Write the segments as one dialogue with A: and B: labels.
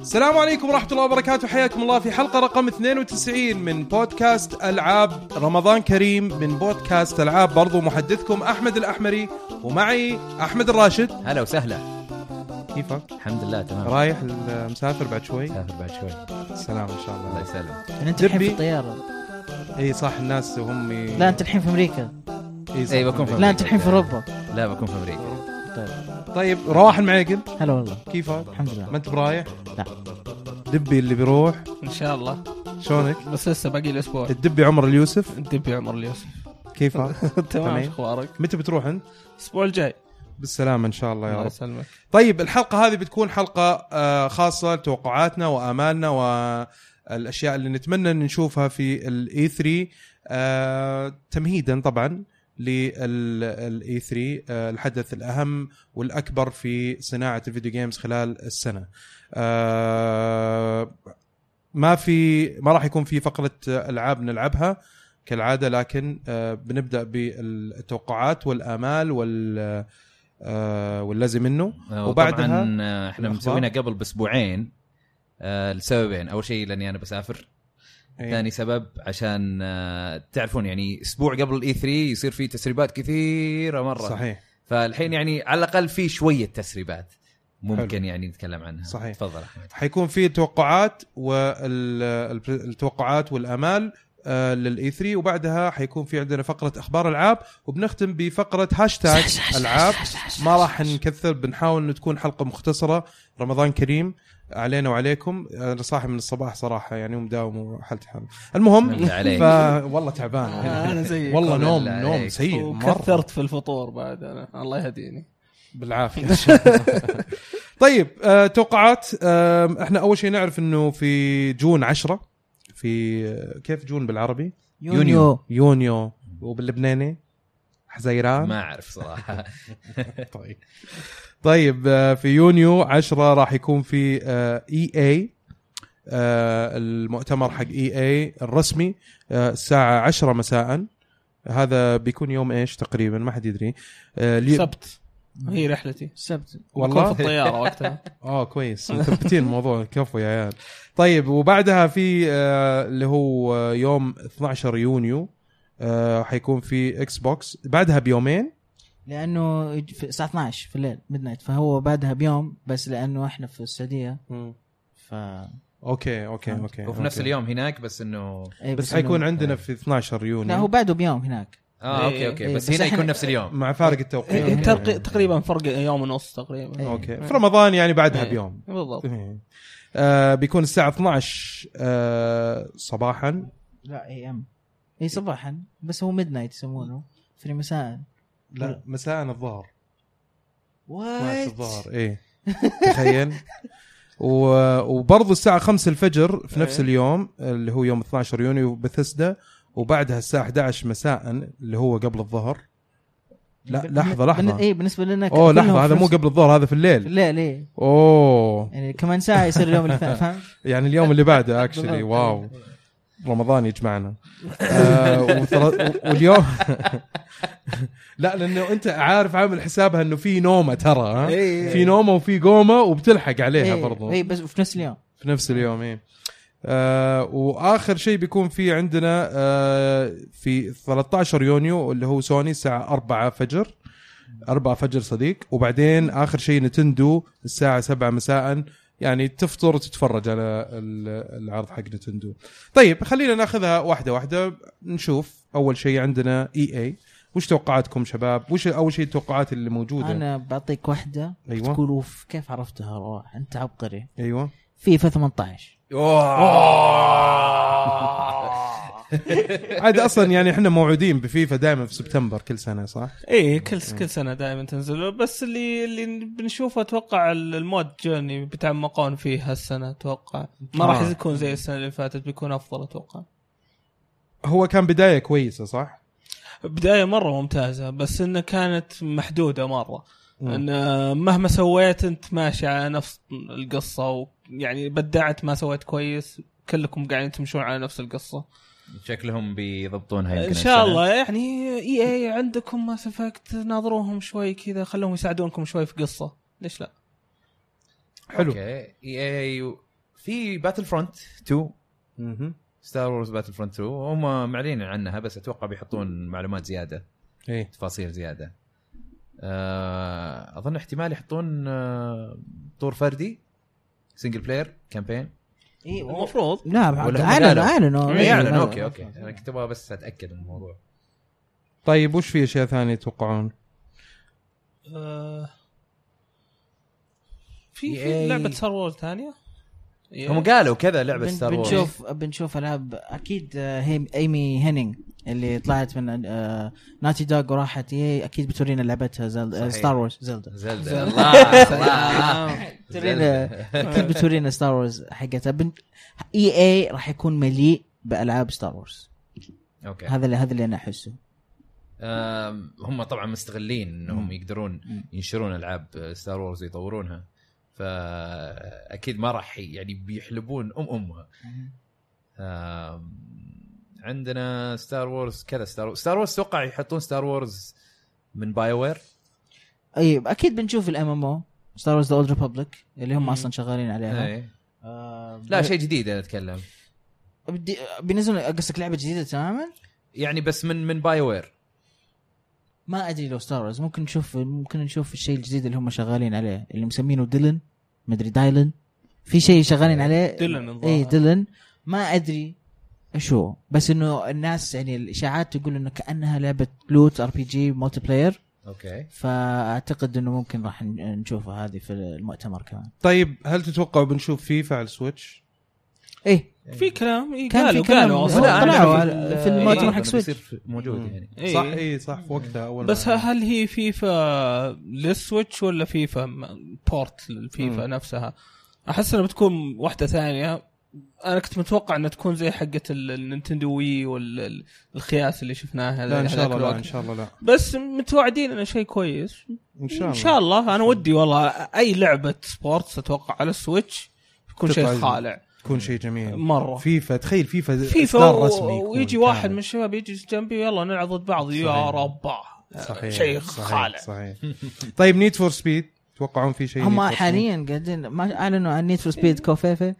A: السلام عليكم ورحمة الله وبركاته حياكم الله في حلقة رقم 92 من بودكاست ألعاب رمضان كريم من بودكاست ألعاب برضو محدثكم أحمد الأحمري ومعي أحمد الراشد
B: هلا وسهلا
A: كيفك؟
B: الحمد لله تمام
A: رايح المسافر بعد شوي
B: سافر بعد شوي
A: السلام إن شاء
B: الله
A: الله
B: يسلمك
C: يعني انت الحين
A: دبي.
C: في الطياره
A: اي صح الناس وهم ي-
C: لا انت الحين في امريكا
A: إي صح.
B: إي بكون في-
C: لا انت الحين في اوروبا
B: لا بكون في امريكا
A: طيب رواح المعيقل
C: هلا والله
A: كيفك؟
C: الحمد لله
A: ما انت برايح؟
C: لا.
A: دبي اللي بيروح
D: ان شاء الله
A: شلونك؟
D: بس لسه باقي لي اسبوع
A: الدبي عمر اليوسف
D: الدب يا عمر اليوسف
A: كيفك؟
D: تمام شو اخبارك؟
A: متى بتروح انت؟
D: الاسبوع الجاي
A: بالسلامة ان شاء الله يا
D: الله
A: رب
D: يسلمك
A: طيب الحلقة هذه بتكون حلقة آه، خاصة توقعاتنا وآمالنا والأشياء اللي نتمنى إن نشوفها في الاي 3 آه، تمهيدا طبعا للاي 3 آه، الحدث الأهم والأكبر في صناعة الفيديو جيمز خلال السنة آه، ما في ما راح يكون في فقرة آه، ألعاب نلعبها كالعادة لكن آه، بنبدأ بالتوقعات والآمال وال آه، واللازم منه وبعدها-
B: آه، وبعدها احنا
A: الأخبار.
B: مسوينها آه، قبل باسبوعين آه، لسببين اول شيء لاني انا بسافر
A: إيه.
B: ثاني سبب عشان آه، تعرفون يعني اسبوع قبل الاي 3 يصير فيه تسريبات كثيره مره
A: صحيح
B: فالحين يعني على الاقل في شويه تسريبات ممكن
A: حلو.
B: يعني نتكلم عنها
A: صحيح.
B: تفضل احمد
A: حيكون في توقعات والتوقعات والامال آه، للاي 3 وبعدها حيكون في عندنا فقره اخبار العاب وبنختم بفقره هاشتاج العاب ما راح نكثر بنحاول انه تكون حلقه مختصره رمضان كريم علينا وعليكم انا صاحي من الصباح صراحه يعني ومداوم وحالتي حال المهم
B: بالله عليك
A: ف والله تعبان
D: آه، انا زيك
A: والله نوم
B: بالله
A: نوم
B: عليك.
A: سيء مره
D: وكثرت في الفطور بعد انا الله يهديني
A: بالعافيه طيب آه، توقعات آه، احنا اول شيء نعرف انه في جون 10 في آه، كيف جون بالعربي؟
C: يونيو
A: يونيو وباللبناني حزيران
B: ما اعرف صراحه
A: طيب طيب آه، في يونيو 10 راح يكون في آه، اي اي آه، المؤتمر حق اي اي الرسمي آه، الساعه 10 مساء هذا بيكون يوم ايش تقريبا ما حد يدري آه، اليو-
D: سبت هي رحلتي
C: السبت
D: والله
A: والله
D: في الطياره وقتها
A: اه كويس مثبتين الموضوع كفو يا عيال طيب وبعدها في آه، اللي هو آه، يوم 12 يونيو آه، حيكون في اكس بوكس بعدها بيومين
C: لانه يج- في الساعه 12 في الليل ميد نايت فهو بعدها بيوم بس لانه احنا في السعوديه ف
A: اوكي اوكي اوكي
B: وفي نفس
A: أوكي.
B: اليوم هناك بس آه، انه
C: إيه،
A: بس حيكون
C: إنه-
A: عندنا في 12
C: لا هو
A: يونيو
C: بعده بيوم هناك
B: اه
D: إيه،
B: اوكي اوكي
C: إيه،
B: بس
C: بس
B: هنا
C: إحنا-
B: يكون نفس اليوم
A: مع فارق
D: إيه، إيه،
A: التوقيت
D: تلقي- تقريبا فرق يوم ونص تقريبا
C: إيه.
A: اوكي في رمضان يعني بعدها بيوم
D: بالضبط
A: آه، بيكون الساعه 12 آه، صباحا
C: لا اي ام اي صباحا إيه، بس هو ميد نايت يسمونه في مساء
A: لا مساء الظهر 12
C: وات
A: الظهر ايه تخيل و... وبرضه الساعة 5 الفجر في نفس
D: إيه.
A: اليوم اللي هو يوم 12 يونيو بثسدا وبعدها الساعة 11 مساء اللي هو قبل الظهر لا لحظة لحظة
C: اي بالنسبه لنا
A: اوه
C: إيه، كلهم
A: لحظة هذا
C: في
A: مو
C: نفس-
A: قبل الظهر هذا في
C: في
A: الليل
C: الليل ايه
A: اوه
C: يعني كمان ساعه يصير اليوم الثاني فاهم
A: يعني اليوم اللي بعده اكشلي
C: بالضبط.
A: واو رمضان يجمعنا آه وثر- واليوم لا لانه انت عارف عامل حسابها انه في نومه ترى ها؟ في نومه وفي قومه وبتلحق عليها
C: إيه،
A: برضو
C: اي بس في نفس اليوم
A: في نفس اليوم ايه آه واخر شيء بيكون في عندنا آه في 13 يونيو اللي هو سوني الساعه 4 فجر 4 فجر صديق وبعدين اخر شيء نتندو الساعه 7 مساء يعني تفطر وتتفرج على ال- العرض حق نتندو طيب خلينا ناخذها واحده واحده نشوف اول شيء عندنا اي اي وش توقعاتكم شباب وش اول شيء التوقعات اللي موجوده
C: انا بعطيك واحده
A: أيوة.
C: تقول اوف كيف عرفتها رواح انت عبقري
A: ايوه
C: فيفا 18
A: عاد اصلا يعني احنا موعودين بفيفا دائما في سبتمبر كل سنه صح
D: ايه كل كل سنه دائما تنزل بس اللي اللي بنشوفه اتوقع المود جيرني بيتعمقون فيه هالسنه اتوقع ما راح
A: آه.
D: يكون زي السنه اللي فاتت بيكون افضل اتوقع
A: هو كان بدايه كويسه صح؟
D: بدايه مره ممتازه بس انها كانت محدوده مره ان آه، مهما سويت انت ماشي على نفس القصه ويعني بدعت ما سويت كويس كلكم قاعدين تمشون على نفس القصه
B: شكلهم بيضبطونها يمكن
D: ان شاء
B: السنة.
D: الله يعني اي اي عندكم ما سفكت ناظروهم شوي كذا خلوهم يساعدونكم شوي في قصه ليش لا
A: حلو
B: اوكي اي اي في باتل فرونت 2
A: مهم.
B: ستار وورز باتل فرونت 2 هم معلنين عنها بس اتوقع بيحطون معلومات زياده
A: ايه
B: تفاصيل زياده آه، اظن احتمال يحطون آه، طور فردي سنجل بلاير كامبين
C: اي
D: المفروض
C: لا
B: ولا
C: اعلنوا
B: هم
C: اعلنوا
D: إيه،
B: يعلن
C: أعلنوا.
B: اوكي اوكي انا كنت ابغى بس اتاكد من الموضوع
A: طيب وش في اشياء ثانيه تتوقعون؟
D: آه، في في
B: EA.
D: لعبه ستار وورز ثانيه
B: هم قالوا كذا لعبه
C: بن-
B: ستار وورز
C: بنشوف بنشوف العاب اكيد آه، هيم ايمي هينينج اللي طلعت من آه، ناتي دوغ وراحت اي اكيد بتورينا لعبتها زل... آه،
B: صحيح.
C: ستار وورز زلدا
B: زلدة
D: زلدة.
B: الله الله.
C: ترينا-
B: زلدة.
C: اكيد بتورينا ستار وورز حقتها بن... اي اي راح يكون مليء بالعاب ستار وورز
B: اوكي
C: هذا اللي هذا اللي انا احسه
B: آم، هم طبعا مستغلين انهم
C: مم.
B: يقدرون
C: مم.
B: ينشرون العاب ستار وورز ويطورونها فاكيد ما راح ي- يعني بيحلبون ام امها آم، عندنا ستار وورز كذا ستار وورز ستار وورز توقع يحطون ستار وورز من باي وير
C: اي اكيد طيب، بنشوف الام ام او ستار وورز ذا اولد ريببليك اللي هم
D: مم.
C: اصلا شغالين عليها
B: إيه.
C: آه،
B: لا شيء جديد انا اتكلم
C: بدي بينزلوا قصدك لعبه جديده تماما
B: يعني بس من من باي وير
C: ما ادري لو ستار وورز ممكن نشوف ممكن نشوف الشيء الجديد اللي هم شغالين عليه اللي مسمينه ديلن مدري دايلن في شيء شغالين عليه
D: ديلن الظاهر.
C: اي ديلن ما ادري ايش هو بس انه الناس يعني الاشاعات تقول انه كانها لعبه لوت ار بي جي مولتي بلاير
B: اوكي
C: فاعتقد انه ممكن راح ن- نشوفها هذه في المؤتمر كمان
A: طيب هل تتوقعوا بنشوف فيفا على السويتش؟
C: ايه
D: في كلام إيه،
C: كان في
D: قالوا
C: كلام.
D: قالوا
C: لا،
D: أصلاً.
C: أنا طلعوا
B: في
C: على-
B: ال-
C: في المؤتمر
B: إيه،
C: حق
B: بيصير
C: سويتش.
B: في- موجود يعني
D: إيه.
A: صح اي صح في وقتها اول
D: بس
A: ما-
D: هل هي فيفا للسويتش ولا فيفا م- بورت للفيفا
A: مم.
D: نفسها؟ احس انها بتكون واحده ثانيه انا كنت متوقع انها تكون زي حقه ال- النينتندو وي والخياس اللي شفناها
A: لا ان شاء
D: هذاك
A: الله لا
D: الوقت.
A: ان شاء الله لا
D: بس متوعدين انه شيء كويس
A: ان شاء الله
D: ان شاء الله انا ودي والله اي لعبه سبورتس اتوقع على السويتش يكون شيء
A: تطلع
D: خالع
A: تكون شيء جميل
D: مرة.
A: فيفا تخيل فيفا
D: فيفا
A: إصدار
D: و...
A: رسمي يكون
D: ويجي واحد
A: كامل.
D: من الشباب يجي جنبي يلا نلعب ضد بعض يا
A: صحيح.
D: ربع
A: صحيح
D: شيء
A: إيه، صحيح،
D: خالع
A: صحيح طيب نيد فور سبيد توقعون في شيء
C: هم
A: Need for Speed؟
C: حاليا قاعدين ما اعلنوا عن نيد فور سبيد كوفيفه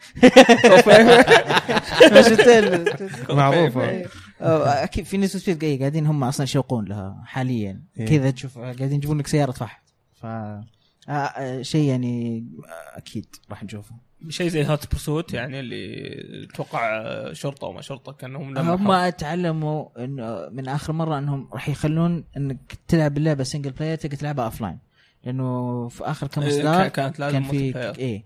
C: شفت ال-
A: معروفه
C: آه، اكيد في نيد فور سبيد قاعدين هم اصلا يشوقون لها حاليا
A: إيه.
C: كذا تشوف قاعدين يجيبون لك سياره فحم ف آه، آه، شيء يعني آه، اكيد راح نشوفه
D: شيء زي هات برسوت يعني اللي توقع شرطه وما شرطه كانهم لما حط-
C: هم تعلموا انه من اخر مره انهم راح يخلون انك تلعب اللعبه سنجل بلاير تقدر تلعبها اوف لاين لانه في اخر كم
D: إيه،
C: اصدار
D: كان- كانت لازم
C: كان
D: multiplayer.
C: في ايه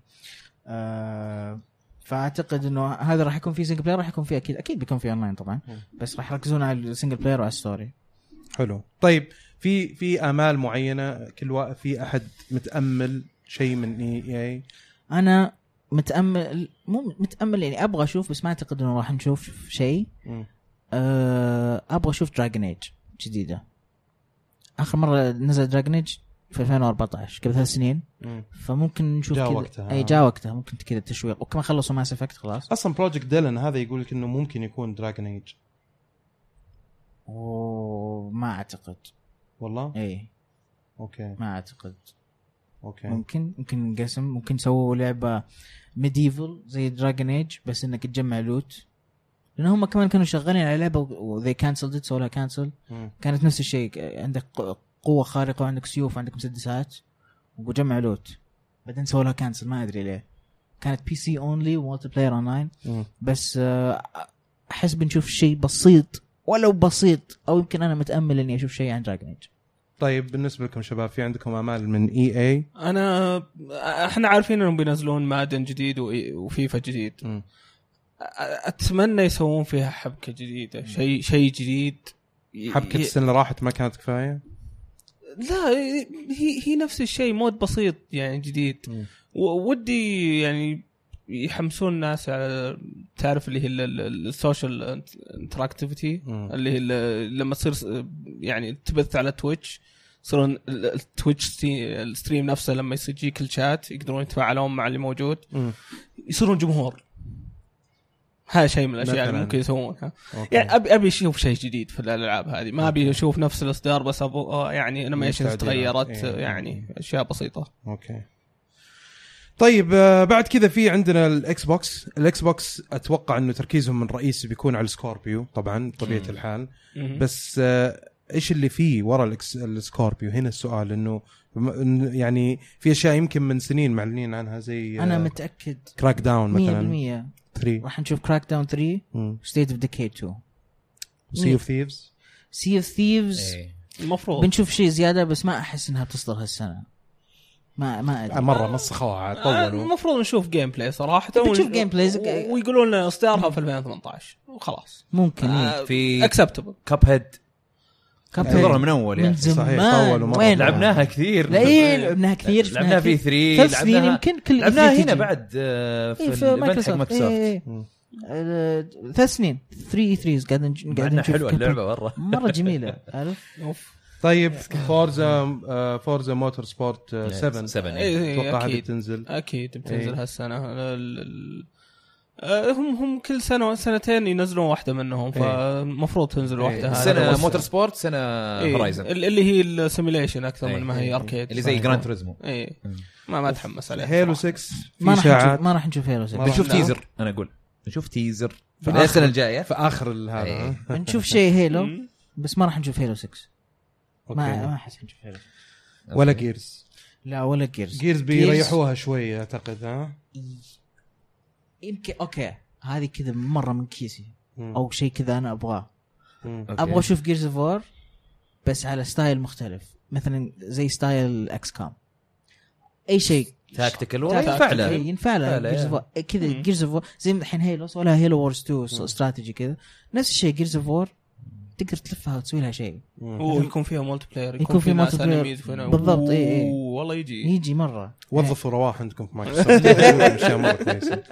C: آه، فاعتقد انه هذا راح يكون في سنجل بلاير راح يكون في اكيد اكيد بيكون في اونلاين طبعا بس راح يركزون على السنجل بلاير وعلى الستوري
A: حلو طيب في في امال معينه كل وا... في احد متامل شيء من اي اي
C: انا متامل مو متامل يعني ابغى اشوف بس ما اعتقد انه راح نشوف شيء أه، ابغى اشوف دراجن ايج جديده اخر مره نزل دراجن ايج في 2014 قبل ثلاث سنين فممكن نشوف
A: جاء
C: كذا-
A: وقتها.
C: اي جاء وقتها ممكن كذا التشويق وكمان خلصوا ماس افكت خلاص
A: اصلا بروجكت ديلن هذا يقول لك انه ممكن يكون دراجن ايج
C: وما اعتقد
A: والله
C: اي
A: اوكي
C: ما اعتقد
A: اوكي
C: ممكن ممكن نقسم ممكن سووا لعبه ميديفل زي دراجن ايج بس انك تجمع لوت لان هم كمان كانوا شغالين على لعبه وذي كانسلد سووا لها كانسل
A: مم.
C: كانت نفس الشيء ك- عندك ق- قوه خارقه وعندك سيوف وعندك مسدسات وجمع لوت بعدين سووا لها كانسل ما ادري ليه كانت بي سي اونلي ومالتي بلاير اونلاين
A: مم.
C: بس آه، احس بنشوف شيء بسيط ولو بسيط او يمكن انا متامل اني اشوف شيء عن دراجن ايج
A: طيب بالنسبه لكم شباب في عندكم امال من اي اي
D: انا احنا عارفين انهم بينزلون مادن جديد وإي- وفيفا جديد أ- اتمنى يسوون فيها حبكه جديده شيء شيء جديد ي-
A: حبكه
D: ي-
A: السنه اللي راحت ما كانت كفايه
D: لا هي هي نفس الشيء مود بسيط يعني جديد
A: مم.
D: و- ودي يعني يحمسون الناس على تعرف اللي هي ال- ال- السوشيال انتراكتيفيتي
A: مم.
D: اللي هي ال- لما تصير س- يعني تبث على تويتش يصيرون ال- التويتش ستي- الستريم نفسه لما يصير يجيك الشات يقدرون يتفاعلون مع اللي موجود
A: مم.
D: يصيرون جمهور هذا شيء من الاشياء اللي
A: مثلاً.
D: ممكن يسوونها
A: أوكي.
D: يعني ابي ابي اشوف شيء جديد في الالعاب هذه ما ابي اشوف نفس الاصدار بس أبو آه، يعني انيميشنز
A: تعديلات.
D: تغيرت
A: إيه.
D: يعني اشياء بسيطه
A: اوكي طيب آه، بعد كذا في عندنا الاكس بوكس الاكس بوكس اتوقع انه تركيزهم الرئيسي بيكون على السكوربيو طبعا بطبيعه
B: مم.
A: الحال
D: مهم.
A: بس آه، ايش اللي فيه ورا الإكس- السكوربيو هنا السؤال انه م- إن- يعني في اشياء يمكن من سنين معلنين عنها زي آه،
C: انا متاكد
A: كراك داون
C: 100%
A: مثلا 3
C: راح نشوف كراك داون 3 وستيت اوف ديكي 2
A: سي اوف ثيفز
C: سي اوف ثيفز
B: إيه.
D: المفروض
C: بنشوف شيء زياده بس ما احس انها بتصدر هالسنه ما ما ادري
A: مره مسخوها
D: آه،
A: طولوا
D: المفروض نشوف جيم بلاي صراحه
C: بنشوف
D: ون-
C: جيم بلايز.
D: و- ويقولون لنا اصدارها في 2018 وخلاص
C: ممكن
D: آه،
C: آه
B: في
D: اكسبتبل
B: كاب هيد
C: كاب
B: انتظرها من اول
C: إيه. من
B: يعني
A: إيه. صحيح،
C: زمان
A: طولوا مرة.
C: وين
B: لعبناها كثير إيه.
C: لا ايه لعبناها كثير شفناها
B: لعبناها في 3
C: كثير. ثلاث سنين يمكن كل
B: لعبناها هنا
C: FTG.
B: بعد آه، في
C: إيه،
B: ال- event حق
C: مايكروسوفت. إيه،
B: مايكروسوفت
C: إيه. آه، ثلاث سنين 3 3 قاعد نج-
B: مع
C: قاعد
B: إنها
C: نشوف
B: حلوه
C: كيف-
B: اللعبه مره
C: مره جميله عارف
D: اوف
A: طيب فورزا آه، فورزا موتور سبورت آه، 7
B: 7
D: إيه،
B: إيه.
D: إيه،
A: اتوقع هذه
D: أكيد.
A: تنزل
D: اكيد بتنزل
A: إيه.
D: هالسنه ال- ال- آه، هم هم كل سنه سنتين ينزلون واحده منهم
A: إيه.
D: فالمفروض تنزل واحده هذا
B: سنه
D: الوسط.
B: موتور سبورت سنه
D: إيه،
B: هورايزن
D: ال- اللي هي السيميليشن اكثر
B: إيه،
D: من ما
A: إيه،
D: هي اركيد
B: اللي زي جراند توريزمو
D: اي ما ما اتحمس عليها
A: هيلو
D: صراحة.
A: 6
C: ما
A: في
C: راح نشوف
A: اشاعات
C: ما راح نشوف هيرو
A: ما راح
B: بنشوف
D: لا.
B: تيزر انا اقول بنشوف تيزر
A: في
B: نعم. في
A: آخر-
B: السنه الجايه
A: في اخر ال- هذا
B: إيه.
A: ها؟
C: بنشوف شيء هيلو
D: مم.
C: بس ما راح نشوف هيلو 6 ما ما
A: أوكي.
C: احس نشوف هيلو
A: ولا جيرز
C: لا ولا جيرز
A: جيرز بيريحوها شوي اعتقد ها
C: يمكن اوكي هذه كذا مره من كيسي
A: مم.
C: او شيء كذا انا ابغاه
A: مم.
B: أوكي.
C: ابغى اشوف جيرز اوف وور بس على ستايل مختلف مثلا زي ستايل اكس كام اي شيء
B: تاكتيكال
C: تاكتيك،
B: والله ينفع
C: إي،
B: له
C: ينفع له
B: ينفع له،
C: جيرز اوف وور كذا
D: مم.
C: جيرز اوف وور زي الحين هيلو ولا هيلو وورز 2 استراتيجي كذا نفس الشيء جيرز اوف وور تقدر تلفها وتسوي لها شيء
A: مم.
D: ويكون فيها مولتي بلاير
C: يكون في
D: ناس
C: multiplayer.
D: enemies وهنا.
C: بالضبط، إيه، إيه.
D: أوه، والله يجي
C: يجي مره
A: وظفوا رواح عندكم في مايكروسوفت أشياء مرة كويسة.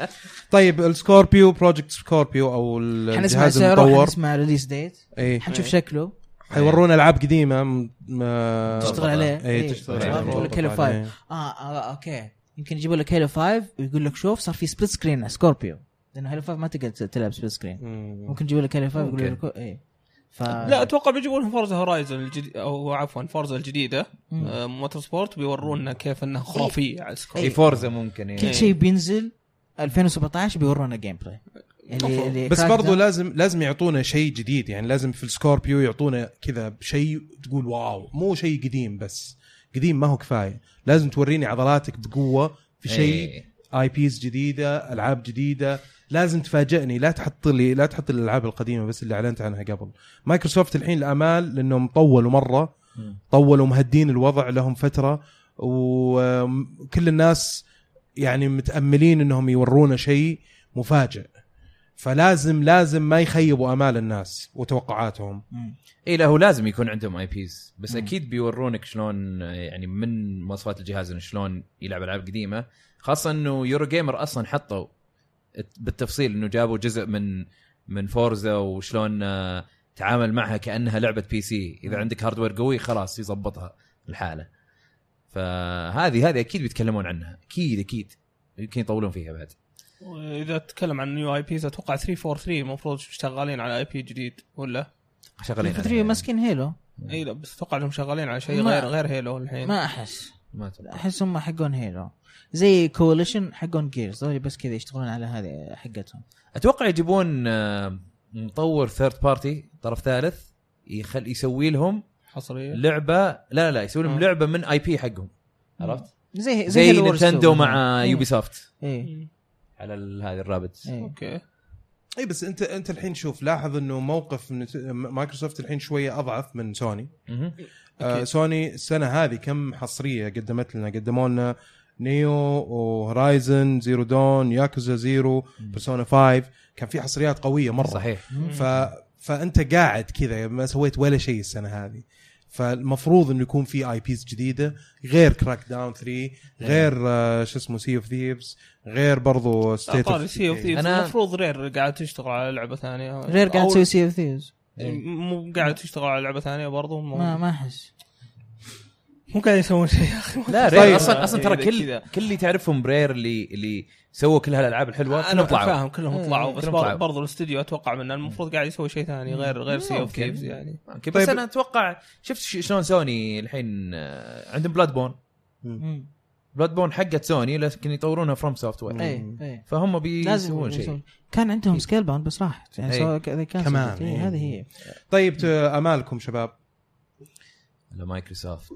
A: طيب السكوربيو بروجكت سكوربيو او
C: حنسمع
A: الجهاز
C: سعره
A: المطور إيه.
C: حنسمع ريليس ديت
A: اي
C: حنشوف شكله
A: حيورونا العاب قديمه م... م...
C: تشتغل إيه. عليه
A: اي آه، إيه، تشتغل إيه.
B: عليه.
A: عليها.
C: يقول لك هيلو 5 آه, اه اوكي يمكن يجيبوا لك هيلو 5 ويقول لك شوف صار في سبليت سكرين على سكوربيو لانه هيلو 5 ما تقدر تلعب سبليت سكرين
A: مم.
C: ممكن يجيبوا لك هيلو 5
B: ممكن.
C: يقول لك ايه ف...
D: لا اتوقع بيجيبون لهم فورزا هورايزن الجديد او عفوا فورزا الجديده
C: مم. إيه.
D: آه، موتور سبورت بيورونا كيف انها خرافيه على
B: اي
D: السكور
B: فورزا ممكن إيه.
C: كل شيء بينزل 2017 بيورونا جيم بلاي
D: مفروض.
C: يعني
A: بس برضو لازم لازم يعطونا شيء جديد يعني لازم في السكوربيو يعطونا كذا شيء تقول واو مو شيء قديم بس قديم ما هو كفايه لازم توريني عضلاتك بقوه في شيء
B: إيه.
A: اي بيس جديده العاب جديده لازم تفاجئني لا تحط لي لا تحط لي الالعاب القديمه بس اللي اعلنت عنها قبل مايكروسوفت الحين الامال لانهم طولوا مره
B: مم.
A: طولوا مهدين الوضع لهم فتره وكل الناس يعني متاملين انهم يورونا شيء مفاجئ فلازم لازم ما يخيبوا امال الناس وتوقعاتهم
B: اي إيه، لا هو لازم يكون عندهم اي بيز بس
C: مم.
B: اكيد بيورونك شلون آه، يعني من مواصفات الجهاز انه شلون يلعب العاب قديمه خاصه انه يورو جيمر اصلا حطوا الت- بالتفصيل انه جابوا جزء من من فورزا وشلون آه، تعامل معها كانها لعبه بي سي اذا
C: مم.
B: عندك هاردوير قوي خلاص يظبطها الحاله فهذه هذه اكيد بيتكلمون عنها اكيد اكيد يمكن يطولون فيها بعد
D: اذا تتكلم عن نيو اي بيز اتوقع 343 المفروض شغالين على اي بي جديد ولا
B: شغالين
C: فتري
B: عليها.
C: ماسكين هيلو
D: اي لا بس اتوقع انهم شغالين على شيء
C: ما-
D: غير غير هيلو الحين
C: ما احس
B: ما أتوقع.
C: احس هم حقون هيلو زي كوليشن حقون جيرز ذولي بس كذا يشتغلون على هذه حقتهم
B: اتوقع يجيبون آه، مطور ثيرد بارتي طرف ثالث يخل يسوي لهم
D: حصريه
B: لعبه لا لا لا يسوي لهم
D: مم.
B: لعبه من اي بي حقهم عرفت؟
C: زي
B: زي
C: Halo Wars
B: نينتندو
C: 2.
B: مع
C: إيه.
B: يوبي سوفت
C: ايه
D: مم.
B: على ال- هذه الرابت
C: إيه.
D: اوكي
A: اي بس انت انت الحين شوف لاحظ انه موقف من- مايكروسوفت الحين شويه اضعف من سوني آه
D: أكيد.
A: سوني السنه هذه كم حصريه قدمت لنا قدموا لنا نيو وهورايزن زيرو دون ياكوزا زيرو بيرسونا 5 كان في حصريات قويه مره
B: صحيح
A: ف... فانت قاعد كذا ما سويت ولا شيء السنه هذه فالمفروض انه يكون في اي بيز جديده غير كراك داون 3 غير آه، شو اسمه سي اوف ثيفز غير برضو ستيت
D: طاري سي اوف ثيفز
B: أنا-
D: المفروض رير قاعد تشتغل على لعبه ثانيه
C: رير قاعد
D: أو-
C: تسوي سي اوف ثيوز
D: مو قاعد تشتغل على لعبه ثانيه برضو مو,
C: ما ما احس
D: مو قاعد يسوون شيء يا اخي
B: لا
A: طيب.
B: رير اصلا اصلا ترى
D: إذا
B: كل
D: كذا.
B: كل اللي تعرفهم برير اللي اللي سووا كل هالالعاب الحلوه
D: انا
B: كلهم طلعوا
D: آه، فاهم كلهم
C: إيه،
D: طلعوا بس
B: كلهم
D: بر-
B: طلعوا.
D: برضو الاستوديو اتوقع منه المفروض قاعد يسوي شيء ثاني غير غير سي اوف
B: ممكن.
D: ثيفز يعني
B: أوكي، بس
A: طيب.
B: انا اتوقع شفت ش- شلون سوني الحين آه، عندهم بلاد بون بلاد بون حقت سوني لكن يطورونها فروم سوفت وير
C: اي اي
B: فهم
C: إيه،
A: إيه،
C: لازم
B: بيسوون شيء
C: يسوون. كان عندهم سكيل باوند بس راحت يعني
B: إي.
C: سواء ك- إذا كان
A: كمان. إيه.
C: سويت. إي،
A: إي.
C: هذه هي
A: طيب ت- امالكم شباب
B: على مايكروسوفت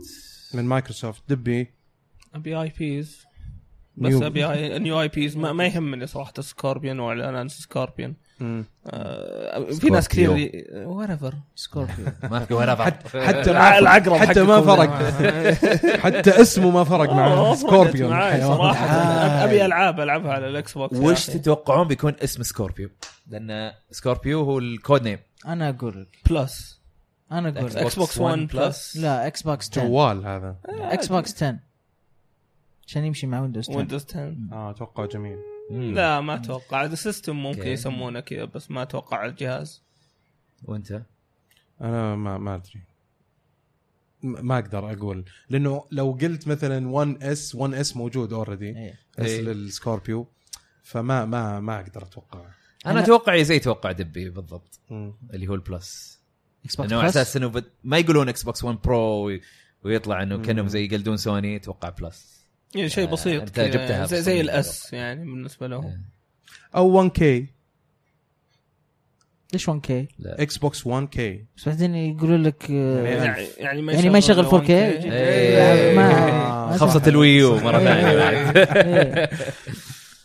A: من مايكروسوفت دبي
D: ابي اي بيز بس
A: نيو.
D: ابي اي نيو اي بيز ما, ما يهمني صراحه سكوربيون ولا انانس سكوربيون
A: مم.
D: آه في ناس كثير وريفر
C: سكوربيو
B: ما في ولا فرق
A: حتى ما
D: العقرب
A: حتى ما
D: حقكم.
A: فرق حتى اسمه ما فرق مع
D: أوه،
A: سكوربيون
D: معاي
A: حيوان.
D: صراحه
B: تعال.
D: ابي العاب العبها على الاكس بوكس
B: وش
D: يا أخي.
B: تتوقعون بيكون اسم سكوربيو؟ لان سكوربيو هو الكود نيم
C: انا اقول لك
D: بلس
C: انا اقول لك
D: Xbox One Plus.
C: لا اكس بوكس 10
A: جوال هذا
C: اكس بوكس 10 عشان يمشي مع ويندوز 10
D: ويندوز 10
A: اه اتوقع جميل
B: لا
D: لا ما اتوقع هذا سيستم ممكن
B: أوكي.
D: يسمونه كذا بس ما اتوقع على الجهاز
B: وانت؟
A: انا ما ما ادري م- ما اقدر اقول لانه لو قلت مثلا 1 اس 1 اس موجود اوريدي
C: إي.
A: اس
B: إيه.
A: للسكوربيو فما ما ما اقدر اتوقع
B: انا
C: أنا-
B: اتوقعي زي توقع دبي بالضبط
A: مم.
B: اللي هو البلس
C: اكس
B: لانه على
C: بوكس
B: اساس
C: بلس
B: انه بد... ما يقولون اكس بوكس 1 برو وي- ويطلع انه كانهم زي يقلدون سوني اتوقع بلس
D: يعني شيء
B: آه،
D: بسيط
B: أنت
D: كذا،
B: جبتها آه.
D: يعني زي,
B: بس
D: زي
B: أتوقع.
D: الاس يعني بالنسبه لهم
A: او 1 كي
C: ليش 1 كي
A: اكس بوكس 1 كي
C: بس بعدين يقولوا لك آه،
A: يعني-
D: يعني يعني ما
C: يعني ما يشغل 4K
D: يعني.
B: إيه.
C: ما- ما
B: خبصه
C: صح.
B: الويو مره ثانيه بعد.
C: إيه.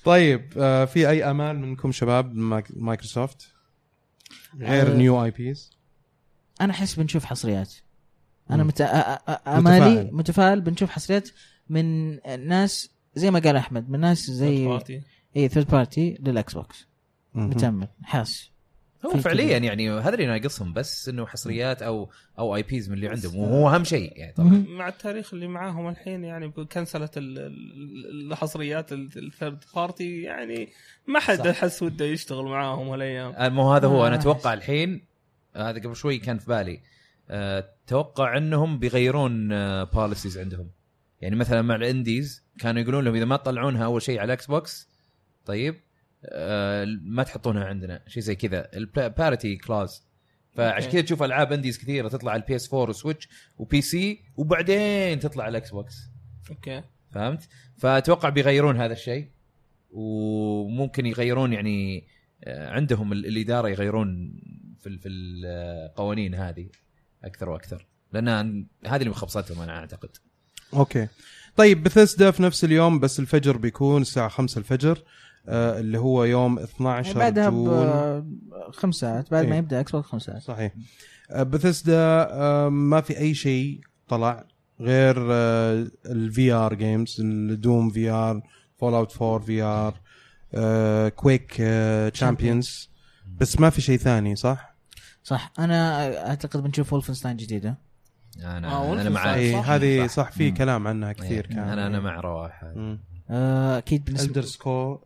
A: طيب آه في اي امال منكم شباب من مايك- مايكروسوفت غير
C: آه،
A: نيو اي بيز
C: انا احس بنشوف حصريات انا
A: مم.
C: مت... آه، أ- أ- أ- امالي
A: متفائل.
C: متفائل بنشوف حصريات من ناس زي ما قال احمد من ناس زي إيه،
D: زي
C: اي ثيرد بارتي للاكس بوكس متامل حاس
B: هو فعليا يعني هذا اللي ناقصهم بس انه حصريات او او اي بيز من اللي عندهم
C: آه.
B: وهو اهم شيء يعني طبعا
D: مع التاريخ اللي معاهم الحين يعني كنسلت ال- ال- الحصريات ال- الثيرد بارتي يعني ما حد احس وده يشتغل معاهم هالايام
B: مو هذا هو انا
C: آه.
B: اتوقع الحين آه، هذا قبل شوي كان في بالي آه، اتوقع انهم بيغيرون بوليسيز عندهم يعني مثلا مع الانديز كانوا يقولون لهم اذا ما تطلعونها اول شيء على الاكس بوكس طيب آه، ما تحطونها عندنا شيء زي كذا الباريتي كلاوز فعشان
D: أوكي.
B: كذا تشوف العاب انديز كثيره تطلع على البي اس 4 وسويتش وبي سي وبعدين تطلع على الاكس بوكس
D: اوكي
B: فهمت؟ فاتوقع بيغيرون هذا الشيء وممكن يغيرون يعني آه، عندهم ال- الاداره يغيرون في ال- في القوانين هذه اكثر واكثر لان هذه اللي مخبصتهم انا اعتقد
A: اوكي طيب بثسدا في نفس اليوم بس الفجر بيكون الساعه 5 الفجر آه اللي هو يوم 12
C: بعدها
A: جون
C: ب- خمس ساعات بعد ما
A: إيه.
C: يبدا اكس بوكس خمس ساعات
A: صحيح بثسدا ما في اي شيء طلع غير آه، الفي ار جيمز الدوم في ار فول اوت 4 في ار كويك تشامبيونز آه، بس ما في شيء ثاني صح؟
C: صح انا اعتقد بنشوف ولفنستاين جديده
D: آه،
B: انا انا مع
D: Wolfenstein.
A: اي
D: صح.
A: إيه، هذه صح في
C: مم.
A: كلام عنها
B: كثير
A: كثير كان
B: انا انا مع رواح
C: آه، اكيد بالنسبه
A: الدر سكور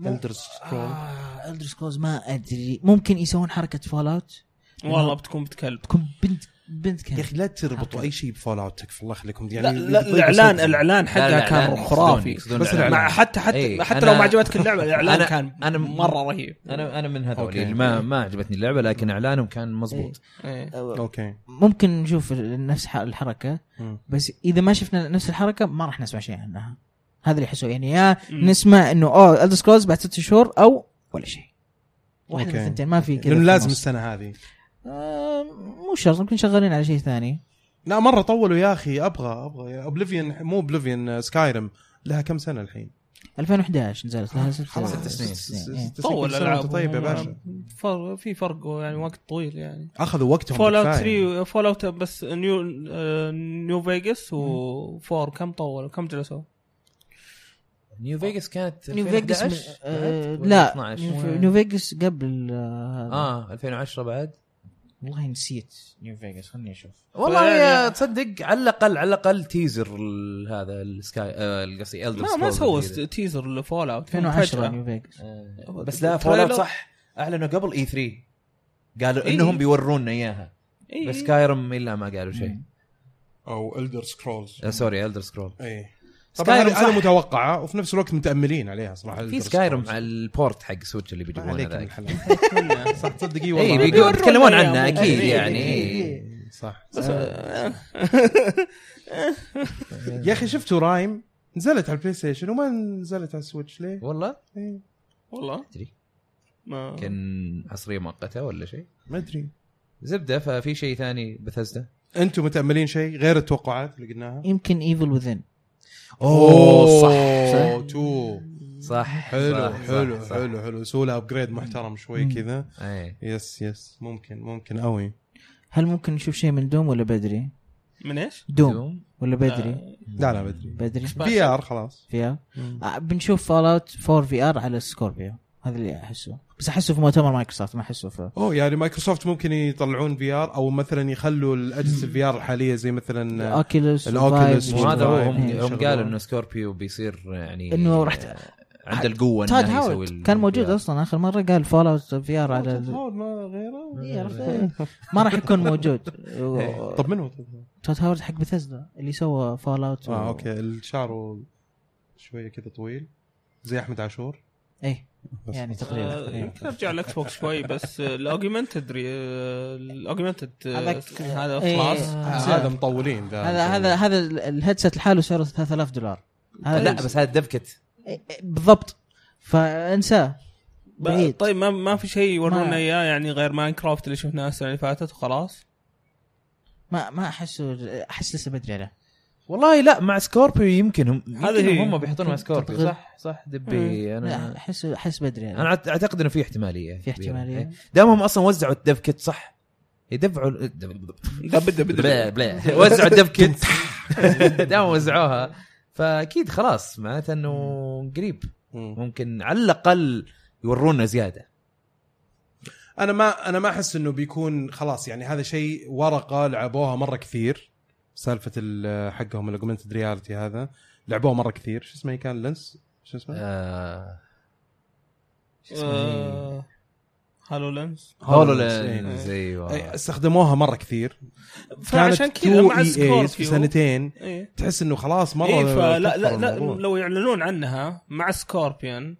A: الدر سكور
C: آه، Elder Scrolls ما ادري ممكن يسوون حركه فول اوت
B: نعم.
D: والله بتكون بتكلب
C: تكون بنت بنت كان
B: إيه.
A: يا اخي لا تربطوا اي شيء بفول اوت تكفى الله يخليكم
D: لا
A: يعني
D: لا الاعلان الاعلان
B: لا،
D: حقها
B: لا، يعني.
D: كان
B: لا،
D: خرافي
B: يقصدون- يقصدون
A: بس
B: الإعلان.
D: مع حتى حتى
B: إيه،
D: حتى
B: أنا-
D: لو ما عجبتك اللعبه الاعلان
B: أنا-
D: كان
B: أنا-
D: مره رهيب
B: انا انا من هذول
A: أوكي.
B: اللي ما ما عجبتني اللعبه لكن اعلانهم كان مزبوط
D: إيه.
C: آه،
A: اوكي
C: ممكن نشوف نفس ح- الحركه
A: مم.
C: بس اذا ما شفنا نفس الحركه ما راح نسمع شيء عنها هذا اللي يحسوه يعني يا
D: مم.
C: نسمع انه اوه الدر سكرولز بعد ست شهور او ولا شيء واحده من
A: أوكي.
C: الثنتين ما في كذا
A: لانه
C: في
A: لازم
C: النص.
A: السنه هذه
C: آه، مو شرط ممكن شغالين على شيء ثاني
A: لا مره طولوا يا اخي ابغى ابغى اوبليفيون مو اوبليفيون سكايرم لها كم سنه الحين
C: 2011 نزلت لها ست
A: خلاص
B: ست سنين.
C: إيه.
D: طول العاب
A: طيب يا باشا
D: فر- في فرق يعني وقت طويل يعني
A: اخذوا وقتهم
D: فول اوت
A: كفاية.
D: 3 فول اوت بس نيو آه، نيو فيجاس و4 كم طولوا كم جلسوا؟
A: إيه.
B: نيو فيجاس كانت
C: نيو فيجاس من-
B: 2011
C: آه،
B: بعد؟ ولا
C: لا
B: 12؟
C: نيو فيجاس قبل آه، هذا.
B: اه 2010 بعد
C: والله نسيت نيو فيجاس خليني اشوف
B: والله
D: فيعني-
B: يا تصدق على الاقل على الاقل تيزر ال- هذا السكاي آه، قصدي الدر
D: ما ما سووا تيزر لفول اوت
C: 2010 نيو فيجاس
B: آه. بس لا فول
D: تريلر.
B: اوت صح اعلنوا قبل اي 3 قالوا
D: إيه.
B: انهم بيورونا اياها
D: إيه.
B: بس كايرم الا ما قالوا شيء
A: او الدر سكرولز
B: آه، سوري الدر سكرول
A: اي طبعا إيه.
B: Skyrim
A: هذه هذه
B: صح.
A: متوقعه وفي نفس الوقت متاملين عليها صراحه
B: في
A: Elder
B: سكايرم
A: Scrolls.
B: على البورت حق سويتش اللي
A: ما
B: بيجيبونه
A: عليك من
B: ذاك
A: الحلال. صح تصدق اي
B: اي
A: والله
B: بيقولوا-
D: بيورون
B: بيتكلمون
D: أيام.
B: عنه اكيد
D: إيه.
B: إيه، يعني
C: آه،
A: إيه. صح يا اخي شفتوا رايم نزلت على البلاي ستيشن وما نزلت على السويتش ليه؟
B: والله
A: إيه،
D: والله
B: ادري
D: ما
B: كان حصريه مؤقته ولا شيء
A: ما ادري
B: زبده ففي شيء ثاني بثزدا
A: انتم متاملين شيء غير التوقعات اللي قلناها؟
C: يمكن ايفل وذن
A: صح تو
B: صح
A: حلو
B: صح،
A: حلو
B: صح، صح. إيه.
A: حلو حلو سوى له ابجريد محترم شوي
C: مم.
A: كذا
B: اي
A: يس يس ممكن ممكن قوي
C: هل ممكن نشوف شيء من دوم ولا بدري؟
D: من ايش؟
C: دوم ولا بدري؟
D: آه،
A: لا لا بدري
C: بدري
A: في ار خلاص
C: في ار
A: مم.
C: آه، بنشوف فول اوت 4 في ار على سكوربيو هذا اللي احسه بس احسه في مؤتمر مايكروسوفت ما احسه في
A: اوه يعني مايكروسوفت ممكن يطلعون في ار او مثلا يخلوا الاجهزه الفي ار الحاليه زي
C: آه،
A: مثلا
C: الاوكيولوس
A: الأوكيولوس
B: وهذا هو هم
A: إيه،
B: هم
A: شغلة.
B: قالوا انه سكوربيو بيصير يعني
C: انه راح ت-
B: عنده القوه
C: تاد
B: إنه يعني يسوي
C: هاورد
B: ال-
C: كان موجود اصلا اخر مره قال فول اوت في ار على ال-
A: تطور ما غيره
C: إيه، عرفت؟ إيه. ما راح يكون موجود و-
A: إيه. طب من هو
C: تود هاورد حق بثزدا اللي سوى فول اوت
A: اه اوكي الشعر شويه كذا طويل زي احمد عاشور
C: ايه
A: بس.
C: يعني
D: آه،
C: تقريبا
D: يمكن ارجع الاكس بوكس شوي بس آه، الاوجمنتد الاوجمنتد
C: هذاك-
D: سكرين آه، هذا
C: إيه.
D: خلاص
A: آه،
C: آه.
A: هذا مطولين ذا
C: هذا هذا هذا ال- الهيدسيت لحاله سعره 3000 دولار هذا
B: لا بس هذا دفكت
C: إيه، إيه، بالضبط فانساه بعيد
D: طيب ما ما في شيء يورونا
C: ما-
D: اياه يعني غير ماينكرافت اللي شفناه السنه اللي فاتت وخلاص
C: ما ما احسه احس لسه بدري عليه
B: والله لا مع سكوربيو يمكن هم
D: هذه هي.
B: هم بيحطونه مع سكوربيو
C: تطغير.
B: صح صح دبي
C: لا
B: انا
C: احس احس بدري عليه
B: انا أعت- اعتقد انه في احتماليه
C: في
B: كبيرة.
C: احتماليه
B: إيه. دامهم اصلا وزعوا الدف كيت صح يدفعوا ال- دب-
D: دب دب
B: بلا بلا وزعوا الدف كيت دامهم وزعوها فاكيد خلاص معناته انه قريب
A: مم.
B: ممكن على الاقل يورونا زياده
A: انا ما انا ما احس انه بيكون خلاص يعني هذا شيء ورقه لعبوها مره كثير سالفه ال- حقهم الاوجمنتد رياليتي هذا لعبوه مره كثير شو اسمه كان لنس شو اسمه؟
B: آه، شو اسمه هي؟
D: آه، هالو لينز
B: هولو
A: إيه.
B: لينز ايوه
A: إيه، استخدموها مره كتير
D: فعشان
A: كانت
D: كذا
A: two
D: مع
A: EAs في
D: سكوربيو
A: سنتين
D: ايه
A: تحس انه خلاص مره
D: إيه فلا لا
A: كثر
D: لا
A: الموضوع.
D: لو يعلنون عنها مع سكوربيون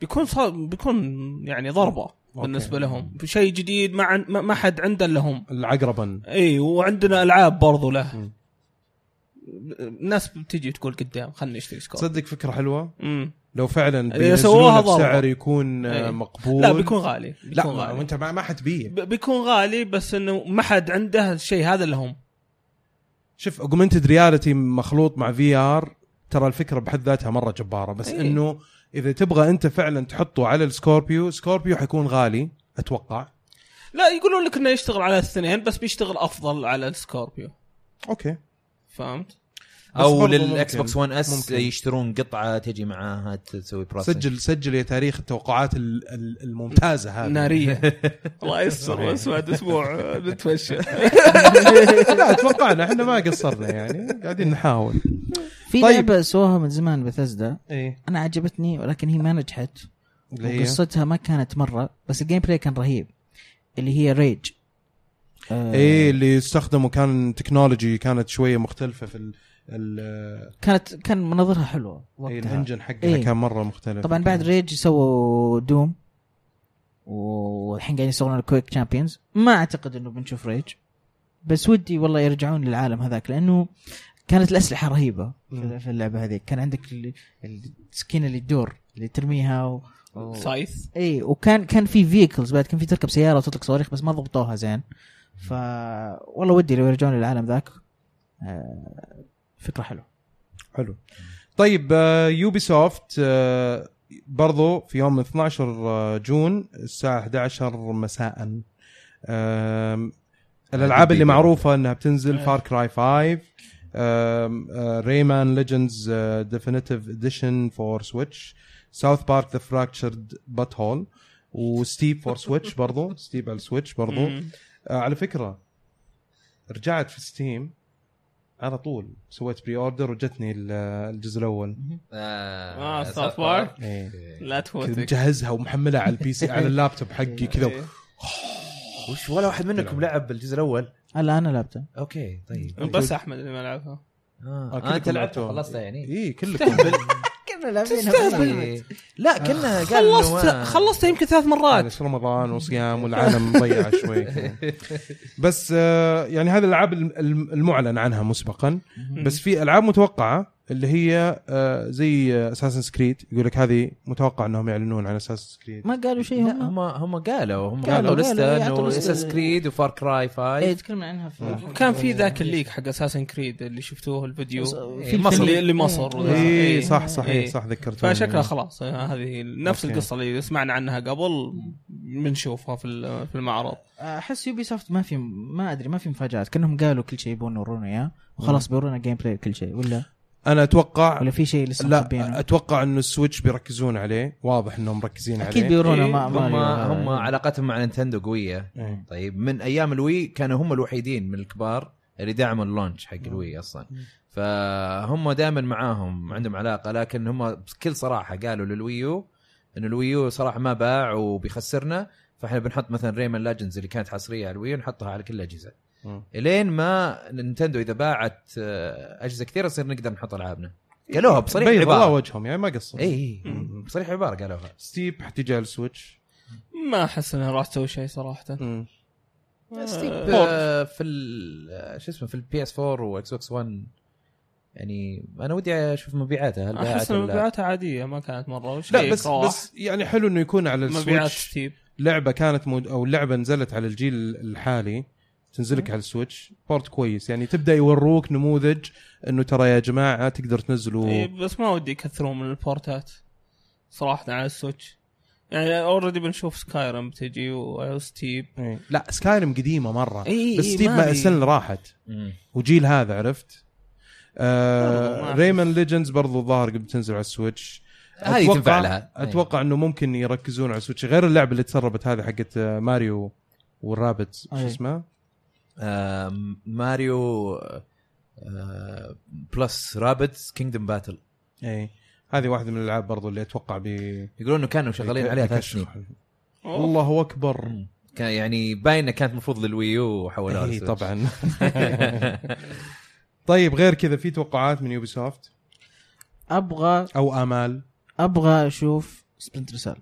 D: بيكون صار بيكون يعني ضربه بالنسبه لهم شيء جديد ما عن- ما ما حد عنده الا هم
A: العقربا
D: اي وعندنا العاب برضو له
A: مم.
D: ناس بتجي تقول قدام خلني اشتري سكوربيون
A: تصدق فكره حلوه
D: مم.
A: لو فعلا
D: إذا
A: بيسووها
D: سووها ضربة.
A: بسعر يكون آه،
D: إيه.
A: مقبول
D: لا بيكون غالي
A: لا
D: بيكون
A: ما-
D: غالي.
A: وانت ما ما حتبيع
D: ب- بيكون غالي بس انه ما حد عنده الشيء هذا اللي هم
A: شوف اوجمنتد رياليتي مخلوط مع في ار ترى الفكره بحد ذاتها مره جباره بس
D: إيه.
A: انه اذا تبغى انت فعلا تحطه على السكوربيو سكوربيو حيكون غالي اتوقع
D: لا يقولون لك انه يشتغل على الاثنين بس بيشتغل افضل على السكوربيو
A: اوكي
D: فهمت؟
A: بس
B: او
A: برضو
B: للاكس
A: ممكن.
B: بوكس 1 اس
A: ممكن.
B: يشترون قطعه تجي معاها تسوي بروسس
A: سجل سجل يا تاريخ التوقعات ال- ال- الممتازه هذه
D: ناريه الله يستر بس بعد اسبوع نتمشى
A: لا اتوقعنا احنا ما قصرنا يعني قاعدين نحاول
C: في
A: طيب.
C: لعبه سووها من زمان بثزدا
D: إيه.
A: ايه
C: انا عجبتني ولكن هي ما نجحت وقصتها ما كانت مره بس الجيم بلاي كان رهيب اللي هي ريج آه
A: ايه اللي استخدموا كان تكنولوجي كانت شويه مختلفه في ال ال-
C: كانت كان مناظرها حلوه
A: إيه،
C: وقتها
A: الانجن حقها
C: إيه.
A: كان مره مختلف
C: طبعا بعد ريج سووا دوم والحين قاعدين يشتغلون على كويك تشامبيونز ما اعتقد انه بنشوف ريج بس ودي والله يرجعون للعالم هذاك لانه كانت الاسلحه رهيبه
A: مم.
C: في- في اللعبه هذه كان عندك ال- السكينه اللي تدور اللي ترميها و... و...
D: سايث
C: اي وكان كان في فيكلز بعد كان في تركب سياره وتطلق صواريخ بس ما ضبطوها زين ف والله ودي لو يرجعون للعالم ذاك آه، فكره حلوه
A: حلو طيب آه، يوبي سوفت آه، برضو في يوم 12 جون الساعه 11 مساء آم، الالعاب اللي معروفه انها بتنزل
D: آه.
A: فار كراي 5 آه، ريمان ليجندز ديفينيتيف اديشن فور سويتش ساوث بارك ذا فراكتشرد بات هول وستيب فور سويتش برضو ستيب على السويتش برضو
D: مم.
A: آه، على فكره رجعت في ستيم على طول سويت بري اوردر وجتني ال- الجزء الاول
D: آه، South Park. لا
A: كنت
D: تفوتك
A: مجهزها ومحملها على البي سي على اللابتوب حقي كذا
D: إيه.
B: وش ولا واحد منكم لعب الجزء الاول
C: هلا انا لعبته
B: اوكي طيب
D: بس احمد اللي ما لعبها
B: آه.
A: آه،
B: آه انت
A: كلكم
B: لعبتها
A: لعبتوها.
B: خلصتها يعني
A: اي كلكم
C: كنا لاعبينها
B: إيه. لا كنا قال إنه ما-
D: خلصت خلصت يمكن ثلاث مرات
A: معلش يعني رمضان وصيام والعالم مضيعه شوي بس آه، يعني هذه الالعاب الم- الم- المعلن عنها مسبقا بس في العاب متوقعه اللي هي آه، زي اساسن سكريد يقول لك هذه متوقع انهم يعلنون عن اساسن سكريد
C: ما قالوا شيء
B: لا هم
C: هم
B: هم قالوا هم
C: قالوا-
B: قالوا لسته
C: قالوا، يعطوا
B: انه
C: لستة.
B: اساس كريد وفار كراي 5
C: ايه تكلمنا عنها في
D: كان في ذاك الليك حق اساسن كريد اللي شفتوه الفيديو
C: في
B: إيه، مصر.
D: اللي اللي مصر
A: اي
D: إيه.
A: صح صح
D: إيه.
A: إيه صح ذكرت
D: فشكلها خلاص إيه، هذه نفس
A: أوكي.
D: القصه اللي سمعنا عنها قبل بنشوفها في ال- في المعرض
C: احس يوبي سوفت ما في ما ادري ما في مفاجات كانهم قالوا كل شيء يبون يورونا اياه وخلاص بيورونا جيم بلاي كل شيء ولا
A: انا اتوقع
C: ولا في شيء لسه مخبينه؟
A: آه. لا اتوقع انه السويتش بيركزون عليه واضح انهم مركزين عليه
C: اكيد بيورونا
B: إيه،
C: ما ما
B: هم هم
C: ما-
B: علاقتهم مع نينتندو قويه
A: إيه.
B: طيب من ايام الوي كانوا هم الوحيدين من الكبار اللي دعموا اللونش حق الوي اصلا
A: مم.
B: فهم دائما معاهم عندهم علاقه لكن هم بكل صراحه قالوا للويو انه الويو صراحه ما باع وبيخسرنا فاحنا بنحط مثلا ريمان لاجنز اللي كانت حصريه على الويو نحطها على كل الاجهزه
A: مم.
B: الين ما نينتندو اذا باعت آه، اجهزه كثيره صير نقدر نحط العابنا قالوها بصريح
A: بيض الله
B: عباره
A: وجههم يعني ما قصروا
B: اي إي،
A: مم.
B: بصريح عباره قالوها
A: ستيب حتيجي على السويتش
D: ما احس انها راح تسوي شيء صراحه
A: مم.
B: ستيب
D: آه،
B: آه، في ال- آه، شو اسمه في البي اس 4 واكس بوكس 1 يعني انا ودي اشوف مبيعاتها هل باعت
D: احس ان
B: ولا لا.
D: مبيعاتها عاديه ما كانت مره وش
A: لا
D: فيك
A: بس
D: راح.
A: بس يعني حلو انه يكون على
D: مبيعات
A: السويتش
D: ستيب
A: لعبه كانت مود او لعبه نزلت على الجيل الحالي تنزلك على السويتش بورت كويس يعني تبدا يوروك نموذج انه ترى يا جماعه تقدر
D: إيه،
A: تنزلوا
D: بس ما ودي يكثرون من البورتات صراحه على السويتش يعني اوريدي بنشوف سكايرم بتجي وستيب
A: إيه. لا سكايرم قديمه مره
D: إيه،
A: بس
D: إيه،
A: ستيف
D: ما
A: ما
D: أبي.
A: السن راحت
B: مم.
A: وجيل هذا عرفت
D: برضو
A: آه
D: ما
A: ريمان ليجندز برضو الظاهر قد بتنزل على السويتش
B: هذه
A: أتوقع-
B: تنفع لها.
A: اتوقع انه ممكن يركزون على السويتش غير اللعبه اللي تسربت هذه حقت آه، ماريو والرابت شو
C: أي.
A: اسمها؟
B: آم، آه، ماريو آه، بلس رابتس كينجدم باتل
A: اي هذه واحده من الالعاب برضو اللي اتوقع بي
B: يقولون انه كانوا شغالين عليها ثلاث
A: بيكشفوا
B: سنين
A: عنها. الله اكبر
B: مم. كان يعني باينه كانت المفروض للويو وحولوها
A: اي
B: للسويتش.
A: طبعا طيب غير كذا في توقعات من يوبي سوفت
C: ابغى
A: او امال
C: ابغى اشوف سبلنتر سيل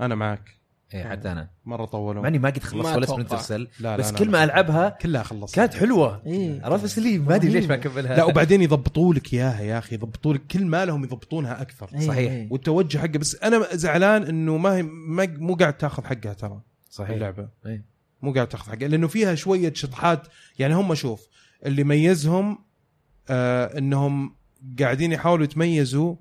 A: انا معك
B: إيه، حتى انا
A: مره طولوا
B: مع اني ما قد
D: ما
B: خلصت ولا
D: أتوقع.
B: سبرنتر سيل
A: لا، لا،
B: بس
A: أنا
B: كل ما
A: أتوقع.
B: العبها
A: كلها خلصت
B: كانت حلوه
C: إيه.
B: عرفت بس اللي ما ادري ليش ما اكملها
A: لا وبعدين يضبطوا لك اياها يا اخي يضبطوا لك كل ما لهم يضبطونها اكثر
C: إيه،
B: صحيح.
C: إيه.
A: والتوجه حقه بس انا زعلان انه ما هي ما مو قاعد تاخذ حقها ترى
B: صحيح
A: اللعبه
B: إيه.
A: مو قاعد تاخذ حقها لانه فيها شويه شطحات يعني هم شوف اللي ميزهم آه انهم قاعدين يحاولوا يتميزوا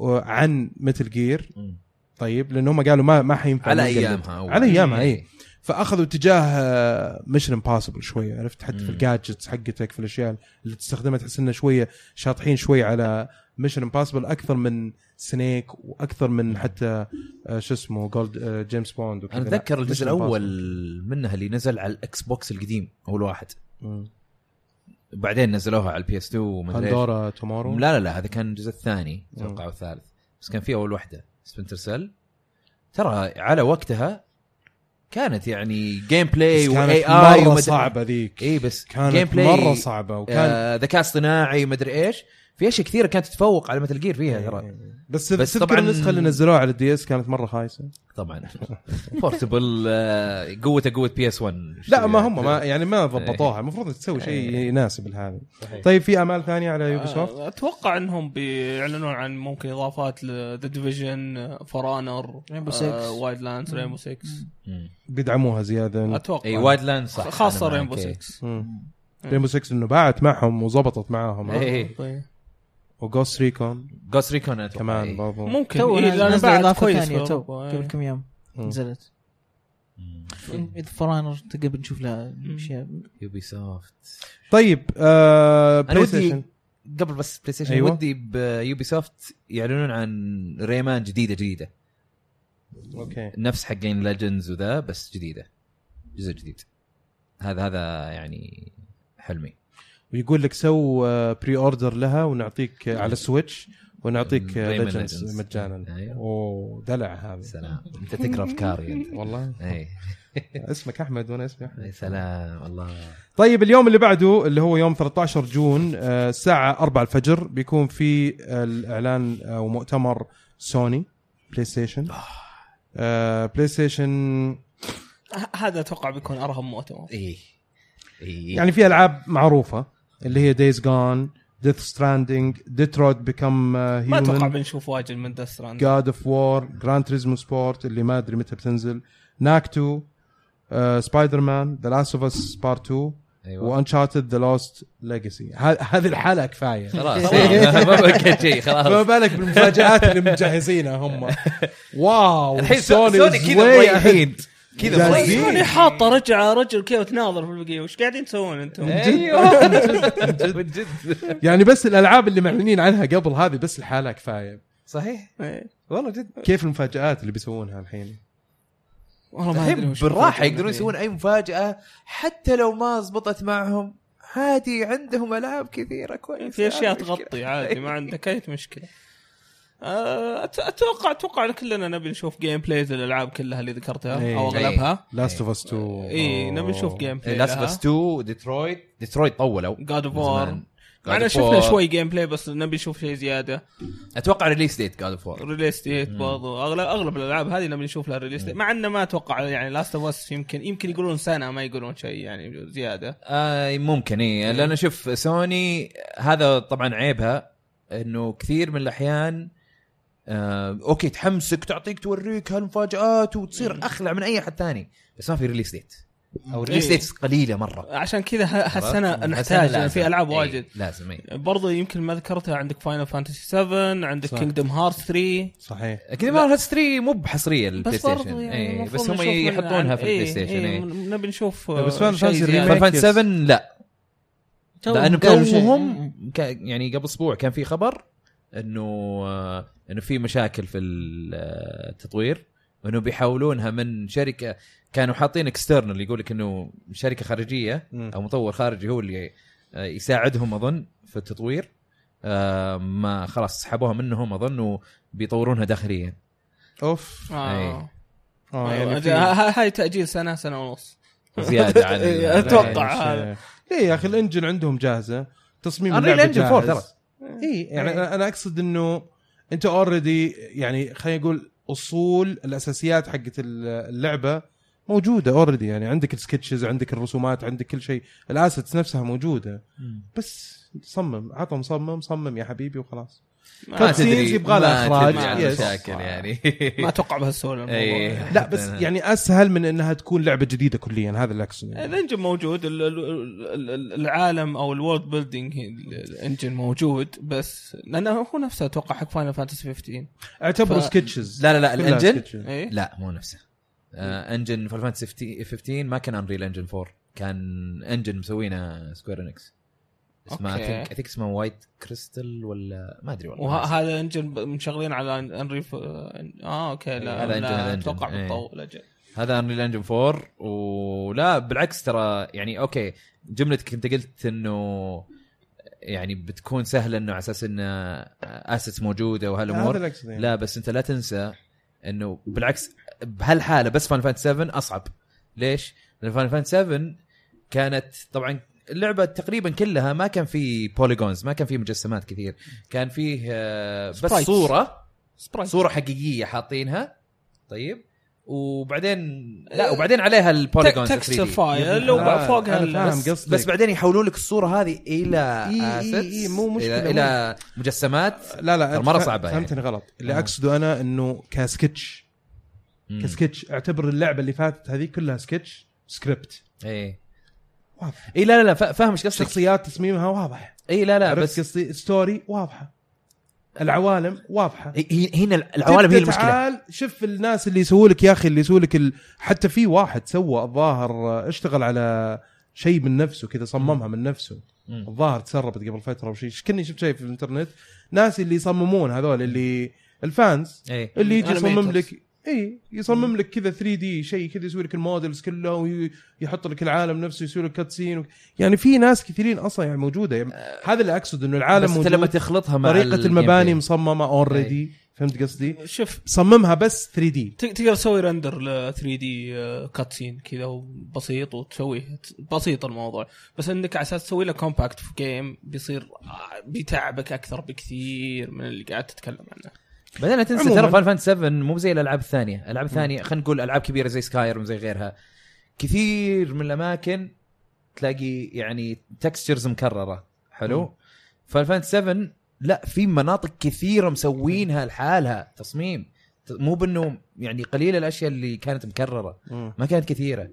A: آه، عن متل جير
B: مم.
A: طيب لان هم قالوا ما ما حينفع
B: على
A: نقلد.
B: ايامها أول.
A: على ايامها
B: إيه.
A: اي فاخذوا اتجاه آه، ميشن امبوسيبل شويه عرفت حتى في
B: مم.
A: الجادجتس حقتك في الاشياء اللي تستخدمها تحس انه شويه شاطحين شويه على ميشن امبوسيبل اكثر من سنيك واكثر من حتى آه، شو اسمه جولد آه، جيمس بوند وكذا
B: انا اتذكر
A: لا،
B: الجزء
A: Mission Impossible.
B: الاول منها اللي نزل على الاكس بوكس القديم اول واحد
A: مم.
B: بعدين نزلوها على البي اس 2 ومدري ايش
A: بندورا تومورو
B: لا لا لا هذا كان الجزء الثاني
A: مم.
B: اتوقع والثالث بس كان في اول واحده سبنتر سيل ترى على وقتها كانت يعني جيم
A: بس
B: بلاي واي
A: كانت
B: اي
A: مره صعبه ذيك
B: اي بس جيم
A: كانت
B: بلاي
A: مره صعبه وكان
B: إيه، آه، ذكاء اصطناعي مدري ايش في اشياء كثيره كانت تتفوق على متل جير فيها ترى
A: إيه. بس,
B: بس
A: بس تذكر
B: طبعاً-
A: النسخه اللي نزلوها على الدي اس كانت مره خايسه
B: طبعا بورتبل آه، قوته قوه بي اس 1
A: لا ما هم ما يعني ما ضبطوها المفروض تسوي شيء يناسب هذا
B: إيه. صحيح.
A: طيب في امال ثانيه على يوبي سوفت
D: آه، اتوقع انهم بيعلنون عن ممكن اضافات لذا ديفيجن فرانر
C: Rainbow Six.
D: وايد لاندز ريمبو 6
B: مم.
A: بيدعموها زياده
D: اتوقع
B: اي إيه، وايد لاند صح
D: خاصه
B: أنا
D: ريمبو
B: معك، إيه.
D: 6
A: ريمبو 6 انه باعت معهم وزبطت معاهم
B: إيه.
D: طيب.
A: وجوست ريكون
B: جوست ريكون أتوقع،
A: كمان
B: إيه.
A: برضو
D: ممكن
C: تو
D: إيه، لأن
C: نزل
D: بعد
C: اضافه
D: كويس
C: ثانيه
D: في
C: تو
D: أوروبا، إيه.
C: قبل كم يوم
A: مم.
C: نزلت فرانر تقريبا نشوف لها اشياء
B: يوبي سوفت
A: طيب آه
B: أنا
A: بلاي
B: ودي-
A: ستيشن
B: قبل بس بلاي ستيشن
A: أيوة.
B: أيوة. ودي بيوبي سوفت يعلنون عن ريمان جديده جديده
A: اوكي
B: نفس حقين ليجندز وذا بس جديده جزء جديد هذا هذا يعني حلمي
A: ويقول لك سو آه بري اوردر لها ونعطيك آه، على السويتش ونعطيك آه،
B: Rayman
A: ليجندز
B: Legends.
A: مجانا
B: أيوة.
A: اوه دلع هذا
B: سلام انت تقرا افكاري انت
A: والله
B: اي
A: اسمك احمد وانا اسمي احمد
B: يا إيه. سلام والله
A: طيب اليوم اللي بعده اللي هو يوم 13 جون آه، الساعة 4 الفجر بيكون في الإعلان أو مؤتمر سوني بلاي ستيشن آه، بلاي ستيشن
D: ه- هذا اتوقع بيكون
B: إيه.
D: ارهم مؤتمر
B: اي اي إيه.
A: يعني في ألعاب معروفة اللي هي دايز جون ديث ستراندنج ديترويت بيكم
D: ما اتوقع
A: هيومن
D: بنشوف واجد من ذا ستراند
A: جاد اوف وور جراند تريزمو سبورت اللي ما ادري متى بتنزل آه، ناكتو سبايدر مان ذا لاست اوف اس بارت 2
B: ايوه
A: وانشارتد ذا لوست ليجاسي هذه الحلقه كفايه
B: خلاص ما بقيت شيء
A: فما
B: خلاص
A: بالك بالمفاجات اللي مجهزينها هم واو
B: الحين سوني كذا مريحين كذا
A: جاهزين.
B: مريحين
D: سوني حاطه رجع رجل كذا وتناظر في البقيه وش قاعدين تسوون انتم؟
B: ايوه من جد من جد
A: يعني بس الالعاب اللي معلنين عنها قبل هذه بس الحالة كفايه
B: صحيح
D: إيه.
B: والله جد
A: كيف المفاجات اللي بيسوونها الحين
D: والله ما ادري
B: الحين
D: وش
B: بالراحه
D: بيكون
B: يقدرون
D: فيه.
B: يسوون اي مفاجاه حتى لو ما زبطت معهم عادي عندهم العاب كثيره كويسه
D: في اشياء
B: ما مشكلة.
D: تغطي عادي ما عندك اي مشكله آه، أت- اتوقع اتوقع إن كلنا نبي نشوف جيم بلايز الالعاب كلها اللي ذكرتها
A: إيه.
D: او اغلبها
A: لاست اوف اس
B: إيه.
A: 2
D: اي إيه، نبي نشوف جيم بلاي
B: لاست اوف اس 2 ديترويت ديترويت طولوا
D: جاد اوف
B: من
D: وور
B: زمان. God
D: معنا
B: of
D: شفنا
B: War.
D: شوي جيم بلاي بس نبي نشوف شيء زياده
B: اتوقع ريليس ديت جاد اوف وور
D: ريليس ديت برضو اغلب اغلب الالعاب هذه نبي نشوف لها ريليس ديت مع انه ما اتوقع يعني لاست اوف اس يمكن يمكن يقولون سنه ما يقولون شيء يعني زياده
B: آه ممكن
D: إيه.
B: اي لانه شوف سوني هذا طبعا عيبها انه كثير من الاحيان آه اوكي تحمسك تعطيك توريك هالمفاجات
D: إيه.
B: وتصير اخلع من اي احد ثاني بس ما في ريليس ديت او ريليس
D: إيه.
B: ديت قليله مره
D: عشان كذا ه- هالسنه
B: عرفت؟
D: نحتاج يعني
B: لازم.
D: في العاب
B: إيه،
D: واجد
B: لازم اي
D: برضو يمكن ما ذكرتها عندك فاينل فانتسي 7 عندك
A: صح.
D: كينجدم هارت 3
A: صحيح
B: اكيد ما 3 مو بحصريه البلاي
D: بس
B: ستيشن
D: برضو يعني
B: يعني
D: المفروض
B: بس هم
D: نشوف من-
B: يحطونها في
D: إيه،
B: البلاي ستيشن
D: إيه،
B: اي
D: نبي نشوف
A: بس
D: آه،
A: Final
D: شيء
A: Fantasy Remake.
D: زيادة.
B: فان
A: ريميك يس.
B: 7 لا لان
C: قالوا شيء.
B: توهم ك- يعني قبل اسبوع كان في خبر انه آه، انه في مشاكل في ال- آه، التطوير وانه بيحولونها من شركه كانوا حاطين اكسترنال يقول لك انه شركه خارجيه
A: مم.
B: او مطور خارجي هو اللي آه، يساعدهم اظن في التطوير آه، ما خلاص سحبوها منهم اظن وبيطورونها داخليا
A: اوف
D: آه.
B: إيه.
A: اه
D: آه،
A: يعني
D: ه-
A: في-
D: ه- هاي تاجيل سنه سنه ونص
B: زياده عن ال-
D: إيه، أتوقع.
A: يعني
D: هذا.
A: شيء- ليه يا اخي الانجن عندهم جاهزه تصميم
B: Unreal
A: اللعبه
B: Engine 4 ترى. إيه.
A: جاهز اي يعني أنا- انا اقصد انه انت اوريدي يعني خلينا نقول اصول الاساسيات حقت ال- اللعبه موجوده اوريدي يعني عندك السكتشز عندك الرسومات عندك كل شيء الاسيتس نفسها موجوده بس صمم عطى مصمم صمم يا حبيبي وخلاص
B: ما
D: ما,
A: تدري.
B: تدري
A: يبغى لها
B: ما تدري
A: إخراج.
B: عن
A: Yes.
B: المشاكل يعني
D: ما اتوقع بهالسهوله الموضوع
B: إيه.
A: لا بس يعني اسهل من انها تكون لعبه جديده كليا هذا اللي اقصده يعني.
D: الانجن إيه، موجود ال- ال- ال- ال- العالم او الورد بيلدينج الانجن موجود بس لانه هو نفسه اتوقع حق فاينل فانتسي 15
A: اعتبروا
D: ف-
A: سكتشز
B: لا لا لا الانجن
D: اي
B: لا مو نفسه آه انجن فاينل فانتسي 15 ما كان انريل انجن 4 كان انجن مسوينه سكوير انكس اسمه
D: أوكي.
B: اي ثينك اسمه وايت كريستال ولا ما ادري والله
D: وهذا الانجن ب- مشغلين على انريف اه اوكي لا
B: هذا engine-
D: لا
B: هذا engine.
D: اتوقع
B: إيه.
D: بتطول اجل
B: هذا انريل انجن 4 ولا بالعكس ترى يعني اوكي جملتك انت قلت انه يعني بتكون سهله انه على اساس انه اسس موجوده
A: هذا
B: وهالامور
A: اللي اقصده يعني.
B: لا بس انت لا تنسى انه بالعكس بهالحاله بس فان فانت 7 اصعب ليش؟ لان فان فانت 7 كانت طبعا اللعبه تقريبا كلها ما كان في بوليجونز ما كان في مجسمات كثير كان فيه آه، بس
D: Sprites.
B: صوره
D: سبرايت
B: صوره حقيقيه حاطينها طيب وبعدين لا وبعدين عليها البوليجونز
D: تكستر
B: 3D.
D: فايل
A: آه،
D: وفوقها
A: أنا
D: ال-
A: فاهم
D: بس-
A: قصدك
B: بس بعدين يحولون لك الصوره هذه الى
A: إي- إي- إي،
B: assets،
A: مو مشكلة،
B: الى,
A: مو
B: إلى مجسمات
A: لا لا
B: ترى
A: أنت
B: مرة
A: فا-
B: صعبة يعني.
A: فهمتني غلط اللي
B: آه.
A: اقصده انا انه كسكتش
B: مم.
A: كسكتش اعتبر اللعبه اللي فاتت هذه كلها سكتش سكريبت
B: ايه
A: واضح
B: اي لا لا لا فا- فاهم ايش قصدك
A: شخصيات تصميمها واضح
C: إيه،
B: اي لا لا بس
A: عرفت قصدي ستوري واضحه العوالم واضحه
B: هي- هنا العوالم
A: تبدأ
B: هي المشكله
A: تعال شوف الناس اللي يسووا لك يا اخي اللي يسووا لك ال... حتى في واحد سوى الظاهر آه، اشتغل على شيء من نفسه كذا صممها من نفسه
B: مم.
A: الظاهر تسربت قبل فتره وشي كني شفت شيء في الانترنت ناس اللي يصممون هذول اللي الفانز
B: ايه
A: اللي يجي
D: Animators.
A: يصمم لك اي يصمم لك كذا 3 دي شيء كذا يسوي لك المودلز كلها ويحط لك العالم نفسه يسوي لك كاتسين و... يعني في ناس كثيرين اصلا يعني موجوده يعني هذا اللي اقصد انه العالم
B: آه، بس انت لما
A: موجود
B: تخلطها مع
A: طريقه
B: ال-
A: المباني
B: gameplay.
A: مصممه اوريدي فهمت قصدي؟
D: شوف
A: صممها بس 3 دي
D: ت- تقدر تسوي رندر ل 3 دي كاتسين كذا وبسيط وتسويه ت- بسيط الموضوع بس انك على اساس تسوي له كومباكت في جيم بيصير آه، بيتعبك اكثر بكثير من اللي قاعد تتكلم عنه
B: بعدين لا تنسى
A: عموماً.
B: ترى فان فانت 7 مو زي الالعاب الثانيه، الالعاب الثانيه خلينا نقول العاب كبيره زي سكايرم زي غيرها كثير من الاماكن تلاقي يعني تكستشرز مكرره حلو؟ فاين فانتسي 7 لا في مناطق كثيره مسوينها لحالها تصميم ت- مو بانه يعني قليله الاشياء اللي كانت مكرره
A: مم.
B: ما كانت كثيره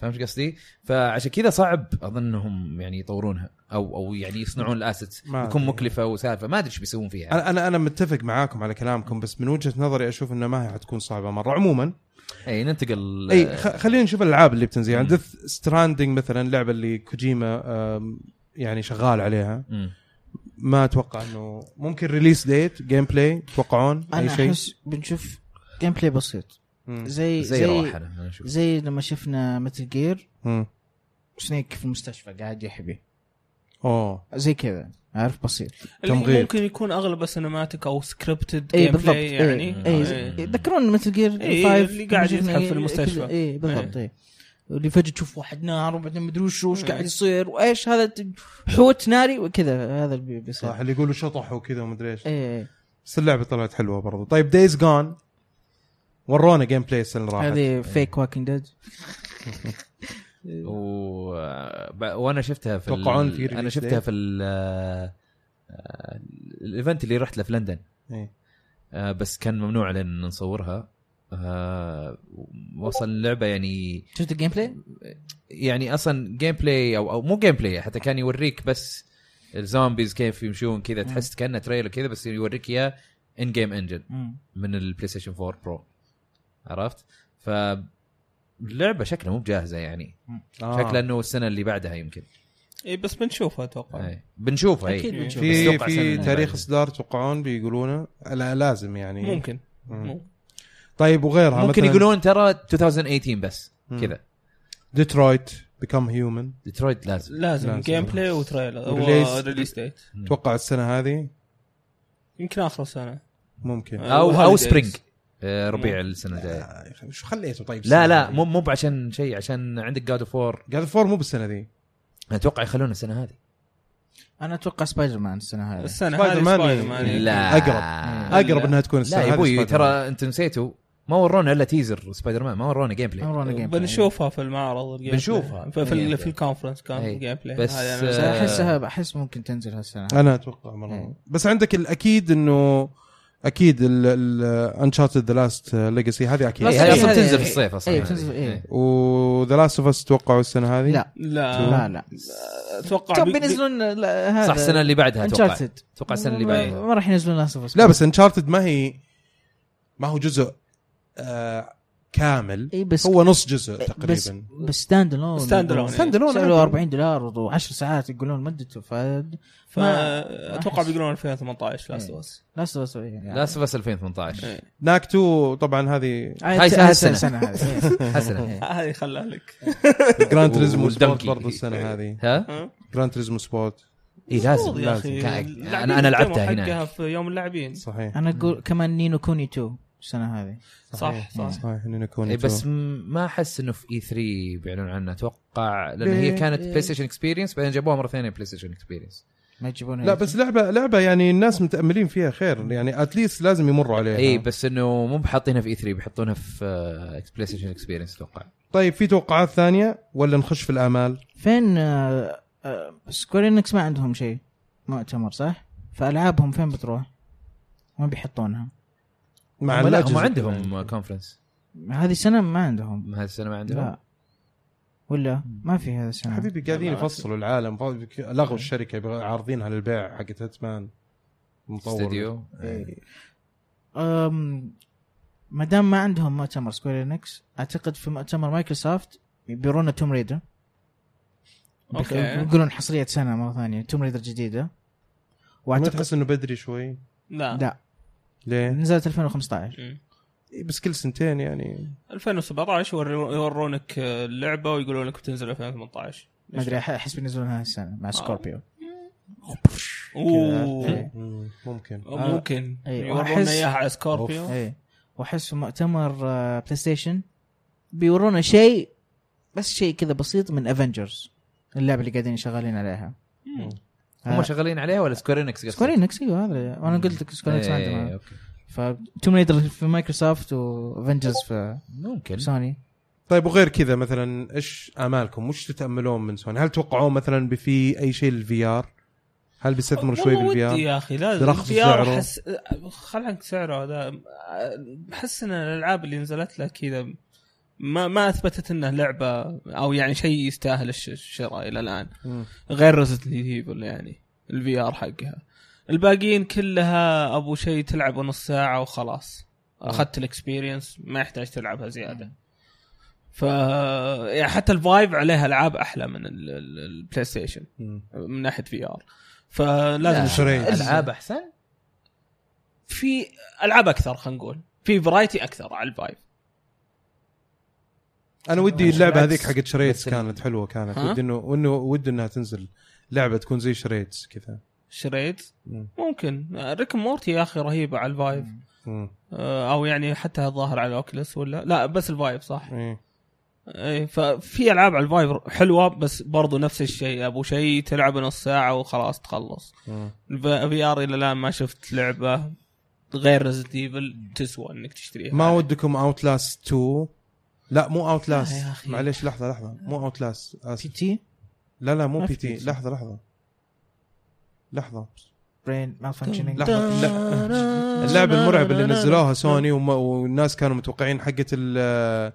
B: فهمت قصدي؟ فعشان كذا صعب اظن انهم يعني يطورونها او او يعني يصنعون الاسيتس
A: ما
B: تكون
A: أدري.
B: مكلفه وسالفه ما ادري ايش بيسوون فيها
A: انا انا انا متفق معاكم على كلامكم بس من وجهه نظري اشوف انها ما هي حتكون صعبه مره عموما
B: اي ننتقل
A: اي خ- خلينا نشوف الالعاب اللي بتنزل يعني
B: مم.
A: ديث ستراندنج مثلا لعبه اللي كوجيما آم، يعني شغال عليها
B: مم.
A: ما اتوقع انه ممكن ريليس ديت جيم بلاي تتوقعون اي
C: انا
A: شيء
C: احس بنشوف جيم بلاي بسيط
A: مم.
B: زي,
C: زي زي
B: راح انا أنا اشوف
C: زي لما شفنا متل جير
A: مم.
C: سنيك في المستشفى قاعد يحبي
A: اوه
C: زي كذا عارف بسيط
D: اللي
A: تمغير.
D: ممكن يكون اغلب سينماتيك او سكريبتد
C: اي إيه، بالضبط
D: يعني
C: يعني اي
D: إيه.
C: زي- تذكرون مثل جير
D: إيه، اللي قاعد يزحف في المستشفى. إيه.
C: اي إيه، بالضبط اي اللي فجاه تشوف واحد نار وبعدين مدري وش وش قاعد يصير وايش هذا ت- حوت ناري وكذا هذا اللي بيصير إيه،
A: صح اللي يقولوا شطحوا كذا ومدري ايش
C: اي إي.
A: بس اللعبه طلعت حلوه برضو طيب دايز جون ورونا جيم بلاي السنه اللي راحت
C: هذه فيك واكينج ديد
B: و... ب- وانا شفتها في
A: توقعون في
B: ال... انا
A: release
B: شفتها
A: date؟
B: في ال... آه، الايفنت اللي رحت له في لندن
A: إيه.
B: آه، بس كان ممنوع لان نصورها آه، وصل اللعبه يعني
C: شفت الجيم بلاي؟
B: يعني اصلا جيم بلاي او او مو جيم بلاي حتى كان يوريك بس الزومبيز كيف يمشون كذا تحس كانه تريلر كذا بس يوريك اياه ان جيم انجن من البلاي ستيشن 4 برو عرفت؟ ف اللعبه شكلها مو بجاهزه يعني
A: آه.
B: شكلها انه السنه اللي بعدها يمكن
D: اي إيه، بس بنشوفها اتوقع
B: أي. بنشوفها إيه.
C: أكيد
B: اي
C: بنشوفها.
B: بس
A: في
B: توقع السنة
A: في
B: اللي
A: تاريخ
B: بعدها.
A: اصدار توقعون بيقولونه لا لازم يعني
D: ممكن
A: مم.
D: ممكن.
A: طيب وغيرها
B: ممكن
A: مثلاً
B: يقولون ترى 2018 بس
A: مم.
B: كذا
A: ديترويت بيكم هيومن
B: ديترويت لازم
D: لازم
A: لازم.
D: جيم بلاي وتريلر
A: وريليس-
D: وريليس ديت
A: اتوقع السنه هذه
D: يمكن اخر سنه
A: ممكن
B: او او
D: وهوليديز.
B: سبرينج آه، ربيع السنه الجايه
A: آه، شو خليته طيب
B: لا لا مو مو عشان شيء عشان عندك جاد اوف وور
A: جاد فور مو بالسنه ذي
B: اتوقع يخلونه السنه هذه
C: انا اتوقع سبايدر مان السنه هذه
D: السنه
A: سبايدر
D: هذه
A: مان.
D: يعني. سبايدر مان
B: لا
A: أقرب. اقرب انها تكون السنه
B: لا يا
A: هذه
B: ابوي
A: سبايدر مان.
B: ترى انت نسيتوا ما ورونا الا تيزر سبايدر مان ما ورونا جيم بلاي
D: آه،
C: ورونا جيم بلاي.
D: بنشوفها في المعرض الجيم
B: بنشوفها.
D: بلاي. في, في,
B: الجيم
D: ال- في
B: بلاي.
D: الكونفرنس كان
B: أي.
D: جيم بلاي
B: بس،
D: هذا أنا
B: آه،
C: بس احسها احس ممكن تنزل هالسنه
A: انا اتوقع مره
C: إيه.
A: بس عندك الاكيد انه اكيد الانشارتد ذا لاست ليجاسي هذه اكيد
B: إيه،
C: بس
B: هذه
C: هذه-
B: اصلا تنزل في
C: إيه،
B: الصيف اصلا
C: إيه،
B: هذه.
C: بتنزل- إيه.
B: إيه.
A: وذا لاست اوف اس توقعوا السنه هذه
C: لا
D: لا
C: لا لا
D: اتوقع
C: كم
D: بي- بي-
C: بينزلون لا، هذا
B: صح السنه اللي بعدها اتوقع
C: Uncharted.
B: اتوقع السنه اللي بعدها
C: ما راح ينزلون لاست اوف
A: لا بس انشارتد ما هي ما هو جزء آه كامل
C: اي بس
A: هو نص جزء
C: بس
A: تقريبا
C: بس ستاند الون
D: Stand alone.
A: ستاند الون
C: سعره 40 دولار و10 ساعات يقولون مدته ف ما-
D: فاتوقع
C: أحس.
D: بيقولون 2018 لاست
C: إيه.
D: اوف
C: لاست اوف يعني
B: لاست اوف اس 2018
A: ناك 2 طبعا هذه
B: هاي
C: آه، هاي
B: السنة.
C: السنه السنة هذه.
B: حسنا
D: هذه خلاها لك
A: جراند ريزمو سبورت
B: والدنكي.
A: برضه السنه هذه
B: ها
D: ها؟
A: جراند ريزمو سبورت
B: اي إيه، لازم
D: المفروض يا
B: لازم
D: اخي
B: كا-
D: اللاعبين
B: انا انا لعبتها
D: الديمو حقها
B: هنا
D: في يوم اللاعبين
A: صحيح
C: انا اقول كمان نينو كوني 2 السنه هذه
D: صح صح
A: صحيح انه يكون
B: إيه، بس م- ما احس انه في اي 3 بيعلنون عنها اتوقع لان هي
C: ليه؟
B: كانت
C: ليه؟
B: بلاي ستيشن اكسبيرينس بعدين جابوها مره ثانيه بلاي ستيشن اكسبيرينس
C: ما يجيبونها
A: لا بس لعبه لعبه يعني الناس متاملين فيها خير يعني اتليست لازم يمروا عليها
B: اي إيه، بس انه مو بحاطينها في اي 3 بيحطونها في آه، بلاي ستيشن اكسبيرينس اتوقع
A: طيب في توقعات ثانيه ولا نخش في الامال
C: فين آه، سكوير انكس ما عندهم شيء مؤتمر صح؟ فالعابهم فين بتروح؟ ما بيحطونها
A: مع
B: هم لا هم
A: الأجهزة.
B: عندهم كونفرنس
C: هذه السنه ما عندهم
B: هذه السنه ما عندهم
C: لا ولا ما في هذا السنه
A: حبيبي قاعدين يفصلوا العالم ف- لغوا الشركه يبغى- عارضينها للبيع حقت هتمان مطور
B: استديو
C: أم، ما دام ما عندهم مؤتمر سكوير انكس اعتقد في مؤتمر مايكروسوفت يبيرونا توم ريدر
D: أوكي.
C: يقولون حصريه سنه مره ثانيه توم ريدر جديده
A: ما
C: واعتقد
A: تحس انه بدري شوي
D: لا
C: لا
A: ليه؟
C: نزلت 2015
D: مم.
A: بس كل سنتين يعني
D: 2017 يورو- يورونك اللعبه ويقولون لك بتنزل 2018
C: ما ادري أح- احس بينزلونها هالسنه مع سكوربيو
B: إيه.
D: اوه
A: مم، ممكن
D: ممكن
C: إيه.
D: يورونا
C: وأحس-
D: اياها على سكوربيو
C: اي واحس في إيه. مؤتمر آه، بلاي ستيشن بيورونا شيء بس شيء كذا بسيط من افنجرز اللعبه اللي قاعدين شغالين عليها
B: هم شغالين عليها ولا سكوير انكس
C: سكوير انكس ايوه هذا انا قلت لك سكوير انكس
B: إيه،
C: ما عندهم هذا. فتوم ريدر في مايكروسوفت وافنجرز في
B: ممكن
C: سوني
A: طيب وغير كذا مثلا ايش امالكم؟ وش تتاملون من سوني؟ هل توقعون مثلا بفي اي شيء للفي ار؟ هل بيستثمر شوي
D: والله
A: بالفي
D: ودي
A: ار؟
D: يا اخي لازم
A: برخص
D: الفي ار
A: سعره.
D: حس... خل عنك سعره هذا احس ان الالعاب اللي نزلت لها كذا ما ما اثبتت انها لعبه او يعني شيء يستاهل الش- الشراء الى الان غير ريزنت ايفل يعني الفي ار حقها الباقيين كلها ابو شيء تلعب نص ساعه وخلاص اخذت الاكسبيرينس ما يحتاج تلعبها زياده ف يعني حتى الفايف عليها العاب احلى من ال- ال- البلاي ستيشن من ناحيه في ار فلازم
C: لا.
D: نشوف.
A: شريت
B: العاب احسن
D: في العاب اكثر خلينا نقول في فرايتي اكثر على الفايف
A: انا ودي اللعبه هذيك
B: بالعكس.
A: حقت شريتس
B: بالعكس.
A: كانت حلوه كانت
D: ها؟
A: ودي انه وانه ودي انها تنزل لعبه تكون زي شريتس كذا
D: شريت
A: مم.
D: ممكن ريك مورتي يا اخي رهيبه على الفايف
A: مم.
D: آه، او يعني حتى الظاهر على الاوكلس ولا لا بس الفايف صح
A: إيه.
D: اي ففي العاب على الفايف حلوه بس برضو نفس الشيء ابو شيء تلعب نص ساعه وخلاص تخلص
A: مم.
D: الفي ار الى الان ما شفت لعبه غير ريزنت ايفل تسوى انك تشتريها
A: ما ودكم اوتلاست 2 لا مو
D: لا يا
A: اوتلاست
D: أخي.
A: معليش لحظه لحظه مو اوتلاست
C: بي
A: اسف
C: تي
A: لا لا مو
C: ما
A: بي
C: في
A: تي
C: PC.
A: لحظه لحظه لحظه
C: برين مال فانكشنينج
A: لحظه لا. اللعبه المرعبه اللي نزلوها سوني وما- والناس كانوا متوقعين حقه ال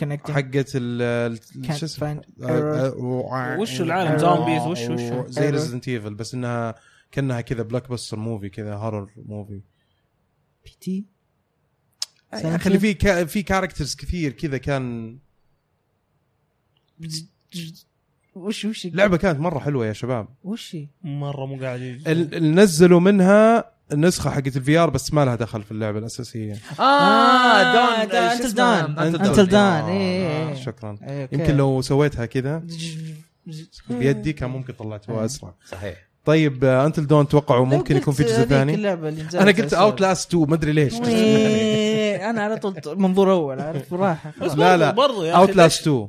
C: كونكتنج
A: حقه ال ال- شو اسمه آه،
D: وش العالم زومبيز وش آه. وش
A: زي
C: Error.
A: ريزدنت ايفل بس انها كانها كذا بلاك بستر موفي كذا هورر موفي
C: بي تي
A: يا اخي اللي في كا- في كاركترز كثير كذا كان
C: وش وش
A: لعبه كانت مره حلوه يا شباب
C: وش هي؟
D: مره مو قاعد يجي.
A: ال- ال- نزلوا منها النسخه حقت الفي ار بس ما لها دخل في اللعبه الاساسيه
C: آه،
B: دون-
C: دون-
B: شو
C: Until
B: اسمه؟
C: Dawn.
B: Until
C: Until
B: Dawn.
C: Dawn.
A: آه،
C: إيه، إيه.
A: شكرا
C: إيه، أوكي.
A: يمكن لو سويتها كذا بيدي كان ممكن طلعتها اسرع
B: صحيح
A: طيب انتل دون توقعوا ممكن يكون في جزء
C: هذيك
A: ثاني
C: اللعبة اللي نزلت
A: انا قلت
C: أسود.
A: اوت لاست 2 ما ادري ليش
C: ويه، انا على طول منظور اول عارف بالراحه خلاص.
A: لا لا
D: برضو يا
A: اوت
D: اخي
A: لاست 2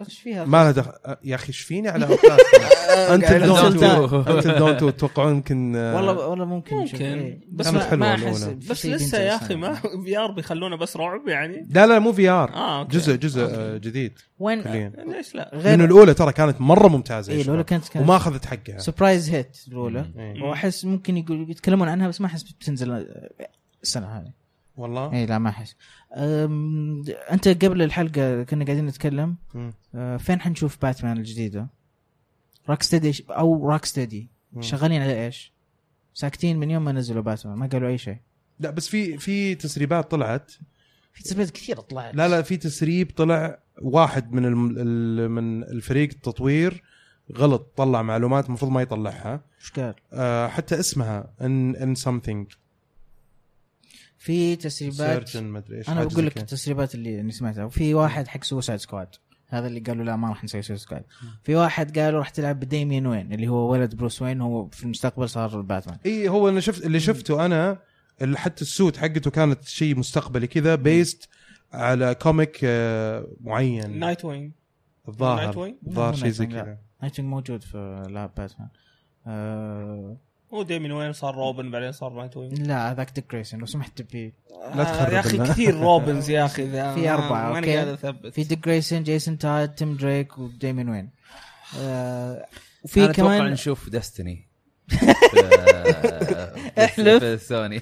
C: ايش فيها
A: ما لها دخل أه، يا اخي ايش فيني على اوت لاست انتل دون
C: Until
A: 2
B: Dawn.
A: انتل دون 2 تتوقعون يمكن آه،
C: والله والله ممكن إيه.
D: ممكن.
C: بس
A: كانت
C: ما,
A: حلوة
C: ما
A: الأولى.
C: احس في
D: بس
C: شيء
D: لسه يا
C: dangerous
D: اخي ما
C: يعني.
D: في ار بيخلونا بس رعب يعني
A: لا لا مو في
C: آه،
A: ار
D: اه اوكي
A: جزء جزء آه، جديد
C: وين
A: كليا
D: ليش لا
A: لانه
C: غير
A: الاولى ترى كانت مره ممتازه يا
C: اي لو
A: شباب.
C: إيه، كانت
A: وما
C: كانت
A: اخذت حقها
C: سربرايز هيت الاولى
A: إيه.
C: واحس ممكن يقول يتكلمون عنها بس ما احس بتنزل السنه هذه
A: والله
C: اي لا ما احس أم، انت قبل الحلقه كنا قاعدين نتكلم
A: مم.
C: أه، فين حنشوف باتمان الجديده؟ روك ستدي او روك ستدي
A: مم.
C: شغالين على ايش؟ ساكتين من يوم ما نزلوا باتمان ما قالوا اي شيء
A: لا بس في في تسريبات طلعت
C: في تسريبات كثيره طلعت
A: لا لا في تسريب طلع واحد من الم... ال- من الفريق التطوير غلط طلع معلومات المفروض ما يطلعها
C: ايش قال؟
A: آه حتى اسمها ان ان سمثينج
C: في تسريبات
A: سيرتن ما ادري ايش
C: انا
A: حاجة زي
C: بقول لك
A: كده.
C: التسريبات اللي أنا سمعتها وفي واحد حق سوسايد سكواد هذا اللي قالوا لا ما راح نسوي سوسايد سكواد في واحد قالوا راح تلعب بديمين وين اللي هو ولد بروس وين هو في المستقبل صار باتمان
A: اي إيه، هو انا شفت اللي شفته انا اللي حتى السوت حقته كانت شيء مستقبلي كذا بيست على كوميك آه معين
D: نايت وين نايت
A: الظاهر
D: وين؟
A: الظاهر
C: لا،
A: شيء زي
C: نايت وين،
A: كذا
C: نايتنج موجود في لعب باتمان آه
D: هو ديمين وين صار روبن بعدين صار نايت وين
C: لا هذاك ديك جريسون لو سمحت تبي
A: لا تخرب
D: آه، يا اخي
A: لنا.
D: كثير روبنز يا اخي ذا
C: في أربعة،
D: آه، ماني
C: أوكي.
D: قاعد اثبت
C: في ديك جريسون جيسون تايد تيم دريك وديمين وين آه
B: في
C: وفي
B: أنا كمان اتوقع
C: كمان
B: نشوف دستني
C: احلف.
B: في سوني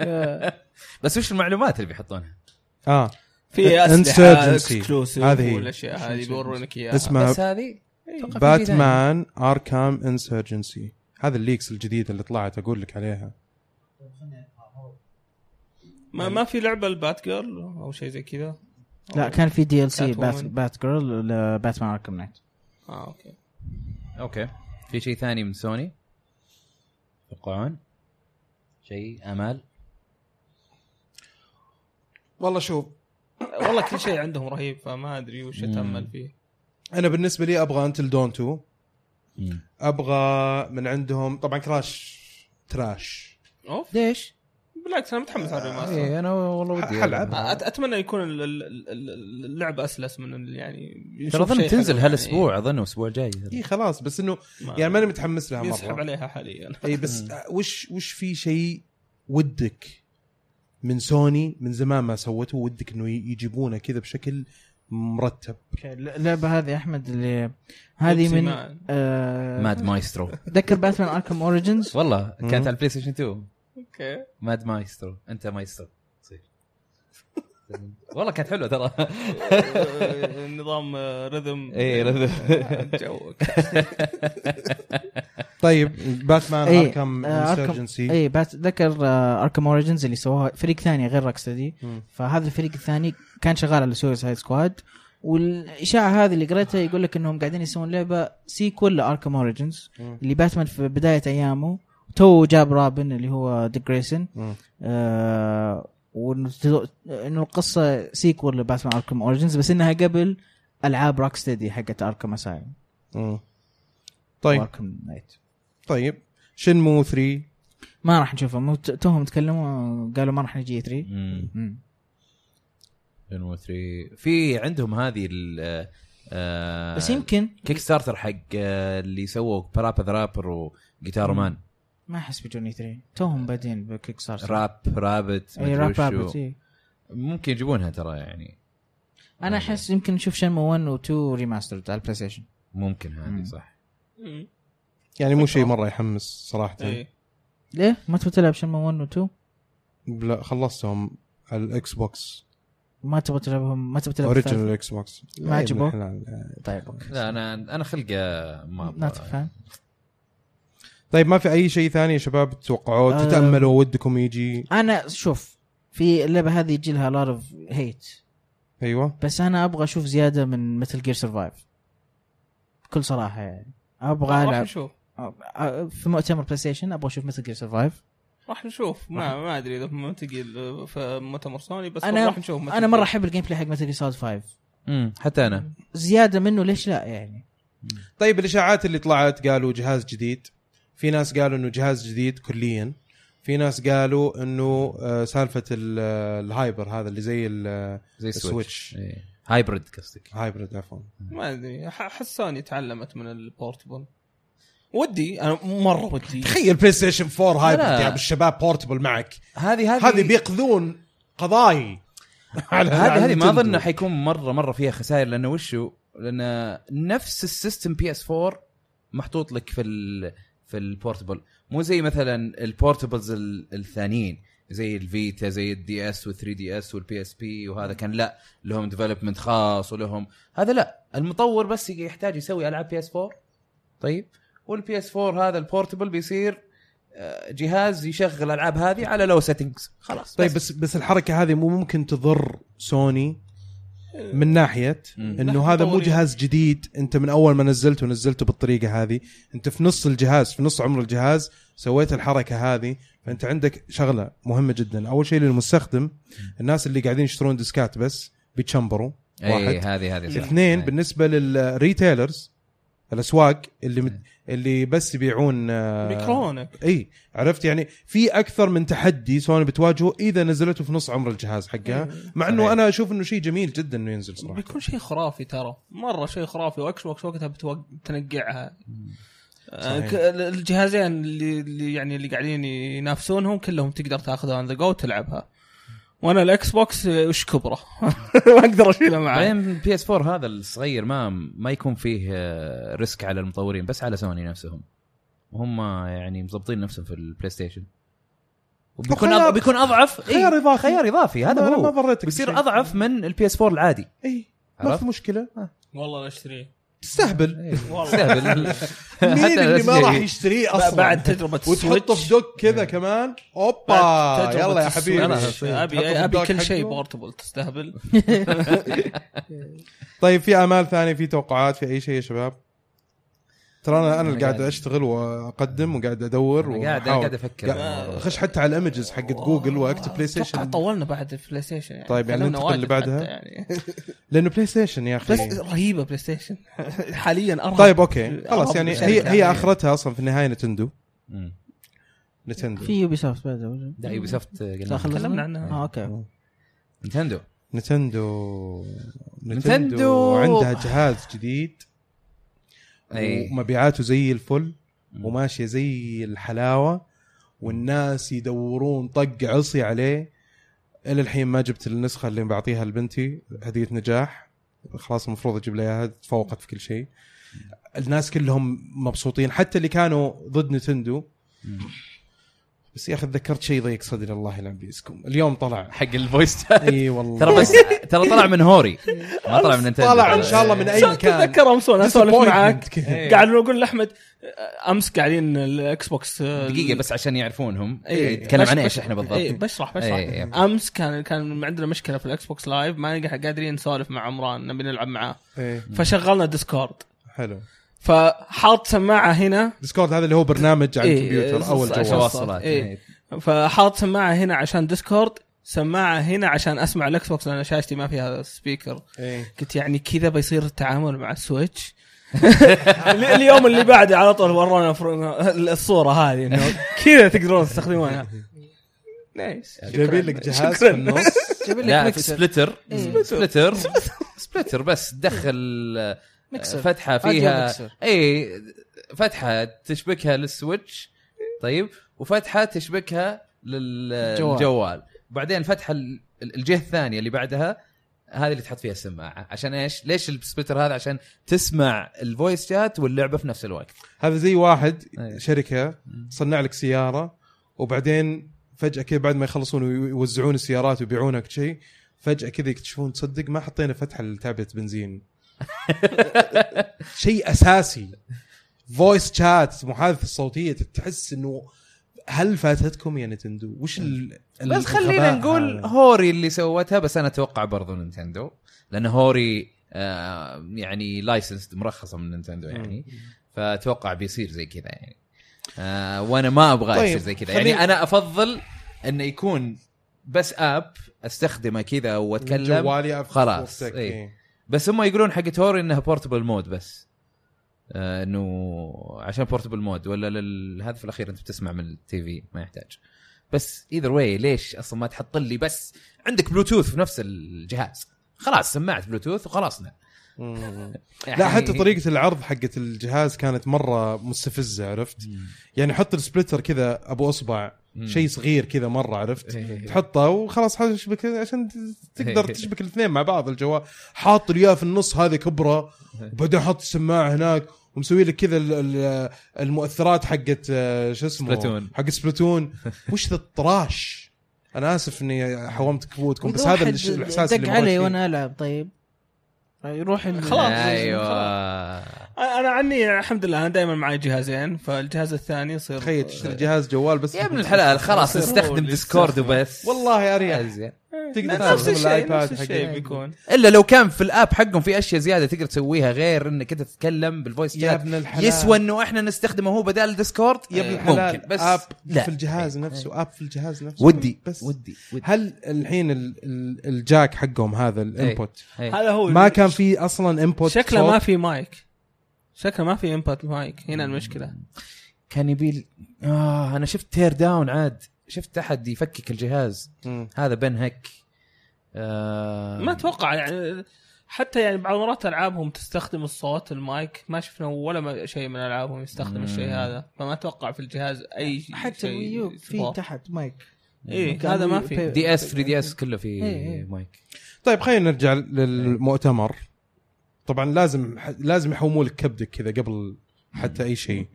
C: آه،
B: بس وش المعلومات اللي بيحطونها؟
A: اه
D: في اسلحه
A: Insurgency.
D: اكسكلوسيف
A: هذه هي.
D: والاشياء هذه بيورونك اياها
A: اسمها
B: بس هذه أتوقع في بداية.
A: باتمان اركام انسرجنسي هذا الليكس الجديده اللي طلعت اقول لك عليها
D: ما, ما في لعبه البات جيرل او شيء زي كذا
C: لا كان في دي ال سي
D: Catwoman.
C: بات بات جيرل لباتمان اركم نايت
D: اه اوكي
B: اوكي في شيء ثاني من سوني توقعون شيء امال
A: والله شوف
D: والله كل شيء عندهم رهيب فما ادري وش
B: مم.
D: اتامل فيه
A: انا بالنسبه لي ابغى انتل دون 2 ابغى من عندهم طبعا كراش تراش
D: اوف
C: ليش؟
D: بالعكس انا متحمس على الريماستر
B: ايه انا والله
A: ح-
C: آه،
B: ودي
A: حلعب.
B: ألعب.
D: أت- اتمنى يكون ال- ال- ال- ال- اللعب اسلس من ال- يعني
B: ترى
D: نشوف
B: اظن
D: شيء
B: تنزل
D: حلو يعني.
B: هالاسبوع اظن الاسبوع الجاي
A: اي إيه، خلاص بس انه
D: ما-
A: يعني ماني متحمس لها
D: ينسحب
A: مره
D: عليها حاليا
A: اي إيه، بس وش وش في شيء ودك من سوني من زمان ما سوته ودك انه ي- يجيبونه كذا بشكل مرتب
C: اوكي اللعبه هذه يا احمد اللي هذه من
D: ما-
C: آه
B: ماد مايسترو
C: تذكر باتمان اركم اوريجنز
B: والله
A: مم.
B: كانت على البلاي ستيشن 2
D: اوكي
B: ماد مايسترو انت مايسترو تصير والله كانت حلوه ترى
D: آه، نظام رذم
B: اي رذم.
D: جوك
A: طيب باتمان
C: إيه،
A: اركم
C: آه، Arkham-
A: انسرجنسي
C: اي بات ذكر اركم اوريجنز اللي سووها فريق ثاني غير روكستدي فهذا الفريق الثاني كان شغال على سويسايد سكواد والاشاعه هذه اللي قريتها يقول لك انهم قاعدين يسوون لعبه سيكول لاركم اوريجنز اللي باتمان في بدايه ايامه تو جاب رابن اللي هو ديك جريسن آه وانه تدو- إنه القصه سيكول لباتمان اركم اوريجنز بس انها قبل العاب روك ستدي حقت اركم اسايم
A: طيب
C: واركم نايت
A: طيب شنمو 3
C: ما راح نشوفها مو ت- توهم تكلموا قالوا ما راح نجي E 3
B: مم. شنو 3 في عندهم هذه ال آه،
C: بس يمكن
B: كيك ستارتر حق آه، اللي سووا برابا ذا رابر وجيتار
C: مم.
B: مان
C: ما احس بيجوني 3 توهم بادين بكيك ستارتر
B: راب رابت
C: اي
B: مدري
C: راب
B: وشو.
C: رابط إي.
B: ممكن يجيبونها ترى يعني
C: انا احس يمكن نشوف شنمو 1 و 2 ريماسترد على البلاي ستيشن
B: ممكن
C: مم.
B: هذه صح
D: مم.
A: يعني مو شيء مره يحمس صراحه
D: إيه.
C: ليه ما تبغى تلعب شنمو 1 و 2
A: لا خلصتهم على الاكس بوكس
C: ما تبغى تلعبهم ما تبغى تلعب
A: اوريجنال
C: الثالث؟
A: الاكس بوكس
C: ما عجبوك؟
A: عجبه
C: طيب اوكي
B: لا انا انا خلقه ما أبغى.
C: ناتف فان
A: طيب ما في اي شيء ثاني يا شباب تتوقعوه
C: آه.
A: تتاملوا ودكم يجي
C: انا شوف في اللعبه هذه يجي لها لار اوف هيت
A: ايوه
C: بس انا ابغى اشوف زياده من مثل جير سرفايف بكل صراحه يعني ابغى
D: طيب، راح
C: العب
D: نشوف
C: أ- في مؤتمر بلاي ستيشن ابغى اشوف مثل جير سرفايف
D: راح نشوف ما ما ادري اذا ما تجي ال- في مؤتمر سوني بس
C: أنا-
D: راح نشوف متى
C: انا مره
D: تجي.
C: احب الجيم بلاي حق مثل جير سوليد 5
B: مم. حتى انا
C: زياده منه ليش لا يعني
A: طيب الاشاعات اللي طلعت قالوا جهاز جديد في ناس قالوا انه جهاز جديد كليا في ناس قالوا انه آه، سالفه ال- آه، الهايبر هذا اللي زي آه،
B: زي
A: السويتش.
B: السويتش إيه. هايبرد قصدك
A: الهايبرد عفوا
D: ما ادري أح- احس سوني تعلمت من البورتبل ودي انا مره ودي
A: تخيل بلاي ستيشن 4
B: لا.
A: هايبرد يا أبو الشباب بورتبل يعني معك
B: هذه
A: هذه بيقضون قضاي على- على
B: هذه هذه ما
A: نتندو.
B: اظن حيكون مره مره فيها خسائر لانه وشو؟ لان نفس السيستم بي اس 4 محطوط لك في ال في البورتبل مو زي مثلا البورتبلز ال- الثانيين زي الفيتا زي الدي اس وال3 دي اس والبي اس بي وهذا كان لا لهم ديفلوبمنت خاص ولهم هذا لا المطور بس يحتاج يسوي العاب بي اس 4 طيب والبي اس 4 هذا البورتبل بيصير آه، جهاز يشغل الالعاب هذه على لو سيتنجز خلاص
A: طيب بس بس الحركه هذه مو ممكن تضر سوني من ناحيه
B: مم.
A: انه هذا مو
D: طوري.
A: جهاز جديد انت من اول ما نزلته نزلته بالطريقه هذه انت في نص الجهاز في نص عمر الجهاز سويت الحركه هذه فانت عندك شغله مهمه جدا اول شيء للمستخدم الناس اللي قاعدين يشترون ديسكات بس بيتشمبروا
B: اي
A: واحد
B: إيه، هذه هذه صح. إيه.
A: اثنين
B: أي.
A: بالنسبه للريتيلرز الاسواق اللي مت... اللي بس يبيعون آه،
D: ميكرونك
A: اي عرفت يعني في اكثر من تحدي سوني بتواجهه اذا نزلته في نص عمر الجهاز حقها مع انه
B: صحيح.
A: انا اشوف انه شيء جميل جدا انه ينزل صراحه
D: بيكون شيء خرافي ترى مره شيء خرافي واكشن وقت وقتها بتوق... تنقعها آه،
A: صحيح.
D: ك- ال- الجهازين اللي, اللي يعني اللي قاعدين ينافسونهم كلهم تقدر تاخذها عن ذا جو وتلعبها وانا الاكس بوكس آه، وش كبره ما اقدر اشيله
A: آه.
D: معي
B: بعدين بي اس 4 هذا الصغير ما ما يكون فيه آه، ريسك على المطورين بس على سوني نفسهم هم يعني مظبطين نفسهم في البلاي ستيشن وبيكون
A: خيار-
B: أض... بيكون اضعف
A: خيار إضافي.
B: خيار اضافي
A: ما-
B: هذا
A: أنا ما
B: هو
A: ضريتك
B: بيصير
A: بشيء.
B: اضعف من البي اس 4 العادي
A: اي ما
B: عرفت؟
A: في مشكله
D: والله لا اشتريه
A: تستهبل
D: والله
B: سهل.
A: مين
B: حتى يعني
A: اللي ما
B: الأساسية.
A: راح يشتريه اصلا
D: بعد تجربه
A: وتحطه
D: السويتش
A: في دوك كذا كمان اوبا
D: تجربة
A: يلا يا
D: السويتش.
A: حبيبي
B: يلا.
A: تحطه في
D: ابي ابي
A: الدوك
D: كل
A: حقه.
D: شيء بورتبل تستهبل
A: طيب في امال ثانيه في توقعات في اي شيء يا شباب ترى انا انا
B: أنا
A: اللي قاعد
B: قاعد-
A: اشتغل واقدم وقاعد ادور
B: أنا قاعد انا
A: وأحاول.
B: قاعد افكر
A: قاعد- خش حتى على الايمجز حقت جوجل واكتب بلاي
D: اتوقع
A: ستيشن
D: طولنا بعد البلاي ستيشن يعني
A: طيب، يعني
D: تكلمنا
A: ننتقل
D: واجد
A: لبعدها؟
D: حتى يعني
A: لانه بلاي ستيشن يا اخي
D: بس رهيبه بلاي ستيشن حاليا ارهب
A: طيب اوكي خلاص
D: أرهب
A: يعني
D: شركة
A: هي هي
D: يعني.
A: اخرتها اصلا في النهايه نتندو
B: مم.
A: نتندو
C: في يوبي سوفت بعد
B: لا يوبي سوفت
C: لا، خلصنا؟
D: تكلمنا عنها.
C: اه اوكي
B: نتندو
A: نتندو نتندو
B: نتندو.
A: عندها جهاز جديد
B: اي
A: ومبيعاته زي الفل
B: إيه. مم.
A: وماشيه زي الحلاوه والناس يدورون طق عصي عليه الى الحين ما جبت النسخه اللي بعطيها لبنتي هديه نجاح خلاص المفروض اجيب لها إياها، تفوقت في كل شيء الناس كلهم مبسوطين حتى اللي كانوا ضد نتندو بس يا اخي تذكرت شيء ضيق صدري الله يلعن بيسكم اليوم طلع
B: حق الفويس شات
A: اي والله
B: ترى بس ترى طلع من هوري ما طلع من نتندو
A: طلع ان شاء الله من اي
D: صار
A: مكان
D: تتذكر امس وانا اسولف
A: Disappointment
D: معاك
A: كذا.
D: قاعد اقول لاحمد آه، امس قاعدين الاكس بوكس آه،
B: دقيقه بس عشان يعرفونهم
D: إيه.
B: نتكلم
D: بش-
B: عن
D: بش-
B: ايش احنا
D: إيه،
B: بالضبط
D: بشرح بشرح
B: إيه، إيه.
D: امس كان كان عندنا مشكله في الاكس بوكس لايف ما نقع- قادرين نسولف مع عمران نبي نلعب معاه
A: إيه،
D: فشغلنا ديسكورد
A: حلو
D: فحاط سماعه هنا
A: ديسكورد هذا اللي هو برنامج على
D: إيه،
A: الكمبيوتر او
D: صح،
A: الجوال
D: صح.
B: التواصلات
D: إيه.
B: إيه.
D: فحاط سماعه هنا عشان ديسكورد سماعه هنا عشان اسمع الاكس بوكس لان شاشتي ما فيها سبيكر
A: إيه.
D: قلت يعني كذا بيصير التعامل مع السويتش ال- اليوم اللي بعده على طول ورانا فر- الصوره هذه انه كذا تقدرون تستخدمونها نايس
A: جايبين لك جهاز في
D: شكراً.
A: النص
C: جايب
B: لا
C: لك
B: في
C: مكسر
B: سبلتر
C: إيه.
B: سبلتر سبلتر بس دخل آه،
C: مكسر.
B: فتحه
C: أديها
B: فيها
C: مكسر.
B: اي فتحه تشبكها للسويتش طيب وفتحه تشبكها
C: الجوال.
B: للجوال بعدين فتحه ال- الجهه الثانيه اللي بعدها هذه اللي تحط فيها السماعه عشان ايش؟ ليش السبلتر هذا عشان تسمع الفويس شات واللعبه في نفس الوقت
A: هذا زي واحد
B: أي.
A: شركه صنع لك سياره وبعدين فجاه كذا بعد ما يخلصون ويوزعون السيارات ويبيعونها كل شيء فجاه كذا يكتشفون تصدق ما حطينا فتحه لتعبئه بنزين شيء اساسي فويس شات محادثه صوتيه تحس انه هل فاتتكم يا نتندو وش ال
B: إيه.
A: آه.
B: بس خلينا
A: الغباء
B: نقول
A: هذا؟
B: هوري اللي سوتها بس انا اتوقع برضو نينتندو لان هوري آه يعني لايسنس مرخصه من نينتندو يعني فاتوقع بيصير زي كذا يعني آه وانا ما ابغى
A: طيب،
B: يصير زي كذا
A: خلينا-
B: يعني انا افضل انه يكون بس اب استخدمه كذا واتكلم
A: جوالي أفتح
B: خلاص،
A: صورتك.
B: إيه.
A: إيه.
B: بس هم يقولون حق هوري انها بورتبل مود بس آه انه عشان بورتبل مود ولا لل- هذا في الاخير انت بتسمع من التي في ما يحتاج بس ايذر واي ليش اصلا ما تحط لي بس عندك بلوتوث في نفس الجهاز خلاص سماعه بلوتوث وخلاصنا
A: مم.
B: نعم. يعني
A: لا حتى طريقة العرض حقت الجهاز كانت مرة مستفزة عرفت؟
B: مم.
A: يعني حط السبلتر كذا ابو اصبع
B: مم.
A: شيء صغير كذا مرة عرفت؟
B: إيه.
A: تحطه وخلاص حتشبك عشان ت- تقدر
B: إيه.
A: تشبك الاثنين مع بعض الجوال حاط لي إياه في النص هذه كبرى
B: إيه.
A: وبعدين حط السماعة هناك ومسوي لك كذا ال- ال- المؤثرات حقت آه، شو اسمه
B: سبلاتون.
A: حق سبلاتون وش ذا الطراش؟ انا اسف اني حومت كبوتكم بس
C: وإذا
A: هذا
C: واحد
A: الش- الاحساس اللي
C: دق
A: مريت
C: علي
A: فيه.
C: وانا العب طيب يروح ال-
D: خلاص.
A: أيوة.
B: ايوه
D: انا عني الحمد لله انا دائما معي جهازين فالجهاز الثاني يصير
A: تخيل تشتري جهاز جوال بس
B: يا ابن الحلال خلاص
D: يصير هو
B: استخدم
D: اللي
B: ديسكورد
D: يستخدم.
B: وبس
A: والله اريح
B: أزين.
A: تقدر
D: نفس
A: تستخدم
D: الشيء
A: الايباد
D: نفس
A: حقك
D: الشيء بيكون
B: الا لو كان في الاب حقهم في اشياء زياده تقدر تسويها غير انك انت تتكلم بالفويس
A: يا
B: شات
A: ابن الحلال
B: يسوى انه احنا نستخدمه هو بدال الديسكورد
A: يا ابن
B: ممكن
A: الحلال
B: بس
A: اب
B: لا.
A: إيه، في الجهاز نفسه اب في الجهاز نفسه
B: ودي
A: بس
B: ودي, ودي.
A: هل الحين ال- ال- الجاك حقهم هذا الانبوت
B: إيه.
D: هذا هو
A: ما كان في اصلا انبوت
D: شكله ما في مايك شكله ما في انبوت مايك هنا المشكله
B: كان يبي ال- اه انا شفت تير داون عاد شفت احد يفكك الجهاز
A: مم.
B: هذا بن هك آه
D: ما اتوقع يعني حتى يعني بعض مرات العابهم تستخدم الصوت المايك ما شفنا ولا ما- شيء من العابهم يستخدم
B: مم.
D: الشيء هذا فما اتوقع في الجهاز اي شيء
C: حتى الويو في
D: support.
C: تحت مايك
D: إيه،
C: كان
D: هذا ما
C: ويو-
D: في.
C: بي-
B: دي اس 3 دي اس كله في
C: إيه، إيه.
B: مايك
A: طيب خلينا نرجع
B: إيه.
A: للمؤتمر طبعا لازم لازم يحوموا لك كبدك كذا قبل حتى اي شيء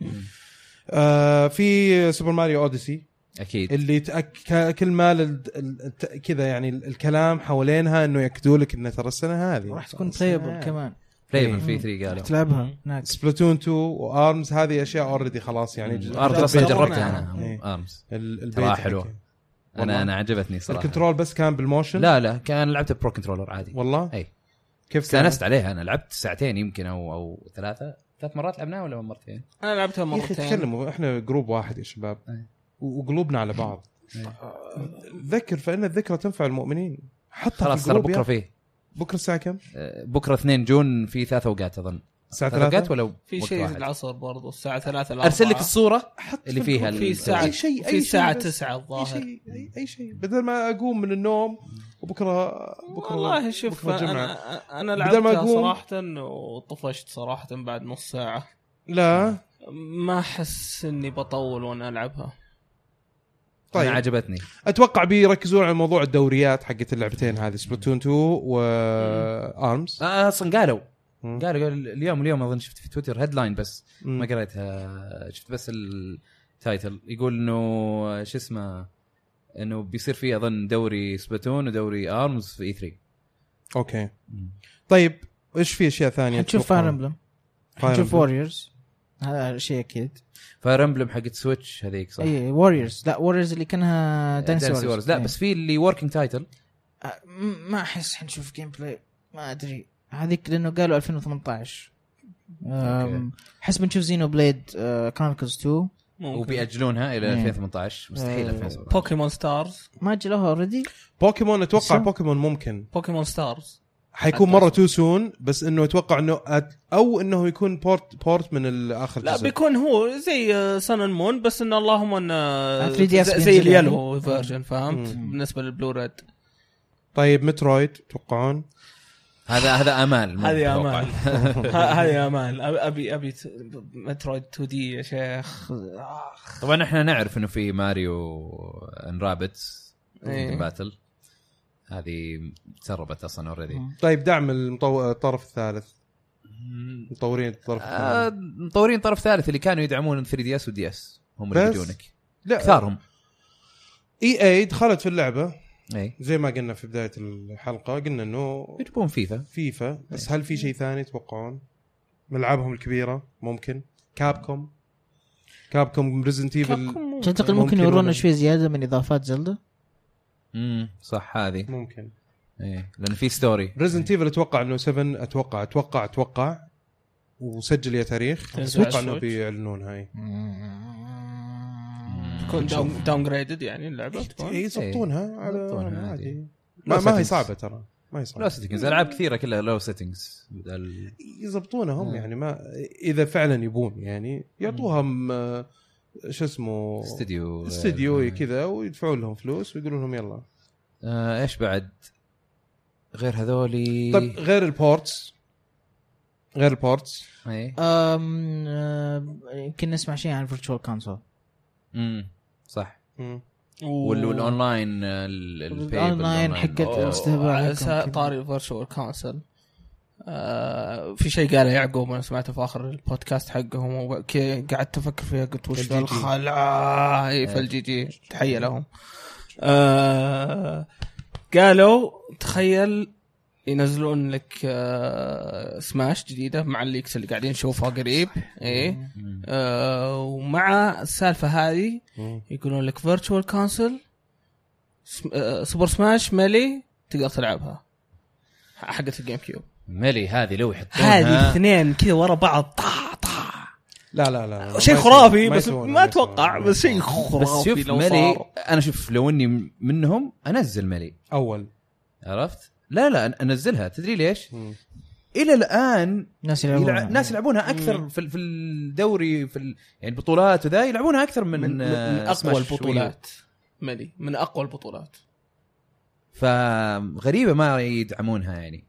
A: آه في سوبر ماريو اوديسي
B: اكيد
A: اللي تأك... ك- كل ما لل... ال- ت- كذا يعني ال- الكلام حوالينها انه ياكدوا لك انه ترى السنه هذه
C: راح تكون طيب بلايبل كمان
B: بلايبل
A: إيه.
B: في 3 قالوا
C: تلعبها هناك
A: سبلاتون 2 وارمز هذه اشياء اوريدي خلاص يعني جزء-
B: ارض اصلا
A: البيت-
B: جربتها انا
A: إيه.
B: ارمز
A: ال- البيت
B: ترى
A: حقها.
B: حلوه
A: والله.
B: انا انا عجبتني صراحه
A: الكنترول بس كان بالموشن
B: لا إيه. لا كان لعبته برو كنترولر عادي
A: والله
B: اي
A: كيف كان؟
B: استانست عليها انا لعبت ساعتين يمكن او او ثلاثه ثلاث مرات لعبناها ولا مرتين؟
D: انا لعبتها
A: يا اخي
D: مرتين
A: تكلموا احنا جروب واحد يا شباب
B: أي.
A: و- وقلوبنا على بعض
B: إيه.
A: ذكر فان الذكرى تنفع المؤمنين حطها
B: خلاص
A: في
B: ترى
A: الجروب
B: بكره
A: يا-
B: فيه
A: بكره الساعه كم؟
B: آه، بكره 2 جون في ثلاث اوقات اظن
A: الساعه
B: ثلاث
A: 3
B: اوقات ولا
D: في
B: وقت
D: شيء
B: واحد؟
D: العصر برضو الساعه 3 الأربعة.
B: ارسل لك الصوره
A: حط
B: اللي
A: في
B: فيها
A: الجروب.
D: في
B: ال-
D: ساعه
A: أي شيء- أي
D: في
A: شيء
D: الساعه
A: بس.
D: 9
A: اي
D: الظاهر
A: شيء أي- اي شيء بدل ما اقوم من النوم وبكره بكره
D: والله شوف
A: بكره جمعة.
D: انا انا
A: بدل ما
D: لعبتها
A: أقوم-
D: صراحه وطفشت صراحه بعد نص ساعه
A: لا
D: ما احس اني بطول وانا العبها
B: طيب.
A: طيب
B: انا عجبتني
A: اتوقع بيركزون على موضوع الدوريات حقت اللعبتين هذه سبلاتون 2 وارمز
B: آه، اصلا قالوا قالوا قال اليوم اليوم اظن شفت في تويتر هيدلاين بس ما قريتها شفت بس التايتل يقول انه شو اسمه انه بيصير فيه اظن دوري سبلاتون ودوري ارمز في E اي 3
A: اوكي طيب ايش في اشياء ثانيه
C: حتشوف
A: تتوقعون؟
C: فاير امبلم
A: Fire
C: حتشوف
A: Emblem.
C: ووريرز هذا شيء اكيد
B: فاير امبلم حقت سويتش هذيك صح؟
C: اي ووريرز لا ووريرز اللي كانها إيه. دانسي
B: دانسي
C: ووريرز
B: لا بس في اللي وركينج تايتل
C: آه، م- ما احس حنشوف جيم بلاي ما ادري هذيك لانه قالوا 2018 أم، احس بنشوف آه، زينو بليد كرونيكلز 2
D: ممكن
B: وبيأجلونها الى
C: إيه.
B: 2018 مستحيل
C: آه،
B: 2017
D: بوكيمون ستارز
C: ما اجلوها اوريدي
A: بوكيمون اتوقع
C: شو؟
A: بوكيمون ممكن
D: بوكيمون ستارز
A: حيكون
B: أتوقع.
A: مره تو سون بس انه اتوقع انه أت... او انه يكون بورت بورت من اخر
D: لا
A: جزء
D: بيكون هو زي آه، سن مون بس ان اللهم ان آه،
C: 3DS
D: زي- زي
C: بينزل
D: اليلو
C: يعني.
D: فيرجن فهمت
A: مم.
D: بالنسبه للبلو ريد
A: طيب مترويد تتوقعون
B: هذا هذا امال مو
D: هذه
B: متوقع.
D: امال ه- هذه امال أب- ابي ابي ت- مترويد 2 دي يا شيخ آخ.
B: طبعا احنا نعرف انه في ماريو ان رابتس
D: إيه.
B: باتل هذه تسربت اصلا اوريدي
A: طيب دعم المطو... الطرف الثالث مطورين
D: آه،
A: الطرف الثالث
B: آه، مطورين طرف ثالث اللي كانوا يدعمون 3 دي اس ودي اس هم اللي
A: بس؟
B: يجونك
A: لا
B: كثارهم
A: اي اي دخلت في اللعبه
B: اي
A: زي ما قلنا في بدايه الحلقه قلنا انه
B: إيه. يجيبون فيفا
A: فيفا بس هل في شيء ثاني تتوقعون؟ من العابهم الكبيره ممكن كابكوم كابكوم ريزنت ايفل
D: كابكوم مو-
C: تعتقد
A: ممكن
C: ممكن يورونا
A: ولا-
C: شوي زياده من اضافات زلدة
B: امم صح هذه
A: ممكن
B: اي لان في ستوري
A: ريزنت ايفل اتوقع انه 7 اتوقع اتوقع اتوقع وسجل يا تاريخ
D: تنزل
A: اتوقع
D: على
A: انه
D: السويتش.
A: بيعلنونها اي
D: تكون داون, داون جريدد يعني اللعبه تكون
A: اي يضبطونها على
B: يضبطونها
A: عادي
B: لو
A: ما, ما هي
B: settings.
A: صعبه ترى ما هي صعبه
B: لو سيتنجز العاب كثيره كلها لو سيتنجز بدل
A: يضبطونها هم
D: نعم.
B: آه.
A: يعني ما اذا فعلا يبون يعني يعطوها م- شو اسمه
B: استديو
A: استديو
D: آه،
A: إي كذا ويدفعوا لهم فلوس ويقولوا لهم يلا
B: آه ايش بعد غير
D: إيه.
B: هذولي
A: طيب غير البورتس غير البورتس
B: اي
C: أم، آه، يمكن نسمع شيء عن فيرتشوال كونسول
B: امم صح
A: مم.
B: وال- والاونلاين آه، ال- ال- pay
C: الأونلاين
B: بالأونلاين.
C: حقت
B: أوه.
C: أستاذ-
D: على آه، سا- طاري فيرتشوال كونسل آه في شيء قاله يعقوب انا سمعته في اخر البودكاست حقهم وك- قعدت افكر فيها قلت وش ذا
A: الجي جي. إيه.
D: الخلع اي فالجي جي تحيه لهم آه قالوا تخيل ينزلون لك آه سماش جديده مع الليكس اللي قاعدين نشوفها قريب ايه
B: مم.
D: آه ومع السالفه هذه
A: مم.
D: يقولون لك فيرتشوال كونسل آه، سوبر سماش ميلي تقدر تلعبها حقت الجيم كيوب
B: ملي هذه لو يحطونها
D: هذه الاثنين كذا ورا بعض طع طع
A: لا لا لا
D: شيء
A: ما
D: خرافي
A: يسوون-
D: بس
A: يسوون-
D: ما
A: يسوون.
D: اتوقع بس شيء
B: بس
D: خرافي
B: شوف
D: لو
B: ملي
D: صار
B: انا شوف لو اني منهم انزل ملي
A: اول
B: عرفت؟ لا لا أن- انزلها تدري ليش؟
A: مم.
B: الى الان
C: الناس
B: يلع...
C: يلعبون
B: ناس يلعبونها اكثر في, ال- في الدوري في ال... يعني بطولات وذا يلعبونها اكثر من,
D: من, من
B: آه،
D: اقوى
B: سماش ويو.
D: البطولات ملي من اقوى البطولات
B: فغريبه ما يدعمونها يعني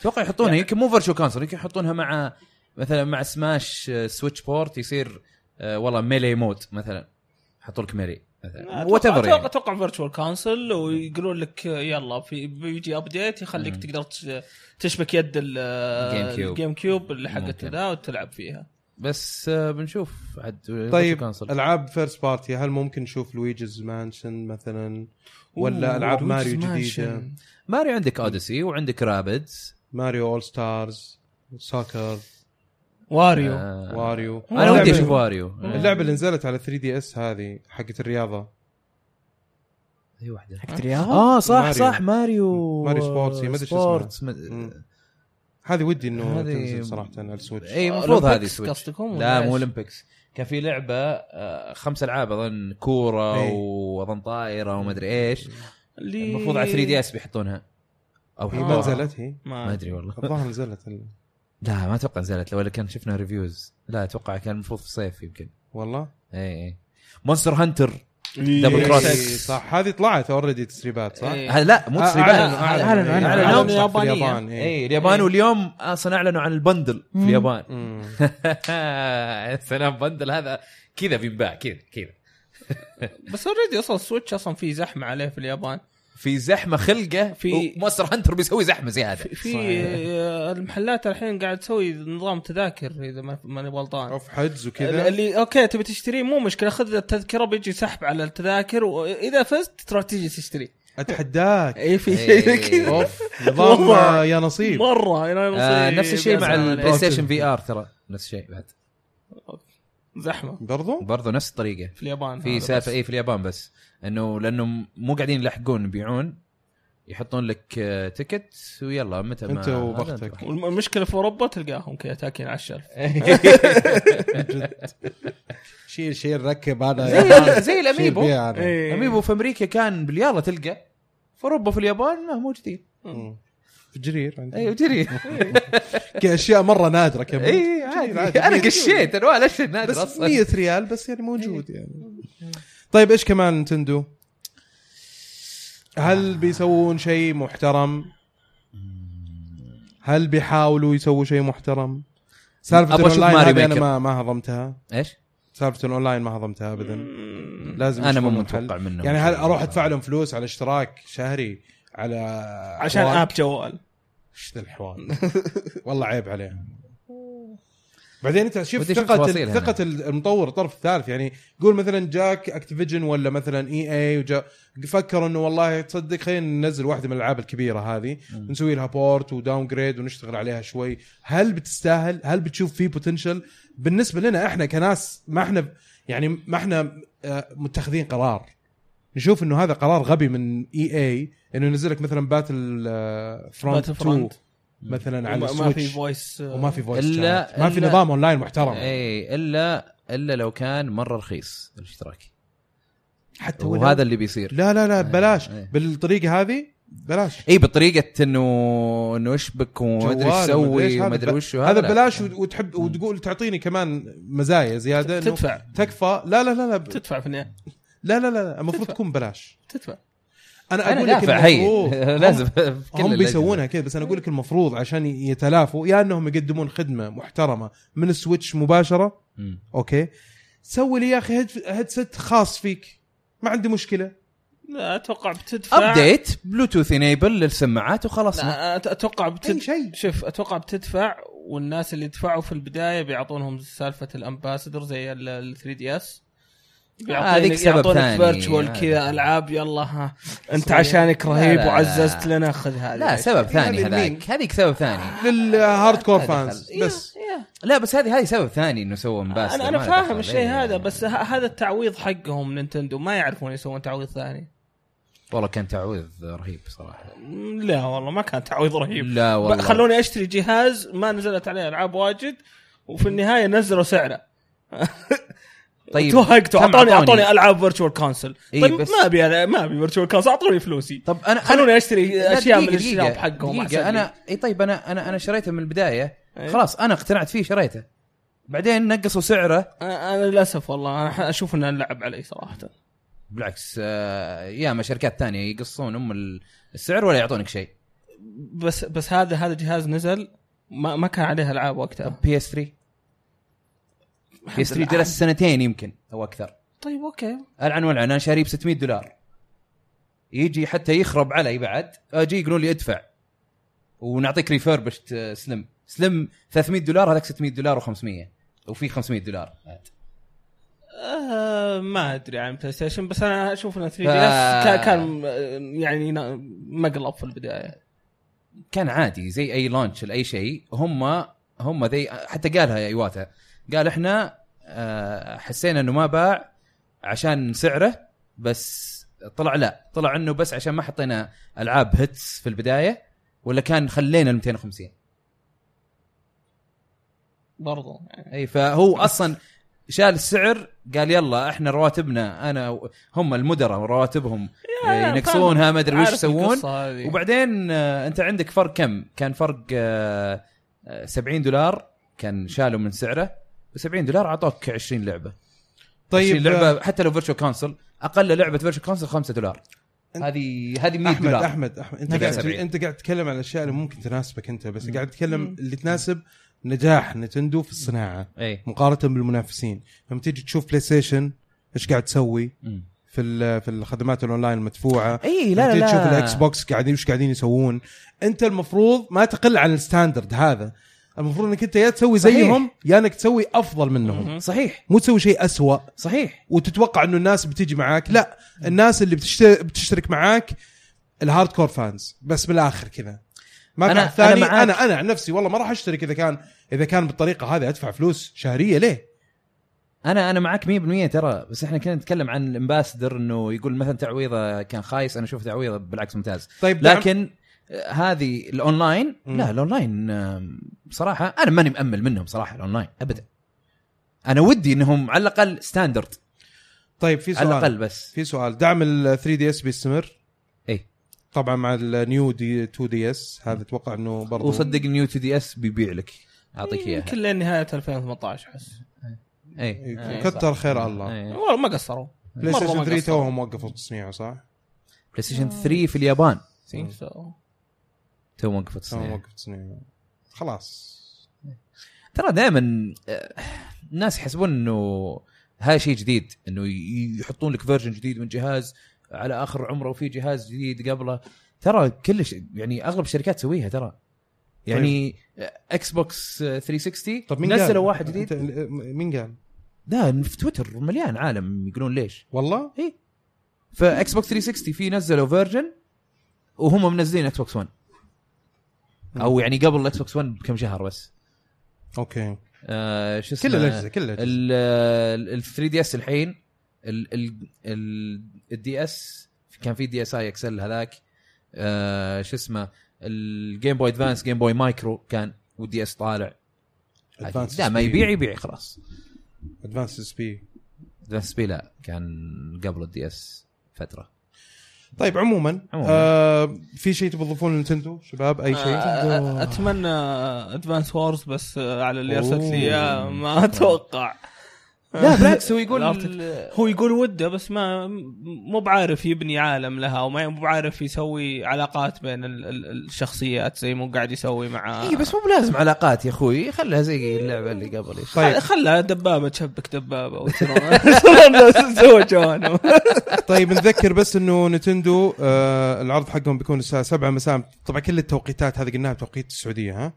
B: اتوقع يحطونها
D: يعني-
B: يمكن مو فيرتشوال كونسول يمكن يحطونها مع مثلا مع سماش آه، سويتش بورت يصير آه، والله ميلي مود مثلا حطوا لك ميلي مثلا وات
D: اتوقع
B: ايفر
D: اتوقع,
B: يعني
D: أتوقع فيرتشوال كونسل ويقولون لك يلا في بيجي ابديت يخليك
B: مم.
D: تقدر تش- تشبك يد
B: Game Cube.
D: الجيم كيوب اللي حقت
B: ممكن.
D: ذا وتلعب فيها
B: بس آه، بنشوف عاد
A: طيب
B: كونسول
A: العاب فيرست بارتي هل ممكن نشوف لويجز مانشن مثلا
D: أوه،
A: ولا العاب
D: Luigi's
A: ماريو جديده
D: Mansion.
B: ماري عندك اوديسي وعندك رابدز
A: ماريو اول ستارز ساكر
D: واريو
B: آه،
A: واريو
B: انا ودي آه،
A: اللعبة-
B: اشوف واريو
A: اللعبه اللي نزلت على 3 دي اس هذه حقت الرياضه
B: اي واحده
C: حقت رياضة؟
B: اه صح
A: ماريو.
B: ماريو. صح ماريو
A: ماريو سبورتس، ما أدري شو
B: سبورتس،
A: مم.
B: ما-
A: هذه ودي انه
B: هذه- إيه،
A: تنزل صراحه على السويتش
B: اي المفروض
D: Olympics
B: هذه سويتش
D: قصدكم ولا
B: لا مو
D: إيش؟
B: اولمبيكس كان في لعبه آه، خمس العاب اظن كوره
A: إي.
B: واظن طائره وما ادري ايش
D: اللي
B: المفروض على 3 دي اس بيحطونها او
A: هي
B: حطوها.
A: إيه، ما نزلت هي
B: ما
D: ما
B: ادري والله
A: الظاهر نزلت ال-
B: لا ما اتوقع نزلت ولا كان شفنا ريفيوز لا اتوقع كان المفروض في الصيف يمكن
A: والله
B: اي اي مونستر هانتر
A: إيه،
B: دبل
A: إيه،
B: كروس
A: صح هذه طلعت اوريدي تسريبات صح؟
D: إيه.
B: هذا لا مو
A: آه،
B: تسريبات
A: أعلنوا- أعلنوا.
C: أعلنوا-
A: إيه، أعلنوا
B: أعلنوا.
D: أعلنوا
A: في
D: يابانية.
A: اليابان، إيه.
B: اي اليابان
D: إيه.
B: واليوم اصلا اعلنوا عن البندل في
C: مم.
B: اليابان
A: مم.
B: سلام بندل هذا كذا بينباع كذا كذا
D: بس اوريدي اصلا السويتش اصلا في زحمه عليه في اليابان
B: في زحمه خلقه
D: في-
B: في مونستر هانتر بيسوي زحمه زياده
D: في, في آه، المحلات الحين قاعد تسوي نظام تذاكر اذا ما- ماني غلطان
A: اوف حجز وكذا
D: اللي اوكي تبي تشتريه مو مشكله خذ التذكره بيجي سحب على التذاكر واذا فزت تروح تيجي تشتري
A: اتحداك
D: اي في
B: إيه.
D: شيء كذا
A: اوف نظام
D: والله.
A: آه، يا
D: طيب.
A: نصيب
D: مره أنا
B: آه
D: نصيب.
B: نفس الشيء مع
D: يا سلام
B: البلاي
D: عليك.
B: ستيشن في ار ترى نفس الشيء بعد
D: زحمه
A: برضو
B: برضه نفس الطريقه
D: في اليابان هذا
B: في
D: آه، بس.
B: سالفه اي في اليابان بس انه لانه مو قاعدين يلحقون يبيعون يحطون لك آه، تيكت ويلا متى ما
A: أنت وبختك.
B: هذا أنت
D: والمشكله في اوروبا تلقاهم كذا تاكين على الشلف
B: آه،
E: شيل شيل ركب انا
B: زي زي الاميبو
E: شيل فيها أنا.
D: إيه.
B: الاميبو في امريكا كان باليالا تلقى في اوروبا في اليابان لا موجودين
A: مم. في جرير عندي
B: ايوه جري
A: اشياء مره نادره كمان
B: اي
A: عادي.
B: عادي انا قشيت انواع الاشياء النادره
A: بس
B: اصلا
A: 100 ريال بس يعني
B: إيه.
A: موجود يعني طيب ايش كمان نتندو؟ هل بيسوون شيء محترم؟ هل بيحاولوا يسووا شيء محترم؟ سالفه
B: أبغى أشوف
A: الاونلاين
B: ماريو
A: هذه انا
B: ميكر.
A: ما ما هضمتها
B: ايش؟
A: سالفه الاونلاين ما هضمتها ابدا لازم
B: انا ما
A: يشوفون لهم
B: متوقع
A: حل.
B: منه
A: يعني هل اروح ادفع لهم فلوس على اشتراك شهري على
D: عشان
A: حوار؟
D: اب جوال
A: ايش ذا الحوار والله عيب عليه بعدين انت شوف
B: ودي أشوف
A: ثقة
B: تفاصيل هنا.
A: ثقة المطور الطرف الثالث يعني قول مثلا جاك اكتيفيجن ولا مثلا اي اي وجا فكر انه والله تصدق خلينا ننزل واحدة من الالعاب الكبيرة هذه نسوي لها بورت وداون جريد ونشتغل عليها شوي هل بتستاهل هل بتشوف فيه بوتنشل بالنسبة لنا احنا كناس ما احنا يعني ما احنا آه، متخذين قرار نشوف انه هذا قرار غبي من اي اي انه ينزل لك مثلا باتل آه، فرونت
D: Battle
A: 2
D: Front.
A: مثلا
B: نعم،
A: على
D: وما- ما في
A: السويتش
D: فويس
A: وما في فويس
B: إلا-
A: إلا ما في
B: إلا- إيه.
A: نظام اونلاين محترم
B: اي الا الا لو كان مره رخيص الاشتراك
A: حتى ولو-
B: طيب، وهذا اللي بيصير
A: لا لا لا
B: إيه،
A: بلاش
B: إيه.
A: بالطريقه هذه بلاش
B: اي بطريقه انه انه اشبك وما ادري ايش
A: جوال ومدري إيش هذا
B: اسوي وما ادري
A: ب-
B: وش
A: هذا
B: لا.
A: بلاش و- وتحب وتقول تعطيني كمان مزايا زياده إنه
D: آه، تدفع
A: تكفى لا لا لا لا ب-
D: تدفع في النهايه
A: لا لا لا المفروض تكون بلاش
D: تدفع
A: انا
B: انا
A: اقول لك
B: دافع هي
A: المفروض
B: لازم في كل
A: هم
B: الأجهزة.
A: بيسوونها كذا بس انا اقول لك المفروض عشان يتلافوا يا انهم يقدمون خدمه محترمه من السويتش مباشره
B: مم.
A: اوكي سوي لي يا اخي هيد- هيدسет خاص فيك ما عندي مشكله
D: لا اتوقع بتدفع
B: ابديت بلوتوث انيبل للسماعات وخلصنا
D: لا أت- اتوقع
A: اي
D: بتد...
A: شيء
D: شوف اتوقع بتدفع والناس اللي دفعوا في البدايه بيعطونهم سالفه الامباسدر زي ال 3 دي اس
B: هذيك سبب ثاني.
D: فيرتشوال كذا
B: هذا.
D: العاب يلا ها انت عشانك رهيب
B: لا، لا.
D: وعززت لنا خذ هذا
B: لا سبب ثاني
A: هذه مين؟
B: هذاك هذيك سبب ثاني
A: للهارد كور فانز
B: دخل.
A: بس
B: لا بس هذه هذه سبب ثاني انه سووا امباس
D: انا انا فاهم الشيء
B: إيه.
D: هذا بس ه- هذا التعويض حقهم نينتندو ما يعرفون يسوون تعويض ثاني
B: والله كان تعويض رهيب صراحه
D: م، لا والله ما كان تعويض رهيب
B: لا
D: ب-
B: والله
D: خلوني اشتري جهاز ما نزلت عليه العاب واجد وفي النهايه نزلوا سعره
B: طيب
D: توهقتوا
B: كم
D: اعطوني اعطوني العاب فيرتشوال كونسل
B: إيه،
D: طيب
B: بس-
D: ما ابي أنا- ما ابي فيرتشوال كونسل اعطوني فلوسي
B: طب انا
D: خلوني اشتري
B: لا،
D: اشياء من
B: دقيقة-
D: الشباب
B: دقيقة-
D: حقهم
B: دقيقة،
D: أحسن لي.
B: انا اي طيب انا انا انا شريته من البدايه
D: إيه.
B: خلاص انا اقتنعت فيه شريته بعدين نقصوا سعره
D: انا أنا للاسف أه، والله انا ح- اشوف انه لعب علي صراحه
B: بالعكس آه، ياما شركات ثانيه يقصون ام ال- السعر ولا يعطونك شيء
D: بس بس هذا هذا جهاز نزل ما ما كان عليه العاب وقتها
B: بي اس 3 بي اس 3
D: لله.
B: جلس سنتين يمكن او اكثر
D: طيب اوكي
B: العن والعن انا شاريه ب 600 دولار يجي حتى يخرب علي بعد اجي يقولون لي ادفع ونعطيك ريفربشت آه، سلم سلم 300 دولار هذاك 600 دولار و500 وفي 500 دولار عاد.
D: آه ما ادري عن بلاي ستيشن بس انا اشوف انه 3 دي
B: ف-
D: اس كان كان آه، يعني نا- مقلب في البدايه
B: كان عادي زي اي لانش لاي شيء هم هم ذي حتى قالها يا ايواتا قال احنا آه، حسينا انه ما باع عشان سعره بس طلع لا طلع انه بس عشان ما حطينا العاب هيتس في البدايه ولا كان خلينا ال 250
D: برضو يعني
B: اي فهو اصلا شال السعر قال يلا احنا رواتبنا انا و- هم المدراء رواتبهم
D: يا
B: ينقصونها ما ادري وش
D: عارف
B: يسوون
D: القصة هذه.
B: وبعدين آه، انت عندك فرق كم؟ كان فرق آه، آه، 70 دولار كان شالوا من سعره ب 70 دولار اعطوك 20 لعبه طيب 20
A: طيب
B: لعبه حتى لو فيرتشوال كونسل اقل لعبه فيرتشوال كونسل 5 دولار هذه هذه 100
A: احمد
B: دولار
A: احمد احمد انت
B: مدى
A: قاعد
B: سبعين.
A: انت قاعد تتكلم عن الاشياء اللي ممكن تناسبك انت بس قاعد تتكلم اللي تناسب نجاح نتندو في الصناعه
B: اي
A: مقارنه بالمنافسين لما تيجي تشوف بلاي ستيشن ايش قاعد تسوي
F: مم.
A: في ال- في الخدمات الاونلاين المدفوعه
C: اي لا
A: تجي
C: لا
A: تشوف الاكس بوكس قاعدين وش قاعدين يسوون انت المفروض ما تقل عن الستاندرد هذا المفروض انك انت يا تسوي
C: صحيح.
A: زيهم يا انك تسوي افضل منهم
D: مهم.
C: صحيح
A: مو تسوي شيء أسوأ
C: صحيح
A: وتتوقع انه الناس بتيجي معاك لا الناس اللي بتشت- بتشترك معاك الهارد كور فانز بس من الاخر كذا ما
C: أنا-
A: كان ثاني انا
C: أنا معاك.
A: انا, أنا عن نفسي والله ما راح اشترك اذا كان اذا كان بالطريقه هذه ادفع فلوس شهريه ليه؟
B: انا انا معك 100% ترى بس احنا كنا نتكلم عن الامباسدر انه يقول مثلا تعويضه كان خايس انا اشوف تعويضه بالعكس ممتاز
A: طيب دعم-
B: لكن آه، هذه الاونلاين
A: مم.
B: لا الاونلاين آم، بصراحه انا ماني مامل منهم صراحه الاونلاين ابدا انا ودي انهم على الاقل ستاندرد
A: طيب في
B: على
A: سؤال
B: الاقل بس
A: في سؤال دعم ال 3 دي اس بيستمر؟
B: إيه.
A: طبعا مع النيو دي 2 دي اس هذا اتوقع انه برضو
B: وصدق نيو تو دي اس بيبيع لك اعطيك اياها
D: يمكن لين نهايه 2018 احس
B: اي
D: إيه،
A: كتر خير الله
B: إيه.
D: والله ما قصروا
A: بلاي
D: مرة
A: ستيشن
D: ما
A: 3
D: قصروا.
A: توهم وقفوا تصنيعه صح؟
B: بلاي ستيشن 3 في اليابان
D: think so.
B: تو وقفت
A: توهم
B: تصنيع.
A: وقفوا تصنيعه خلاص
B: ترى دائما الناس يحسبون انه هاي شيء جديد انه ي- يحطون لك فيرجن جديد من جهاز على اخر عمره وفي جهاز جديد قبله ترى كل ش... يعني اغلب الشركات تسويها ترى يعني اكس بوكس آه، 360
A: طب طيب. مين قال؟
B: نزلوا واحد
A: أنت-
B: جديد
A: مين قال؟
B: لا في تويتر مليان عالم يقولون ليش
A: والله؟
B: فاكس بوكس 360 في نزلوا فيرجن وهم منزلين اكس بوكس 1 او يعني قبل الاكس بوكس 1 بكم شهر بس
A: اوكي
B: آه شو اسمه
A: كل الاجهزه كل الاجهزه
B: ال 3 دي اس الحين الدي اس كان في دي اس اي اكسل هذاك آه شو اسمه الجيم بوي ادفانس جيم بوي مايكرو كان والدي اس طالع
A: Advanced
B: لا ما
A: SP.
B: يبيع يبيع خلاص
A: ادفانس اس بي
B: ادفانس بي لا كان قبل الدي اس فتره
A: طيب عموما
B: عموماً.
A: آه في شيء تبغى تضيفونه لنتندو شباب اي شيء؟
D: آه، اتمنى ادفانس وورز بس آه، على اللي ارسلت
A: أوه.
D: لي اياه ما اتوقع
B: لا بالعكس هو يقول
D: عرفت؟ هو يقول وده بس ما مو بعارف يبني عالم لها وما مو بعارف يسوي علاقات بين ال- ال- الشخصيات زي مو قاعد يسوي مع
A: آه.
B: اي إيه، بس مو بلازم علاقات يا اخوي خلها زي اللعبه اللي قبل إيش.
A: طيب
D: خلها دبابه تشبك دبابه وتسوي جوانب
A: طيب نذكر بس انه نتندو آه العرض حقهم بيكون الساعه 7 مساء طبعا كل التوقيتات هذه قلناها بتوقيت السعوديه ها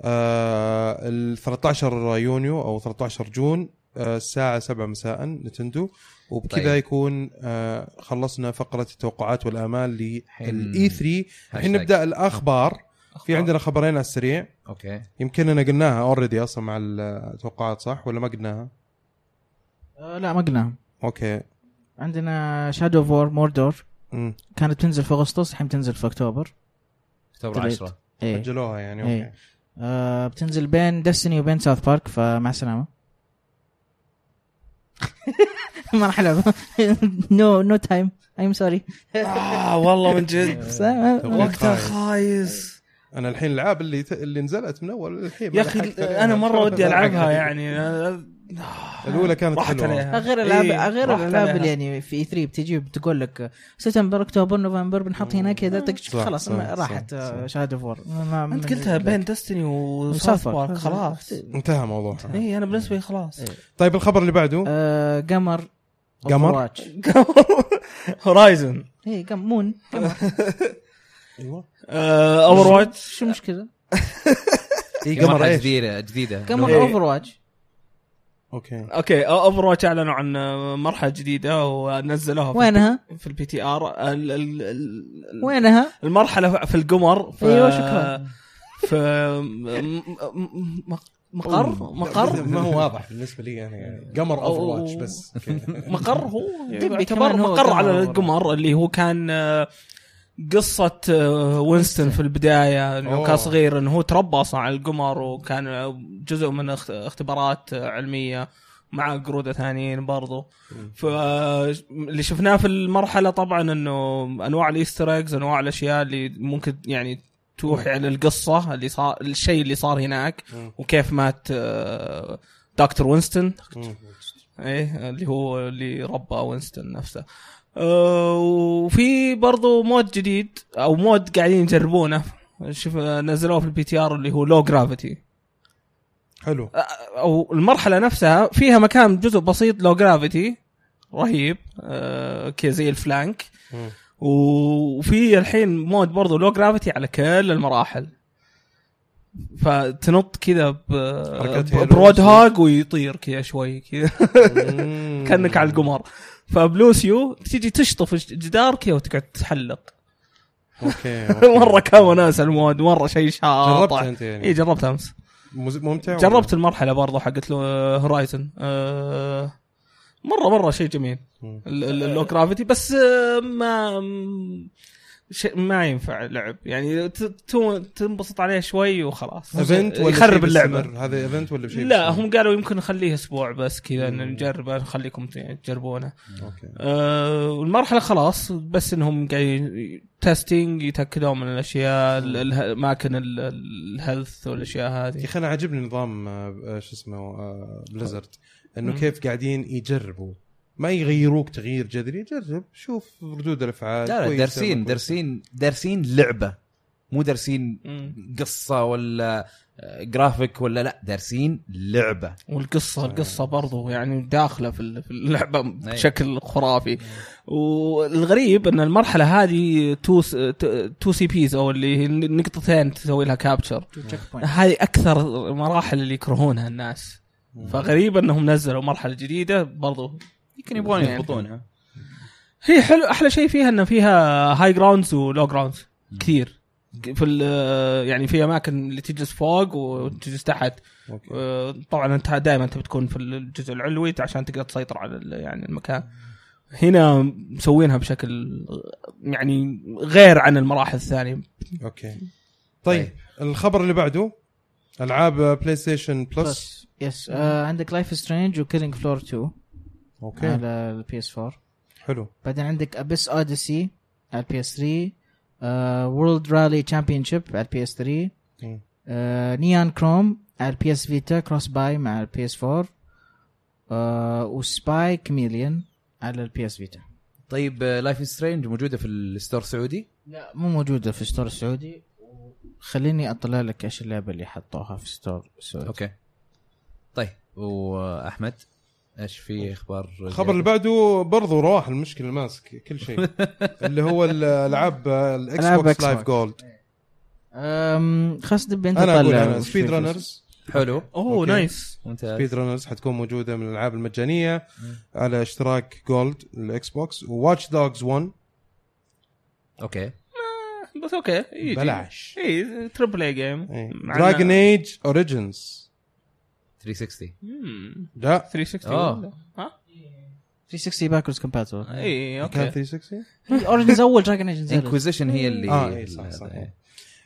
A: آه ال 13 يونيو او 13 جون آه، الساعة 7 مساء نتندو وبكذا طيب.
B: طيب.
A: يكون آه خلصنا فقرة التوقعات والآمال
B: حين-
A: للإي 3 الحين نبدأ الأخبار في عندنا خبرين على السريع
B: اوكي
A: يمكننا قلناها اوريدي اصلا مع التوقعات صح ولا ما قلناها؟
C: آه لا ما قلناها
A: اوكي
C: عندنا شادو فور موردور
A: امم
C: كانت تنزل في اغسطس الحين بتنزل في اكتوبر
B: اكتوبر
C: طلعت.
B: 10
C: ايه
A: اجلوها يعني
C: إيه.
A: اوكي
C: آه بتنزل بين دستني وبين ساوث بارك فمع السلامه ما راح العب نو نو تايم ايم سوري
D: اه والله من جد وقتها
A: خايس.
D: خايس
A: انا الحين الالعاب اللي ت... اللي نزلت من اول للحين
D: يا
A: ما
D: اخي
A: لحقت عليها.
D: انا مره
A: شلون
D: ودي العبها
A: ألحقها؟
D: يعني
A: الاولى كانت
D: راحت
A: حلوه
D: عليها.
C: غير الالعاب
D: إيه،
C: غير
D: راحت
C: الالعاب
D: عليها.
C: اللي يعني في 3 بتجي بتقول لك سبتمبر اكتوبر نوفمبر بنحط هنا
D: آه.
C: كذا تك-
A: صح،
C: خلاص
A: صح،
C: ما-
A: صح،
C: راحت آه،
A: صح.
C: شاد اوف وور
D: انت قلتها بين دستني وساوث بارك خلاص
A: انتهى موضوعها
D: اي انا بالنسبه لي خلاص
A: طيب الخبر اللي بعده
C: آه، قمر
A: قمر؟
D: هورايزن
C: اي مون
A: ايوه
D: اوفر واتش
C: شو المشكله؟
A: اي
B: قمر
A: إيه، قمر ايش؟
B: جديده جديده
C: قمر
D: إيه.
C: اوفر واتش
A: اوكي
D: اوكي اوفر واتش اعلنوا عن مرحله جديده ونزلوها في
C: وينها؟
D: البي- في البي تي ار ال- ال- ال-
C: وينها؟
D: المرحله في القمر في
C: أيوة، شكراً.
D: في م- م- م- مقر مقر
A: ما هو واضح بالنسبه لي انا يعني قمر اوفر واتش بس أوكي.
D: مقر هو
C: كمان
D: يعتبر
C: هو
D: مقر
C: قمر
D: على
C: والله.
D: القمر اللي هو كان آه، قصة آه، وينستون في البداية انه
A: أوه.
D: كان صغير انه هو تربى اصلا على القمر وكان آه، جزء من اخت- اختبارات آه، علمية مع قرودة ثانيين برضو فاللي شفناه في المرحلة طبعا انه انواع الايستر ايجز انواع الاشياء اللي ممكن يعني توحي على القصة اللي صار الشيء اللي صار هناك
A: مم.
D: وكيف مات آه، دكتور وينستون
A: مم.
D: ايه اللي هو اللي ربى وينستون نفسه آه، وفي برضو مود جديد او مود قاعدين يجربونه شوف آه، نزلوه في البي تي ار اللي هو آه، لو جرافيتي
A: حلو
D: او المرحله نفسها فيها مكان جزء بسيط لو جرافيتي رهيب آه، كذا زي الفلانك و- وفي الحين مود برضو لو جرافيتي على كل المراحل فتنط كذا ب-
A: حركات
D: ب-
A: هيلو.
D: برود هاج ويطير كذا شوي كذا كانك على القمر فبلوسيو تيجي تشطف الجدار كذا وتقعد تحلق
A: اوكي أوكي.
D: مره كان وناس المود مره شيء
A: جربت
D: شاطح
A: انت يعني
D: اي جربت امس
A: مز- ممتع ولا؟
D: جربت المرحله برضو حقت له هورايزن مره مره شيء جميل
A: مم.
D: ال- ال- اللو جرافيتي بس آه، ما م- شيء ما ينفع لعب يعني ت- تو- تنبسط عليه شوي وخلاص
A: ايفنت ولا شيء
D: يخرب اللعبه
A: بيستمر؟ هذا ايفنت ولا شيء
D: لا
A: بيستمر؟
D: هم قالوا يمكن نخليه اسبوع بس كذا
A: مم.
D: نجربه نخليكم ت- تجربونه
A: اوكي
D: أه والمرحله خلاص بس انهم قاعدين تيستينج يتاكدون من الاشياء ال- اله- اماكن ال- ال- الهيلث والاشياء
A: يا
D: هذه
A: اخي انا عاجبني نظام آه، آه، شو اسمه آه، بليزرد
D: مم.
A: انه كيف قاعدين يجربوا ما يغيروك تغيير جذري جرب شوف ردود الافعال
B: لا لا
A: كويسة،
B: دارسين
A: ما كويسة.
B: دارسين دارسين لعبه مو دارسين
D: مم.
B: قصه ولا آه، جرافيك ولا لا دارسين لعبه
D: والقصه
B: آه،
D: القصه برضو يعني داخله في ال- في اللعبه
B: إيه.
D: بشكل خرافي والغريب ان المرحله هذه تو س- ت- تو سي بيز او اللي هي نقطتين تسوي لها كابتشر
C: تشيك بوينت
D: هذه اكثر المراحل اللي يكرهونها الناس فغريب انهم نزلوا مرحله جديده برضو
B: يمكن يبغون
D: يعني.
B: يضبطونها
D: هي حلو احلى شيء فيها ان فيها هاي جراوندز ولو جراوندز كثير في ال- يعني في اماكن اللي تجلس فوق وتجلس تحت
A: أوكي.
D: آه، طبعا انت دائما تبي تكون في الجزء العلوي عشان تقدر تسيطر على ال- يعني المكان هنا مسوينها بشكل يعني غير عن المراحل الثانيه
A: اوكي طيب الخبر اللي بعده العاب بلاي ستيشن بلس
C: بلس يس آه عندك لايف سترينج وكيلينج فلور 2
A: اوكي
C: على البي اس 4
A: حلو
C: بعدين عندك ابيس اوديسي على البي آه، اس 3 وورلد رالي تشامبيون شيب على البي اس 3
A: مم.
C: نيان كروم على البي اس فيتا كروس باي مع البي اس 4 آه، وسباي كميليون على البي اس فيتا
B: طيب لايف سترينج موجوده في الستور السعودي
C: لا مو موجوده في ستور السعودي خليني اطلع لك ايش اللعبه اللي حطوها في ستور السعودي
B: اوكي طيب واحمد ايش في اخبار
A: الخبر اللي بعده برضو رواح المشكله ماسك كل شيء اللي هو آه، الالعاب الاكس
C: ألعاب
A: بوكس
C: Xbox.
A: لايف جولد
C: أم، خلاص دب انت
A: انا اقول
C: طلع
A: انا
C: وش
A: سبيد
C: في-
A: رانرز
B: حلو
D: اوه
A: أوكي.
D: نايس
B: ممتاز
A: سبيد رانرز حتكون موجوده من الالعاب المجانيه على اشتراك جولد الاكس بوكس وواتش دوجز 1
B: اوكي
D: بس اوكي يجي
A: بلاش إيه.
D: اي تربل اي جيم
A: دراجن ايج اوريجنز
B: 360
A: لا
B: آه.
D: 360 ولا؟ ها
C: 360 باكورز كومباتبل
D: اي
A: كان
D: اوكي
A: 360
C: اوريجنز اول دراجون ايجنت
B: انكوزيشن هي اللي
A: اه اي صح صح
B: هذا. إيه.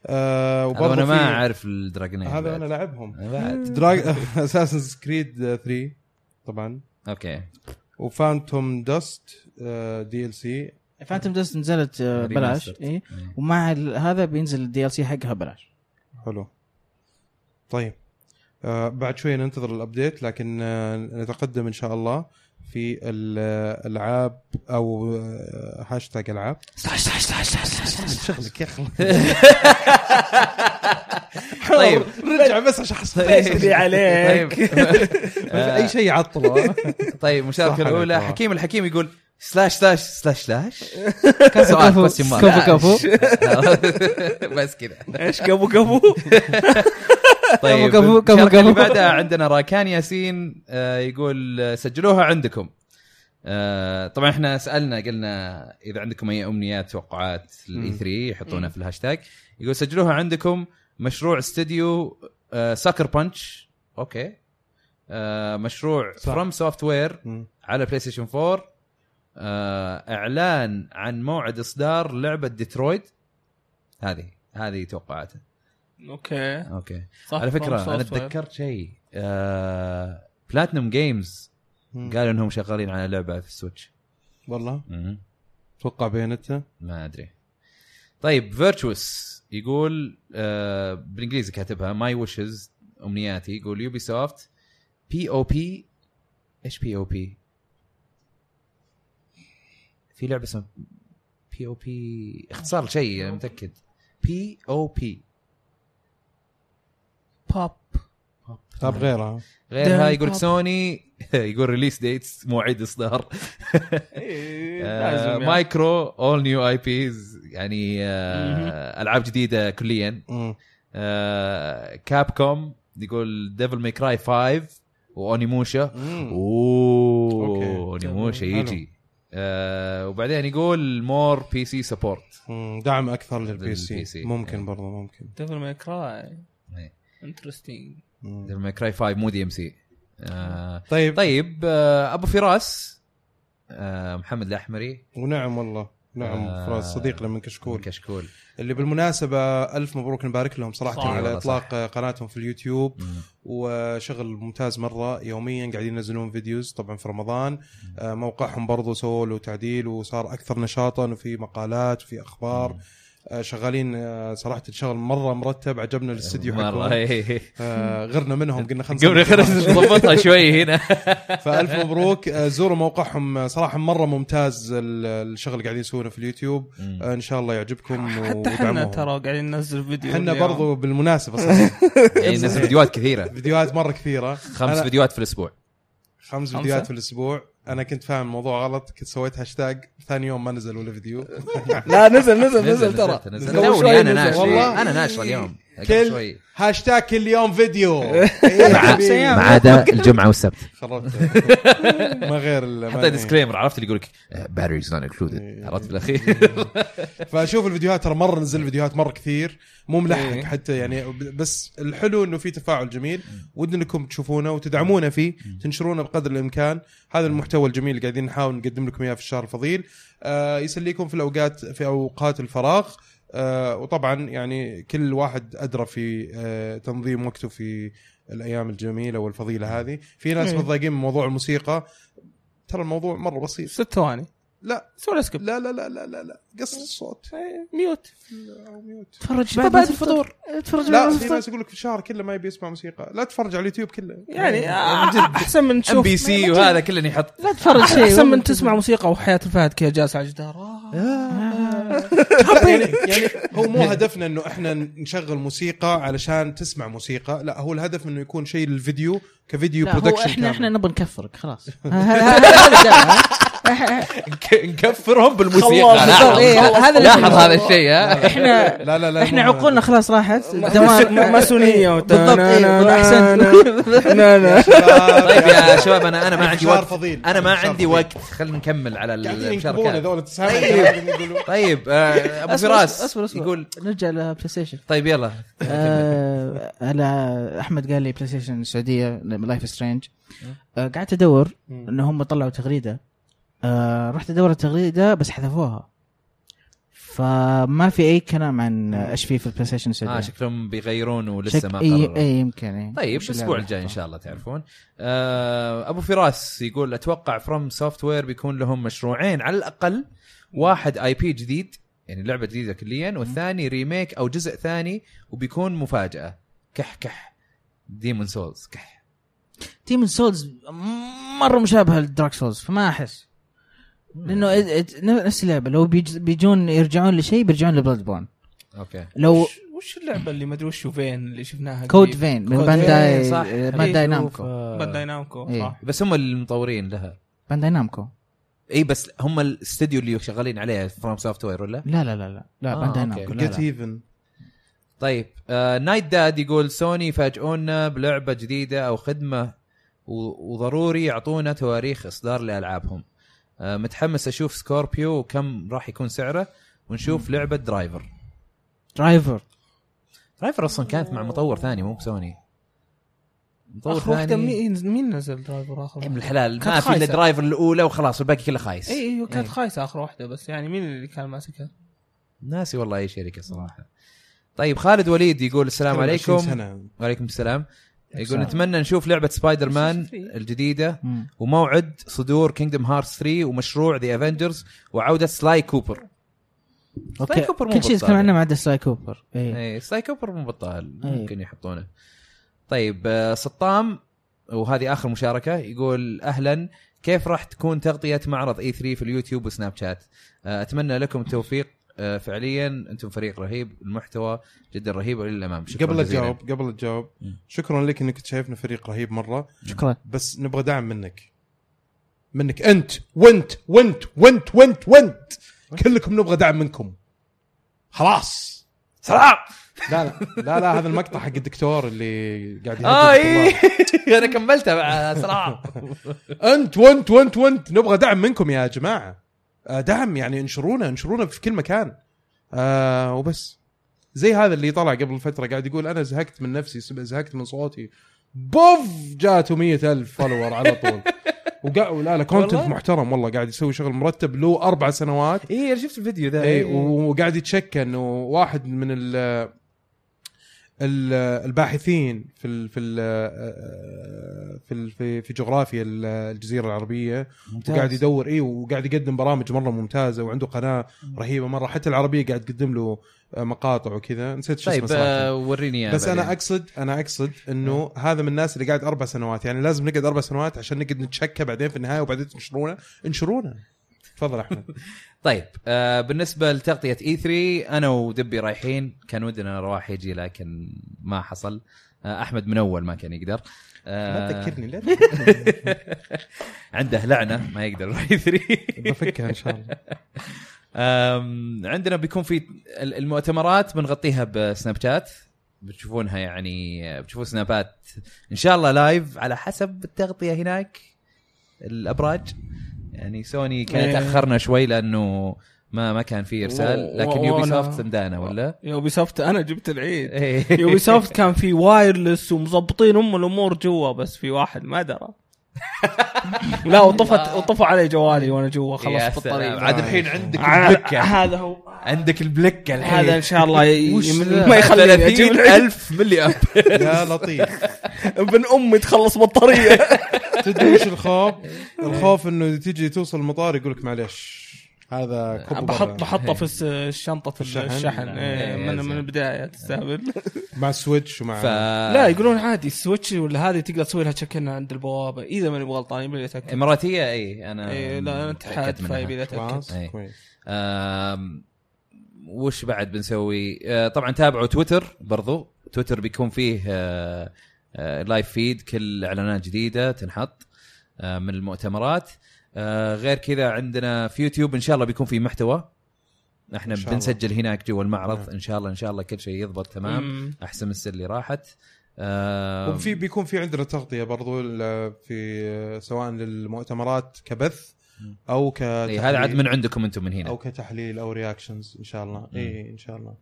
A: آه،
B: هذا
A: وبرضو
B: انا ما
A: في-
B: اعرف الدراجون إيج
A: هذا
B: بعد.
A: انا لعبهم
B: بعد
A: اساسن كريد 3 طبعا
B: اوكي
A: وفانتوم داست دي ال سي
C: فانتوم دست نزلت آه، بلاش
B: Remastered.
C: اي ومع ال- هذا بينزل الدي ال سي حقها بلاش
A: حلو طيب آه بعد شوي ننتظر الابديت لكن آه نتقدم ان شاء الله في الالعاب او آه هاشتاج العاب شغلك يا اخي
B: طيب
A: رجع بس عشان أحس-
D: لي عليك
B: طيب
A: اي شيء يعطله
B: طيب المشاركه
A: صح
B: الاولى
A: عليك.
B: حكيم الحكيم يقول سلاش سلاش سلاش سلاش كان سؤال
C: كفو،
B: question mark.
C: كفو، كفو.
B: بس كذا
D: ايش قبو قبو
B: طيب
C: كفو، كفو،
B: المشاركة
C: كفو.
B: اللي بعدها عندنا راكان ياسين آه، يقول آه، سجلوها عندكم آه، طبعا احنا سالنا قلنا اذا عندكم اي امنيات توقعات الاي
A: مم.
B: 3 يحطونها
D: مم.
B: في الهاشتاج يقول سجلوها عندكم مشروع آه، استديو ساكر بانش اوكي آه، مشروع
A: صح.
B: فروم سوفت وير
A: مم.
B: على بلاي ستيشن 4 آه، اعلان عن موعد اصدار لعبه ديترويد هذه هذه توقعاته
D: اوكي
B: اوكي
D: صح
B: على فكره
D: From
B: انا
D: Software.
B: تذكرت شيء آه... بلاتنم جيمز
A: مم.
B: قالوا انهم شغالين على لعبه في السويتش
A: والله اتوقع بينتها
B: ما ادري طيب فيرتشوس يقول آه... بالانجليزي كاتبها ماي ويشز امنياتي يقول يوبي سوفت بي او بي ايش بي او بي؟ في لعبه اسمها بي او بي اختصار شيء انا متاكد بي او بي
D: باب
A: طب طيب، غيرها
B: غيرها
D: دم
B: يقول لك
D: طب.
B: سوني يقول ريليس ديتس موعد اصدار
D: إيه،
B: آه،
D: لازم يعني.
B: مايكرو اول نيو اي بيز يعني آه، العاب جديده كليا
A: مم.
B: كاب كوم آه، يقول ديفل ماي كراي 5 وانيموشا
A: مم.
B: اوه
A: أوكي.
B: انيموشا
A: حلو.
B: يجي آه، وبعدين يقول مور بي سي سبورت
A: مم. دعم اكثر للبي
B: للبي
A: سي
B: سي.
A: ممكن
B: إيه.
A: برضو ممكن
D: ديفل ماي كراي
B: إيه.
D: انترستنج
A: مم.
B: ديفل ماي كراي 5 مو دي ام سي
A: طيب, طيب.
B: نعم. طيب آه، ابو فراس آه، محمد الاحمري
A: ونعم والله نعم
B: آه.
A: فراس صديقنا من كشكول
B: كشكول
A: اللي بالمناسبه الف مبروك نبارك لهم صراحه
D: صح.
A: على
B: والله
A: اطلاق قناتهم في اليوتيوب
B: مم.
A: وشغل ممتاز مره يوميا قاعدين ينزلون فيديوز طبعا في رمضان آه، موقعهم برضو سووا له تعديل وصار اكثر نشاطا وفي مقالات وفي اخبار آه، شغالين آه، صراحه الشغل مره مرتب عجبنا الاستديو
B: مره
A: حقهم
B: إيه.
A: آه، غيرنا منهم قلنا خمسه
B: قبل خلينا نضبطها شوي هنا
A: فالف مبروك آه، زوروا موقعهم آه، صراحه مره ممتاز ال- الشغل اللي قاعدين يسوونه في اليوتيوب آه، ان شاء الله يعجبكم
D: حتى
A: ودعموهم.
D: احنا ترى قاعدين ننزل فيديو
A: احنا
D: اليوم.
A: برضو بالمناسبه صراحه
B: يعني نزل فيديوهات كثيره
A: فيديوهات مره كثيره
B: خمس
A: أنا-
B: فيديوهات في الاسبوع
A: خمس
D: خمسة؟
A: فيديوهات في الاسبوع انا كنت فاهم الموضوع غلط كنت سويت هاشتاج ثاني يوم ما نزل ولا فيديو
E: لا نزل نزل نزل
B: نزل
E: ترى
B: نزلت- نزلت.
E: قبل
B: توني
E: شوي
B: انا
E: نزل.
B: ناشر
A: والله.
B: انا ناشر اليوم قبل
A: كل-
B: شوي
A: هاشتاج كل يوم فيديو إيه،
B: مع- ما عدا الجمعه والسبت
A: خربت ما غير ال- ما-
B: حتى ديسكليمر عرفت اللي يقول لك باتريز نون انكلودد عرفت بالاخير
A: فاشوف الفيديوهات ترى مره نزل فيديوهات مره كثير مو ملحق
B: إيه.
A: حتى يعني ب- بس الحلو انه في تفاعل جميل ودنا انكم تشوفونه وتدعمونا فيه تنشرونه بقدر الامكان هذا المحتوى الجميل اللي قاعدين نحاول نقدم لكم اياه في الشهر الفضيل آه يسليكم في الاوقات في اوقات الفراغ آه وطبعا يعني كل واحد ادرى في آه تنظيم وقته في الايام الجميله والفضيله هذه في ناس
D: إيه.
A: متضايقين من موضوع الموسيقى ترى الموضوع مره بسيط
D: ست ثواني
A: لا.
D: سوي له سكيب
A: لا لا لا لا لا, لا. قص الصوت
D: ميوت
A: او ميوت
C: تفرج
D: بعد
C: بعد
D: نص
C: الفطور تفرج
A: لا في ناس يقول لك في الشهر كله ما يبي يسمع موسيقى لا تفرج على اليوتيوب كله
D: يعني
B: إيه،
D: آه، احسن من
B: ام
D: تشوف
B: بي سي وهذا كلنا يحط
C: لا تفرج شيء
D: احسن من تسمع موسيقى وحياه الفهد كذا جالس على الجدار آه.
A: يعني, يعني هو مو هدفنا انه احنا نشغل موسيقى علشان تسمع موسيقى لا هو الهدف انه يكون شيء للفيديو كفيديو
C: لا، هو
A: برودكشن
C: احنا احنا نبغى نكفرك خلاص هذا- هذا السبب.
B: نك- نكفرهم بالموسيقى
D: خلاص،
B: لاحظ-
C: بالضبط، إيه، هذا اللي
B: لاحظ
C: فيه.
B: هذا الشيء ها
A: إيه.
C: احنا
A: لا لا لا
C: احنا
A: مو-
C: عقولنا خلاص راحت
D: ما- ماسونية وت-
C: بالضبط إيه، احسنت
D: لا
A: يا
D: لا
A: شباب،
B: طيب يا شباب انا انا ما عندي
A: شهر
B: وقت
A: فضيل.
B: انا ما
A: شهر
B: عندي
A: فضيل.
B: وقت خلينا نكمل على
A: قاعدين ينكبون
B: المشاركات
A: هذول أنت سامع؟ قاعدين يقولوا.
B: طيب آه، ابو
C: أصبر-
B: فراس
C: أصبر- أصبر.
B: يقول
C: نرجع لبلاي ستيشن
B: طيب يلا
C: آه، انا احمد قال لي بلاي ستيشن السعوديه لايف سترينج آه، قعدت ادور ان هم طلعوا تغريده آه، رحت ادور التغريده بس حذفوها فما في اي كلام عن ايش في في البلاي ستيشن
B: اه
C: السعوديه
B: شكلهم بيغيرون ولسه
C: شك-
B: ما
C: اي
B: قرروا
C: اي يمكن إي.
B: طيب
C: مش
B: الاسبوع
C: لعبة.
B: الجاي ان شاء الله تعرفون آه، ابو فراس يقول اتوقع فروم سوفت وير بيكون لهم مشروعين على الاقل واحد اي بي جديد يعني لعبه جديده كليا والثاني ريميك او جزء ثاني وبيكون مفاجاه كح كح ديمون سولز كح
C: تيم سولز مره مشابهه لدارك سولز فما احس لانه إد- إد- نفس اللعبه لو بيج- بيجون يرجعون لشيء بيرجعون لبلاد بون
B: اوكي
C: لو
D: وش- وش اللعبه اللي ما ادري وش فين اللي شفناها
C: كود
D: قريب؟
C: فين من
D: كود
C: بانداي
B: صح.
D: إيه،
C: بانداي نامكو
D: بانداي نامكو
C: إيه.
D: آه، صح
B: بس هم المطورين لها
C: بانداي نامكو
B: اي بس هم الاستديو اللي شغالين عليه فروم سوفت وير ولا
C: لا لا لا لا لا
B: آه،
C: بانداي
B: أوكي.
C: نامكو لا
A: جيت
C: لا.
A: ايفن
B: طيب آه نايت داد يقول سوني يفاجئونا بلعبه جديده او خدمه و- وضروري يعطونا تواريخ اصدار لالعابهم آه متحمس اشوف سكوربيو وكم راح يكون سعره ونشوف لعبه درايفر
C: درايفر
B: درايفر اصلا كانت مع مطور ثاني مو بسوني مطور
D: اخر واحده
B: ثاني
D: مين مين نزل درايفر اخر
B: يا ابن
D: واحدة؟
B: الحلال
D: كانت
B: ما في الا
D: خايسة.
B: درايفر الاولى وخلاص والباقي كله خايس
D: اي ايوه كانت
B: إيه.
D: خايسه اخر واحده بس يعني مين اللي كان ماسكها؟
B: ناسي والله اي شركه صراحه طيب خالد وليد يقول السلام عليكم
A: سنه
B: وعليكم السلام يقول
C: السلام.
B: نتمنى نشوف لعبه سبايدر مان الجديده وموعد صدور كينجدم هارتس 3 ومشروع ذا افنجرز وعوده سلاي كوبر
C: اوكي
B: كوبر مو إيه.
C: كل شيء
B: بطال
C: تكلم عنه ما عدا سلاي كوبر اي
B: اي سلاي كوبر مو بطال
C: إيه.
B: ممكن يحطونه طيب آه، سطام وهذه اخر مشاركه يقول اهلا E كيف راح تكون تغطيه معرض اي 3 في اليوتيوب وسناب شات آه، اتمنى لكم التوفيق آه، فعليا انتم فريق رهيب المحتوى جدا رهيب والى الامام شكراً
A: قبل لا
B: جزيلاً.
A: تجاوب قبل لا تجاوب
B: مم.
A: شكرا لك انك شايفنا فريق رهيب مره
C: شكرا
A: بس نبغى دعم منك منك انت وانت وانت وانت وانت وانت كلكم نبغى دعم منكم خلاص
B: سلام
A: لا لا لا, لا هذا المقطع حق الدكتور اللي قاعد
D: آه،
B: اه
A: يهدد
B: إيه. انا كملتها مع سلام
A: الطلاب. انت وانت وانت وانت نبغى دعم منكم يا جماعه آه، دعم يعني انشرونا انشرونا في كل مكان آه وبس زي هذا اللي طلع قبل فتره قاعد يقول انا زهقت من نفسي زهقت من صوتي بوف جاته مية ألف فولور على طول وقا... لا لا كونتنت
B: والله؟
A: محترم والله قاعد يسوي شغل مرتب له اربع سنوات
B: اي شفت الفيديو ذا
A: اي
B: إيه.
A: وقاعد يتشكى انه واحد من ال ال- الباحثين في ال في ال في ال- في, في جغرافيا ال- الجزيره العربيه
C: ممتاز.
A: وقاعد يدور اي وقاعد يقدم برامج مره ممتازه وعنده قناه رهيبه مره حتى العربيه قاعد يقدم له آه، مقاطع وكذا نسيت شو اسمه
B: طيب
A: صراحه
B: آه، وريني اياه
A: بس انا
B: بعدين.
A: اقصد انا اقصد انه هذا من الناس اللي قاعد اربع سنوات يعني لازم نقعد اربع سنوات عشان نقعد نتشكى بعدين في النهايه وبعدين تنشرونا انشرونا تفضل احمد
B: طيب آه بالنسبه لتغطيه اي 3 انا ودبي رايحين كان ودنا رواح يجي لكن ما حصل آه احمد من اول ما كان يقدر
A: لا
B: آه
A: تذكرني لا
B: عنده لعنه ما يقدر يروح E اي 3
A: بفكها ان شاء الله
B: أم، عندنا بيكون في ال- المؤتمرات بنغطيها بسناب شات بتشوفونها يعني بتشوفوا سنابات ان شاء الله لايف على حسب التغطيه هناك الابراج يعني سوني كانت
D: إيه.
B: اخرنا شوي لانه ما ما كان في ارسال
D: و-
B: لكن
D: و-
B: يوبي
D: وأنا-
B: سوفت سندانا ولا
D: يوبي سوفت انا جبت العيد
B: إيه.
D: يوبي سوفت كان في وايرلس ومظبطين ام الامور جوا بس في واحد ما درى لا وطفت وطفوا علي جوالي وانا جوا
B: يا
D: خلاص في
B: سلام.
D: الطريق
B: عاد الحين عندك
D: عاد-
B: البلكه
D: هذا هو
B: عندك البلكه الحين
D: هذا ان شاء الله ي-
B: وش
D: يمن-
B: ذا؟
D: ما يخليني اجيب العيد
B: 30000 ملي اب
A: يا لطيف
D: ابن امي تخلص بطاريه
A: تدري وش الخوف؟ الخوف انه تيجي توصل المطار يقول لك معلش هذا كب
D: بحط
A: برا.
D: بحطه في الس- الشنطه
A: الشحن؟
D: الشحن إيه،
B: إيه،
D: من
B: زين.
D: من البدايه تستهبل
A: مع السويتش ومع
B: ف...
D: لا يقولون عادي السويتش ولا هذه تقدر تسوي لها تشيك ان عند البوابه اذا ماني بغلطان يبي لي اتاكد
B: اماراتيه اي انا
D: إيه، لا انا اتحاد
B: متأكد منها.
D: فيبي لي اتاكد
A: خلاص
B: إيه.
A: كويس
B: آم، وش بعد بنسوي؟ آه، طبعا تابعوا تويتر برضو تويتر بيكون فيه آه، آه، لايف فيد كل اعلانات جديده تنحط آه، من المؤتمرات آه، غير كذا عندنا في يوتيوب ان شاء الله بيكون في محتوى احنا
A: إن شاء الله.
B: بنسجل هناك جوا المعرض
A: نعم.
B: ان شاء الله ان شاء الله كل شيء يضبط تمام
D: مم.
B: احسن من السر اللي راحت آه،
A: وفي بيكون في عندنا تغطيه برضو ال- في سواء للمؤتمرات كبث او ك
B: إيه، هذا عاد من عندكم انتم من هنا
A: او كتحليل او رياكشنز ان شاء الله اي ان شاء الله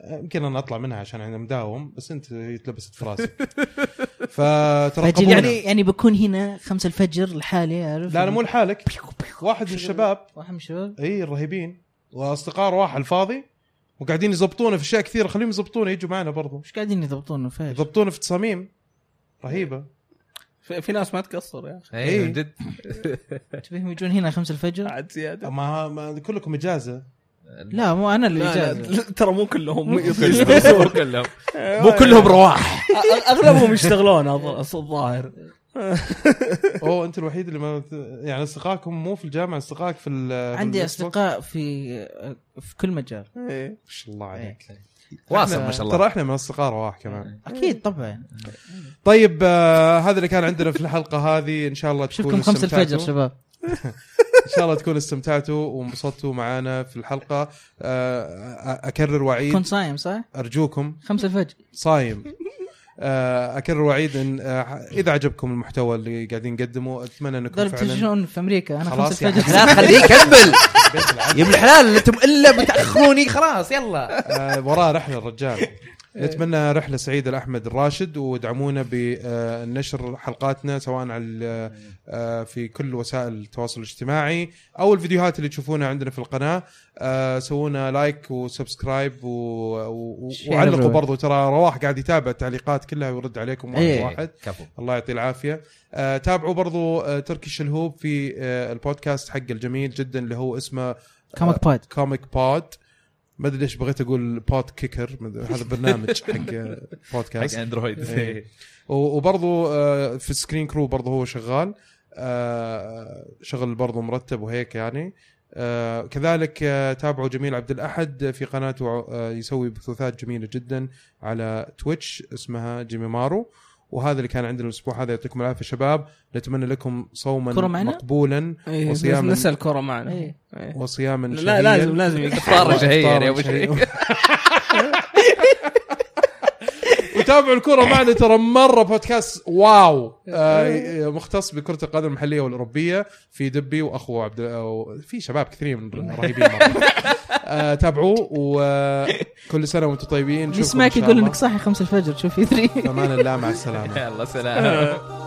A: آه، يمكن انا اطلع منها عشان انا مداوم بس انت يتلبست في راسك فترقبونا
C: يعني يعني بكون هنا خمسة الفجر لحالي عارف
A: لا انا مو لحالك واحد من الشباب
C: واحد من الشباب
A: اي الرهيبين واصدقاء رواح الفاضي وقاعدين يزبطونا في اشياء كثيره خليهم يزبطونا يجوا معنا برضو
C: مش قاعدين يضبطون فايش
A: يضبطونا في تصاميم رهيبه
D: في في ناس ما تقصر يا اخي
B: اي
A: إيه.
B: من جد
C: تبيهم يجون هنا خمسة الفجر
D: عاد زياده
A: ما, ما كلكم اجازه
C: لا مو انا اللي
D: لا، لا،
C: اجازه
D: لا، ترى مو كلهم
B: مو كلهم مو كلهم
A: إيه.
B: رواح
D: أ- اغلبهم يشتغلون أظ- الظاهر
A: اوه انت الوحيد اللي ما يعني اصدقائكم مو في الجامعه اصدقائك في ال- في
C: عندي
A: ال-
C: اصدقاء في آه، في كل مجال
D: إيه.
A: ما شاء الله عليك
B: واصل
A: إحنا-
B: ما شاء الله
A: ترى احنا من اصدقاء رواح كمان
C: اكيد طبعا
A: طيب آه هذا اللي كان عندنا في الحلقه هذه ان شاء الله تكونوا
C: اشوفكم خمسة الفجر
A: استمتعتوا.
C: شباب
A: ان شاء الله تكونوا استمتعتوا وانبسطتوا معنا في الحلقه آه أ- اكرر واعيد
C: كنت صايم صح؟
A: ارجوكم
C: خمسة الفجر
A: صايم آه، اكرر واعيد ان آه، اذا عجبكم المحتوى اللي قاعدين نقدمه اتمنى انكم
C: ضرب
A: فعلا
C: تلفزيون في امريكا انا
A: خلاص
C: خمسة
A: يا
C: الفجر
B: لا خليه يكمل يا ابن الحلال انتم الا بتاخروني خلاص يلا
A: آه، وراه رحله الرجال نتمنى رحله سعيده لاحمد الراشد وادعمونا بنشر حلقاتنا سواء على ال- آه، في كل وسائل التواصل الاجتماعي او الفيديوهات اللي تشوفونها عندنا في القناه آه، سوونا لايك وسبسكرايب و- و-
C: Share
A: وعلقوا
C: everywhere.
A: برضو ترى رواح قاعد يتابع التعليقات كلها ويرد عليكم واحد
C: إيه.
A: واحد
B: كفو
A: الله يعطيه العافيه آه تابعوا برضو آه تركي الشلهوب في آه البودكاست حق الجميل جدا اللي هو اسمه
C: كوميك بود
A: كوميك بود ما ادري ليش بغيت اقول بود كيكر ما أدري، هذا برنامج حق آه،
B: حق
A: بودكاست
B: اندرويد
A: إيه. و- وبرضو آه في سكرين كرو برضو هو شغال آه شغل برضو مرتب وهيك يعني آه، كذلك آه، تابعوا جميل عبد الاحد في قناته آه، يسوي بثوثات جميله جدا على تويتش اسمها جيمي مارو وهذا اللي كان عندنا الاسبوع هذا يعطيكم العافيه شباب نتمنى لكم
C: كرة
A: صوما
C: معنا؟
A: مقبولا
D: إيه،
A: وصيام-
D: نسى الكره معنا
C: إيه.
D: إيه.
A: وصياما
D: لا
A: شهيا.
D: لازم لازم
B: إفطار
A: يعني،
B: شهيا يا أبو
A: شهيا. وتابعوا الكره معنا ترى مره بودكاست واو آه، مختص بكره القدم المحليه والاوروبيه في دبي واخوه عبد أو- في شباب كثيرين رهيبين مره آه، تابعوه آه، وكل سنه وانتم طيبين نشوفكم إن
C: يسمعك
A: شاء
C: يقول
A: الله.
C: انك صاحي 5 الفجر شوف يثري
A: في امان الله مع السلامه
B: يلا سلام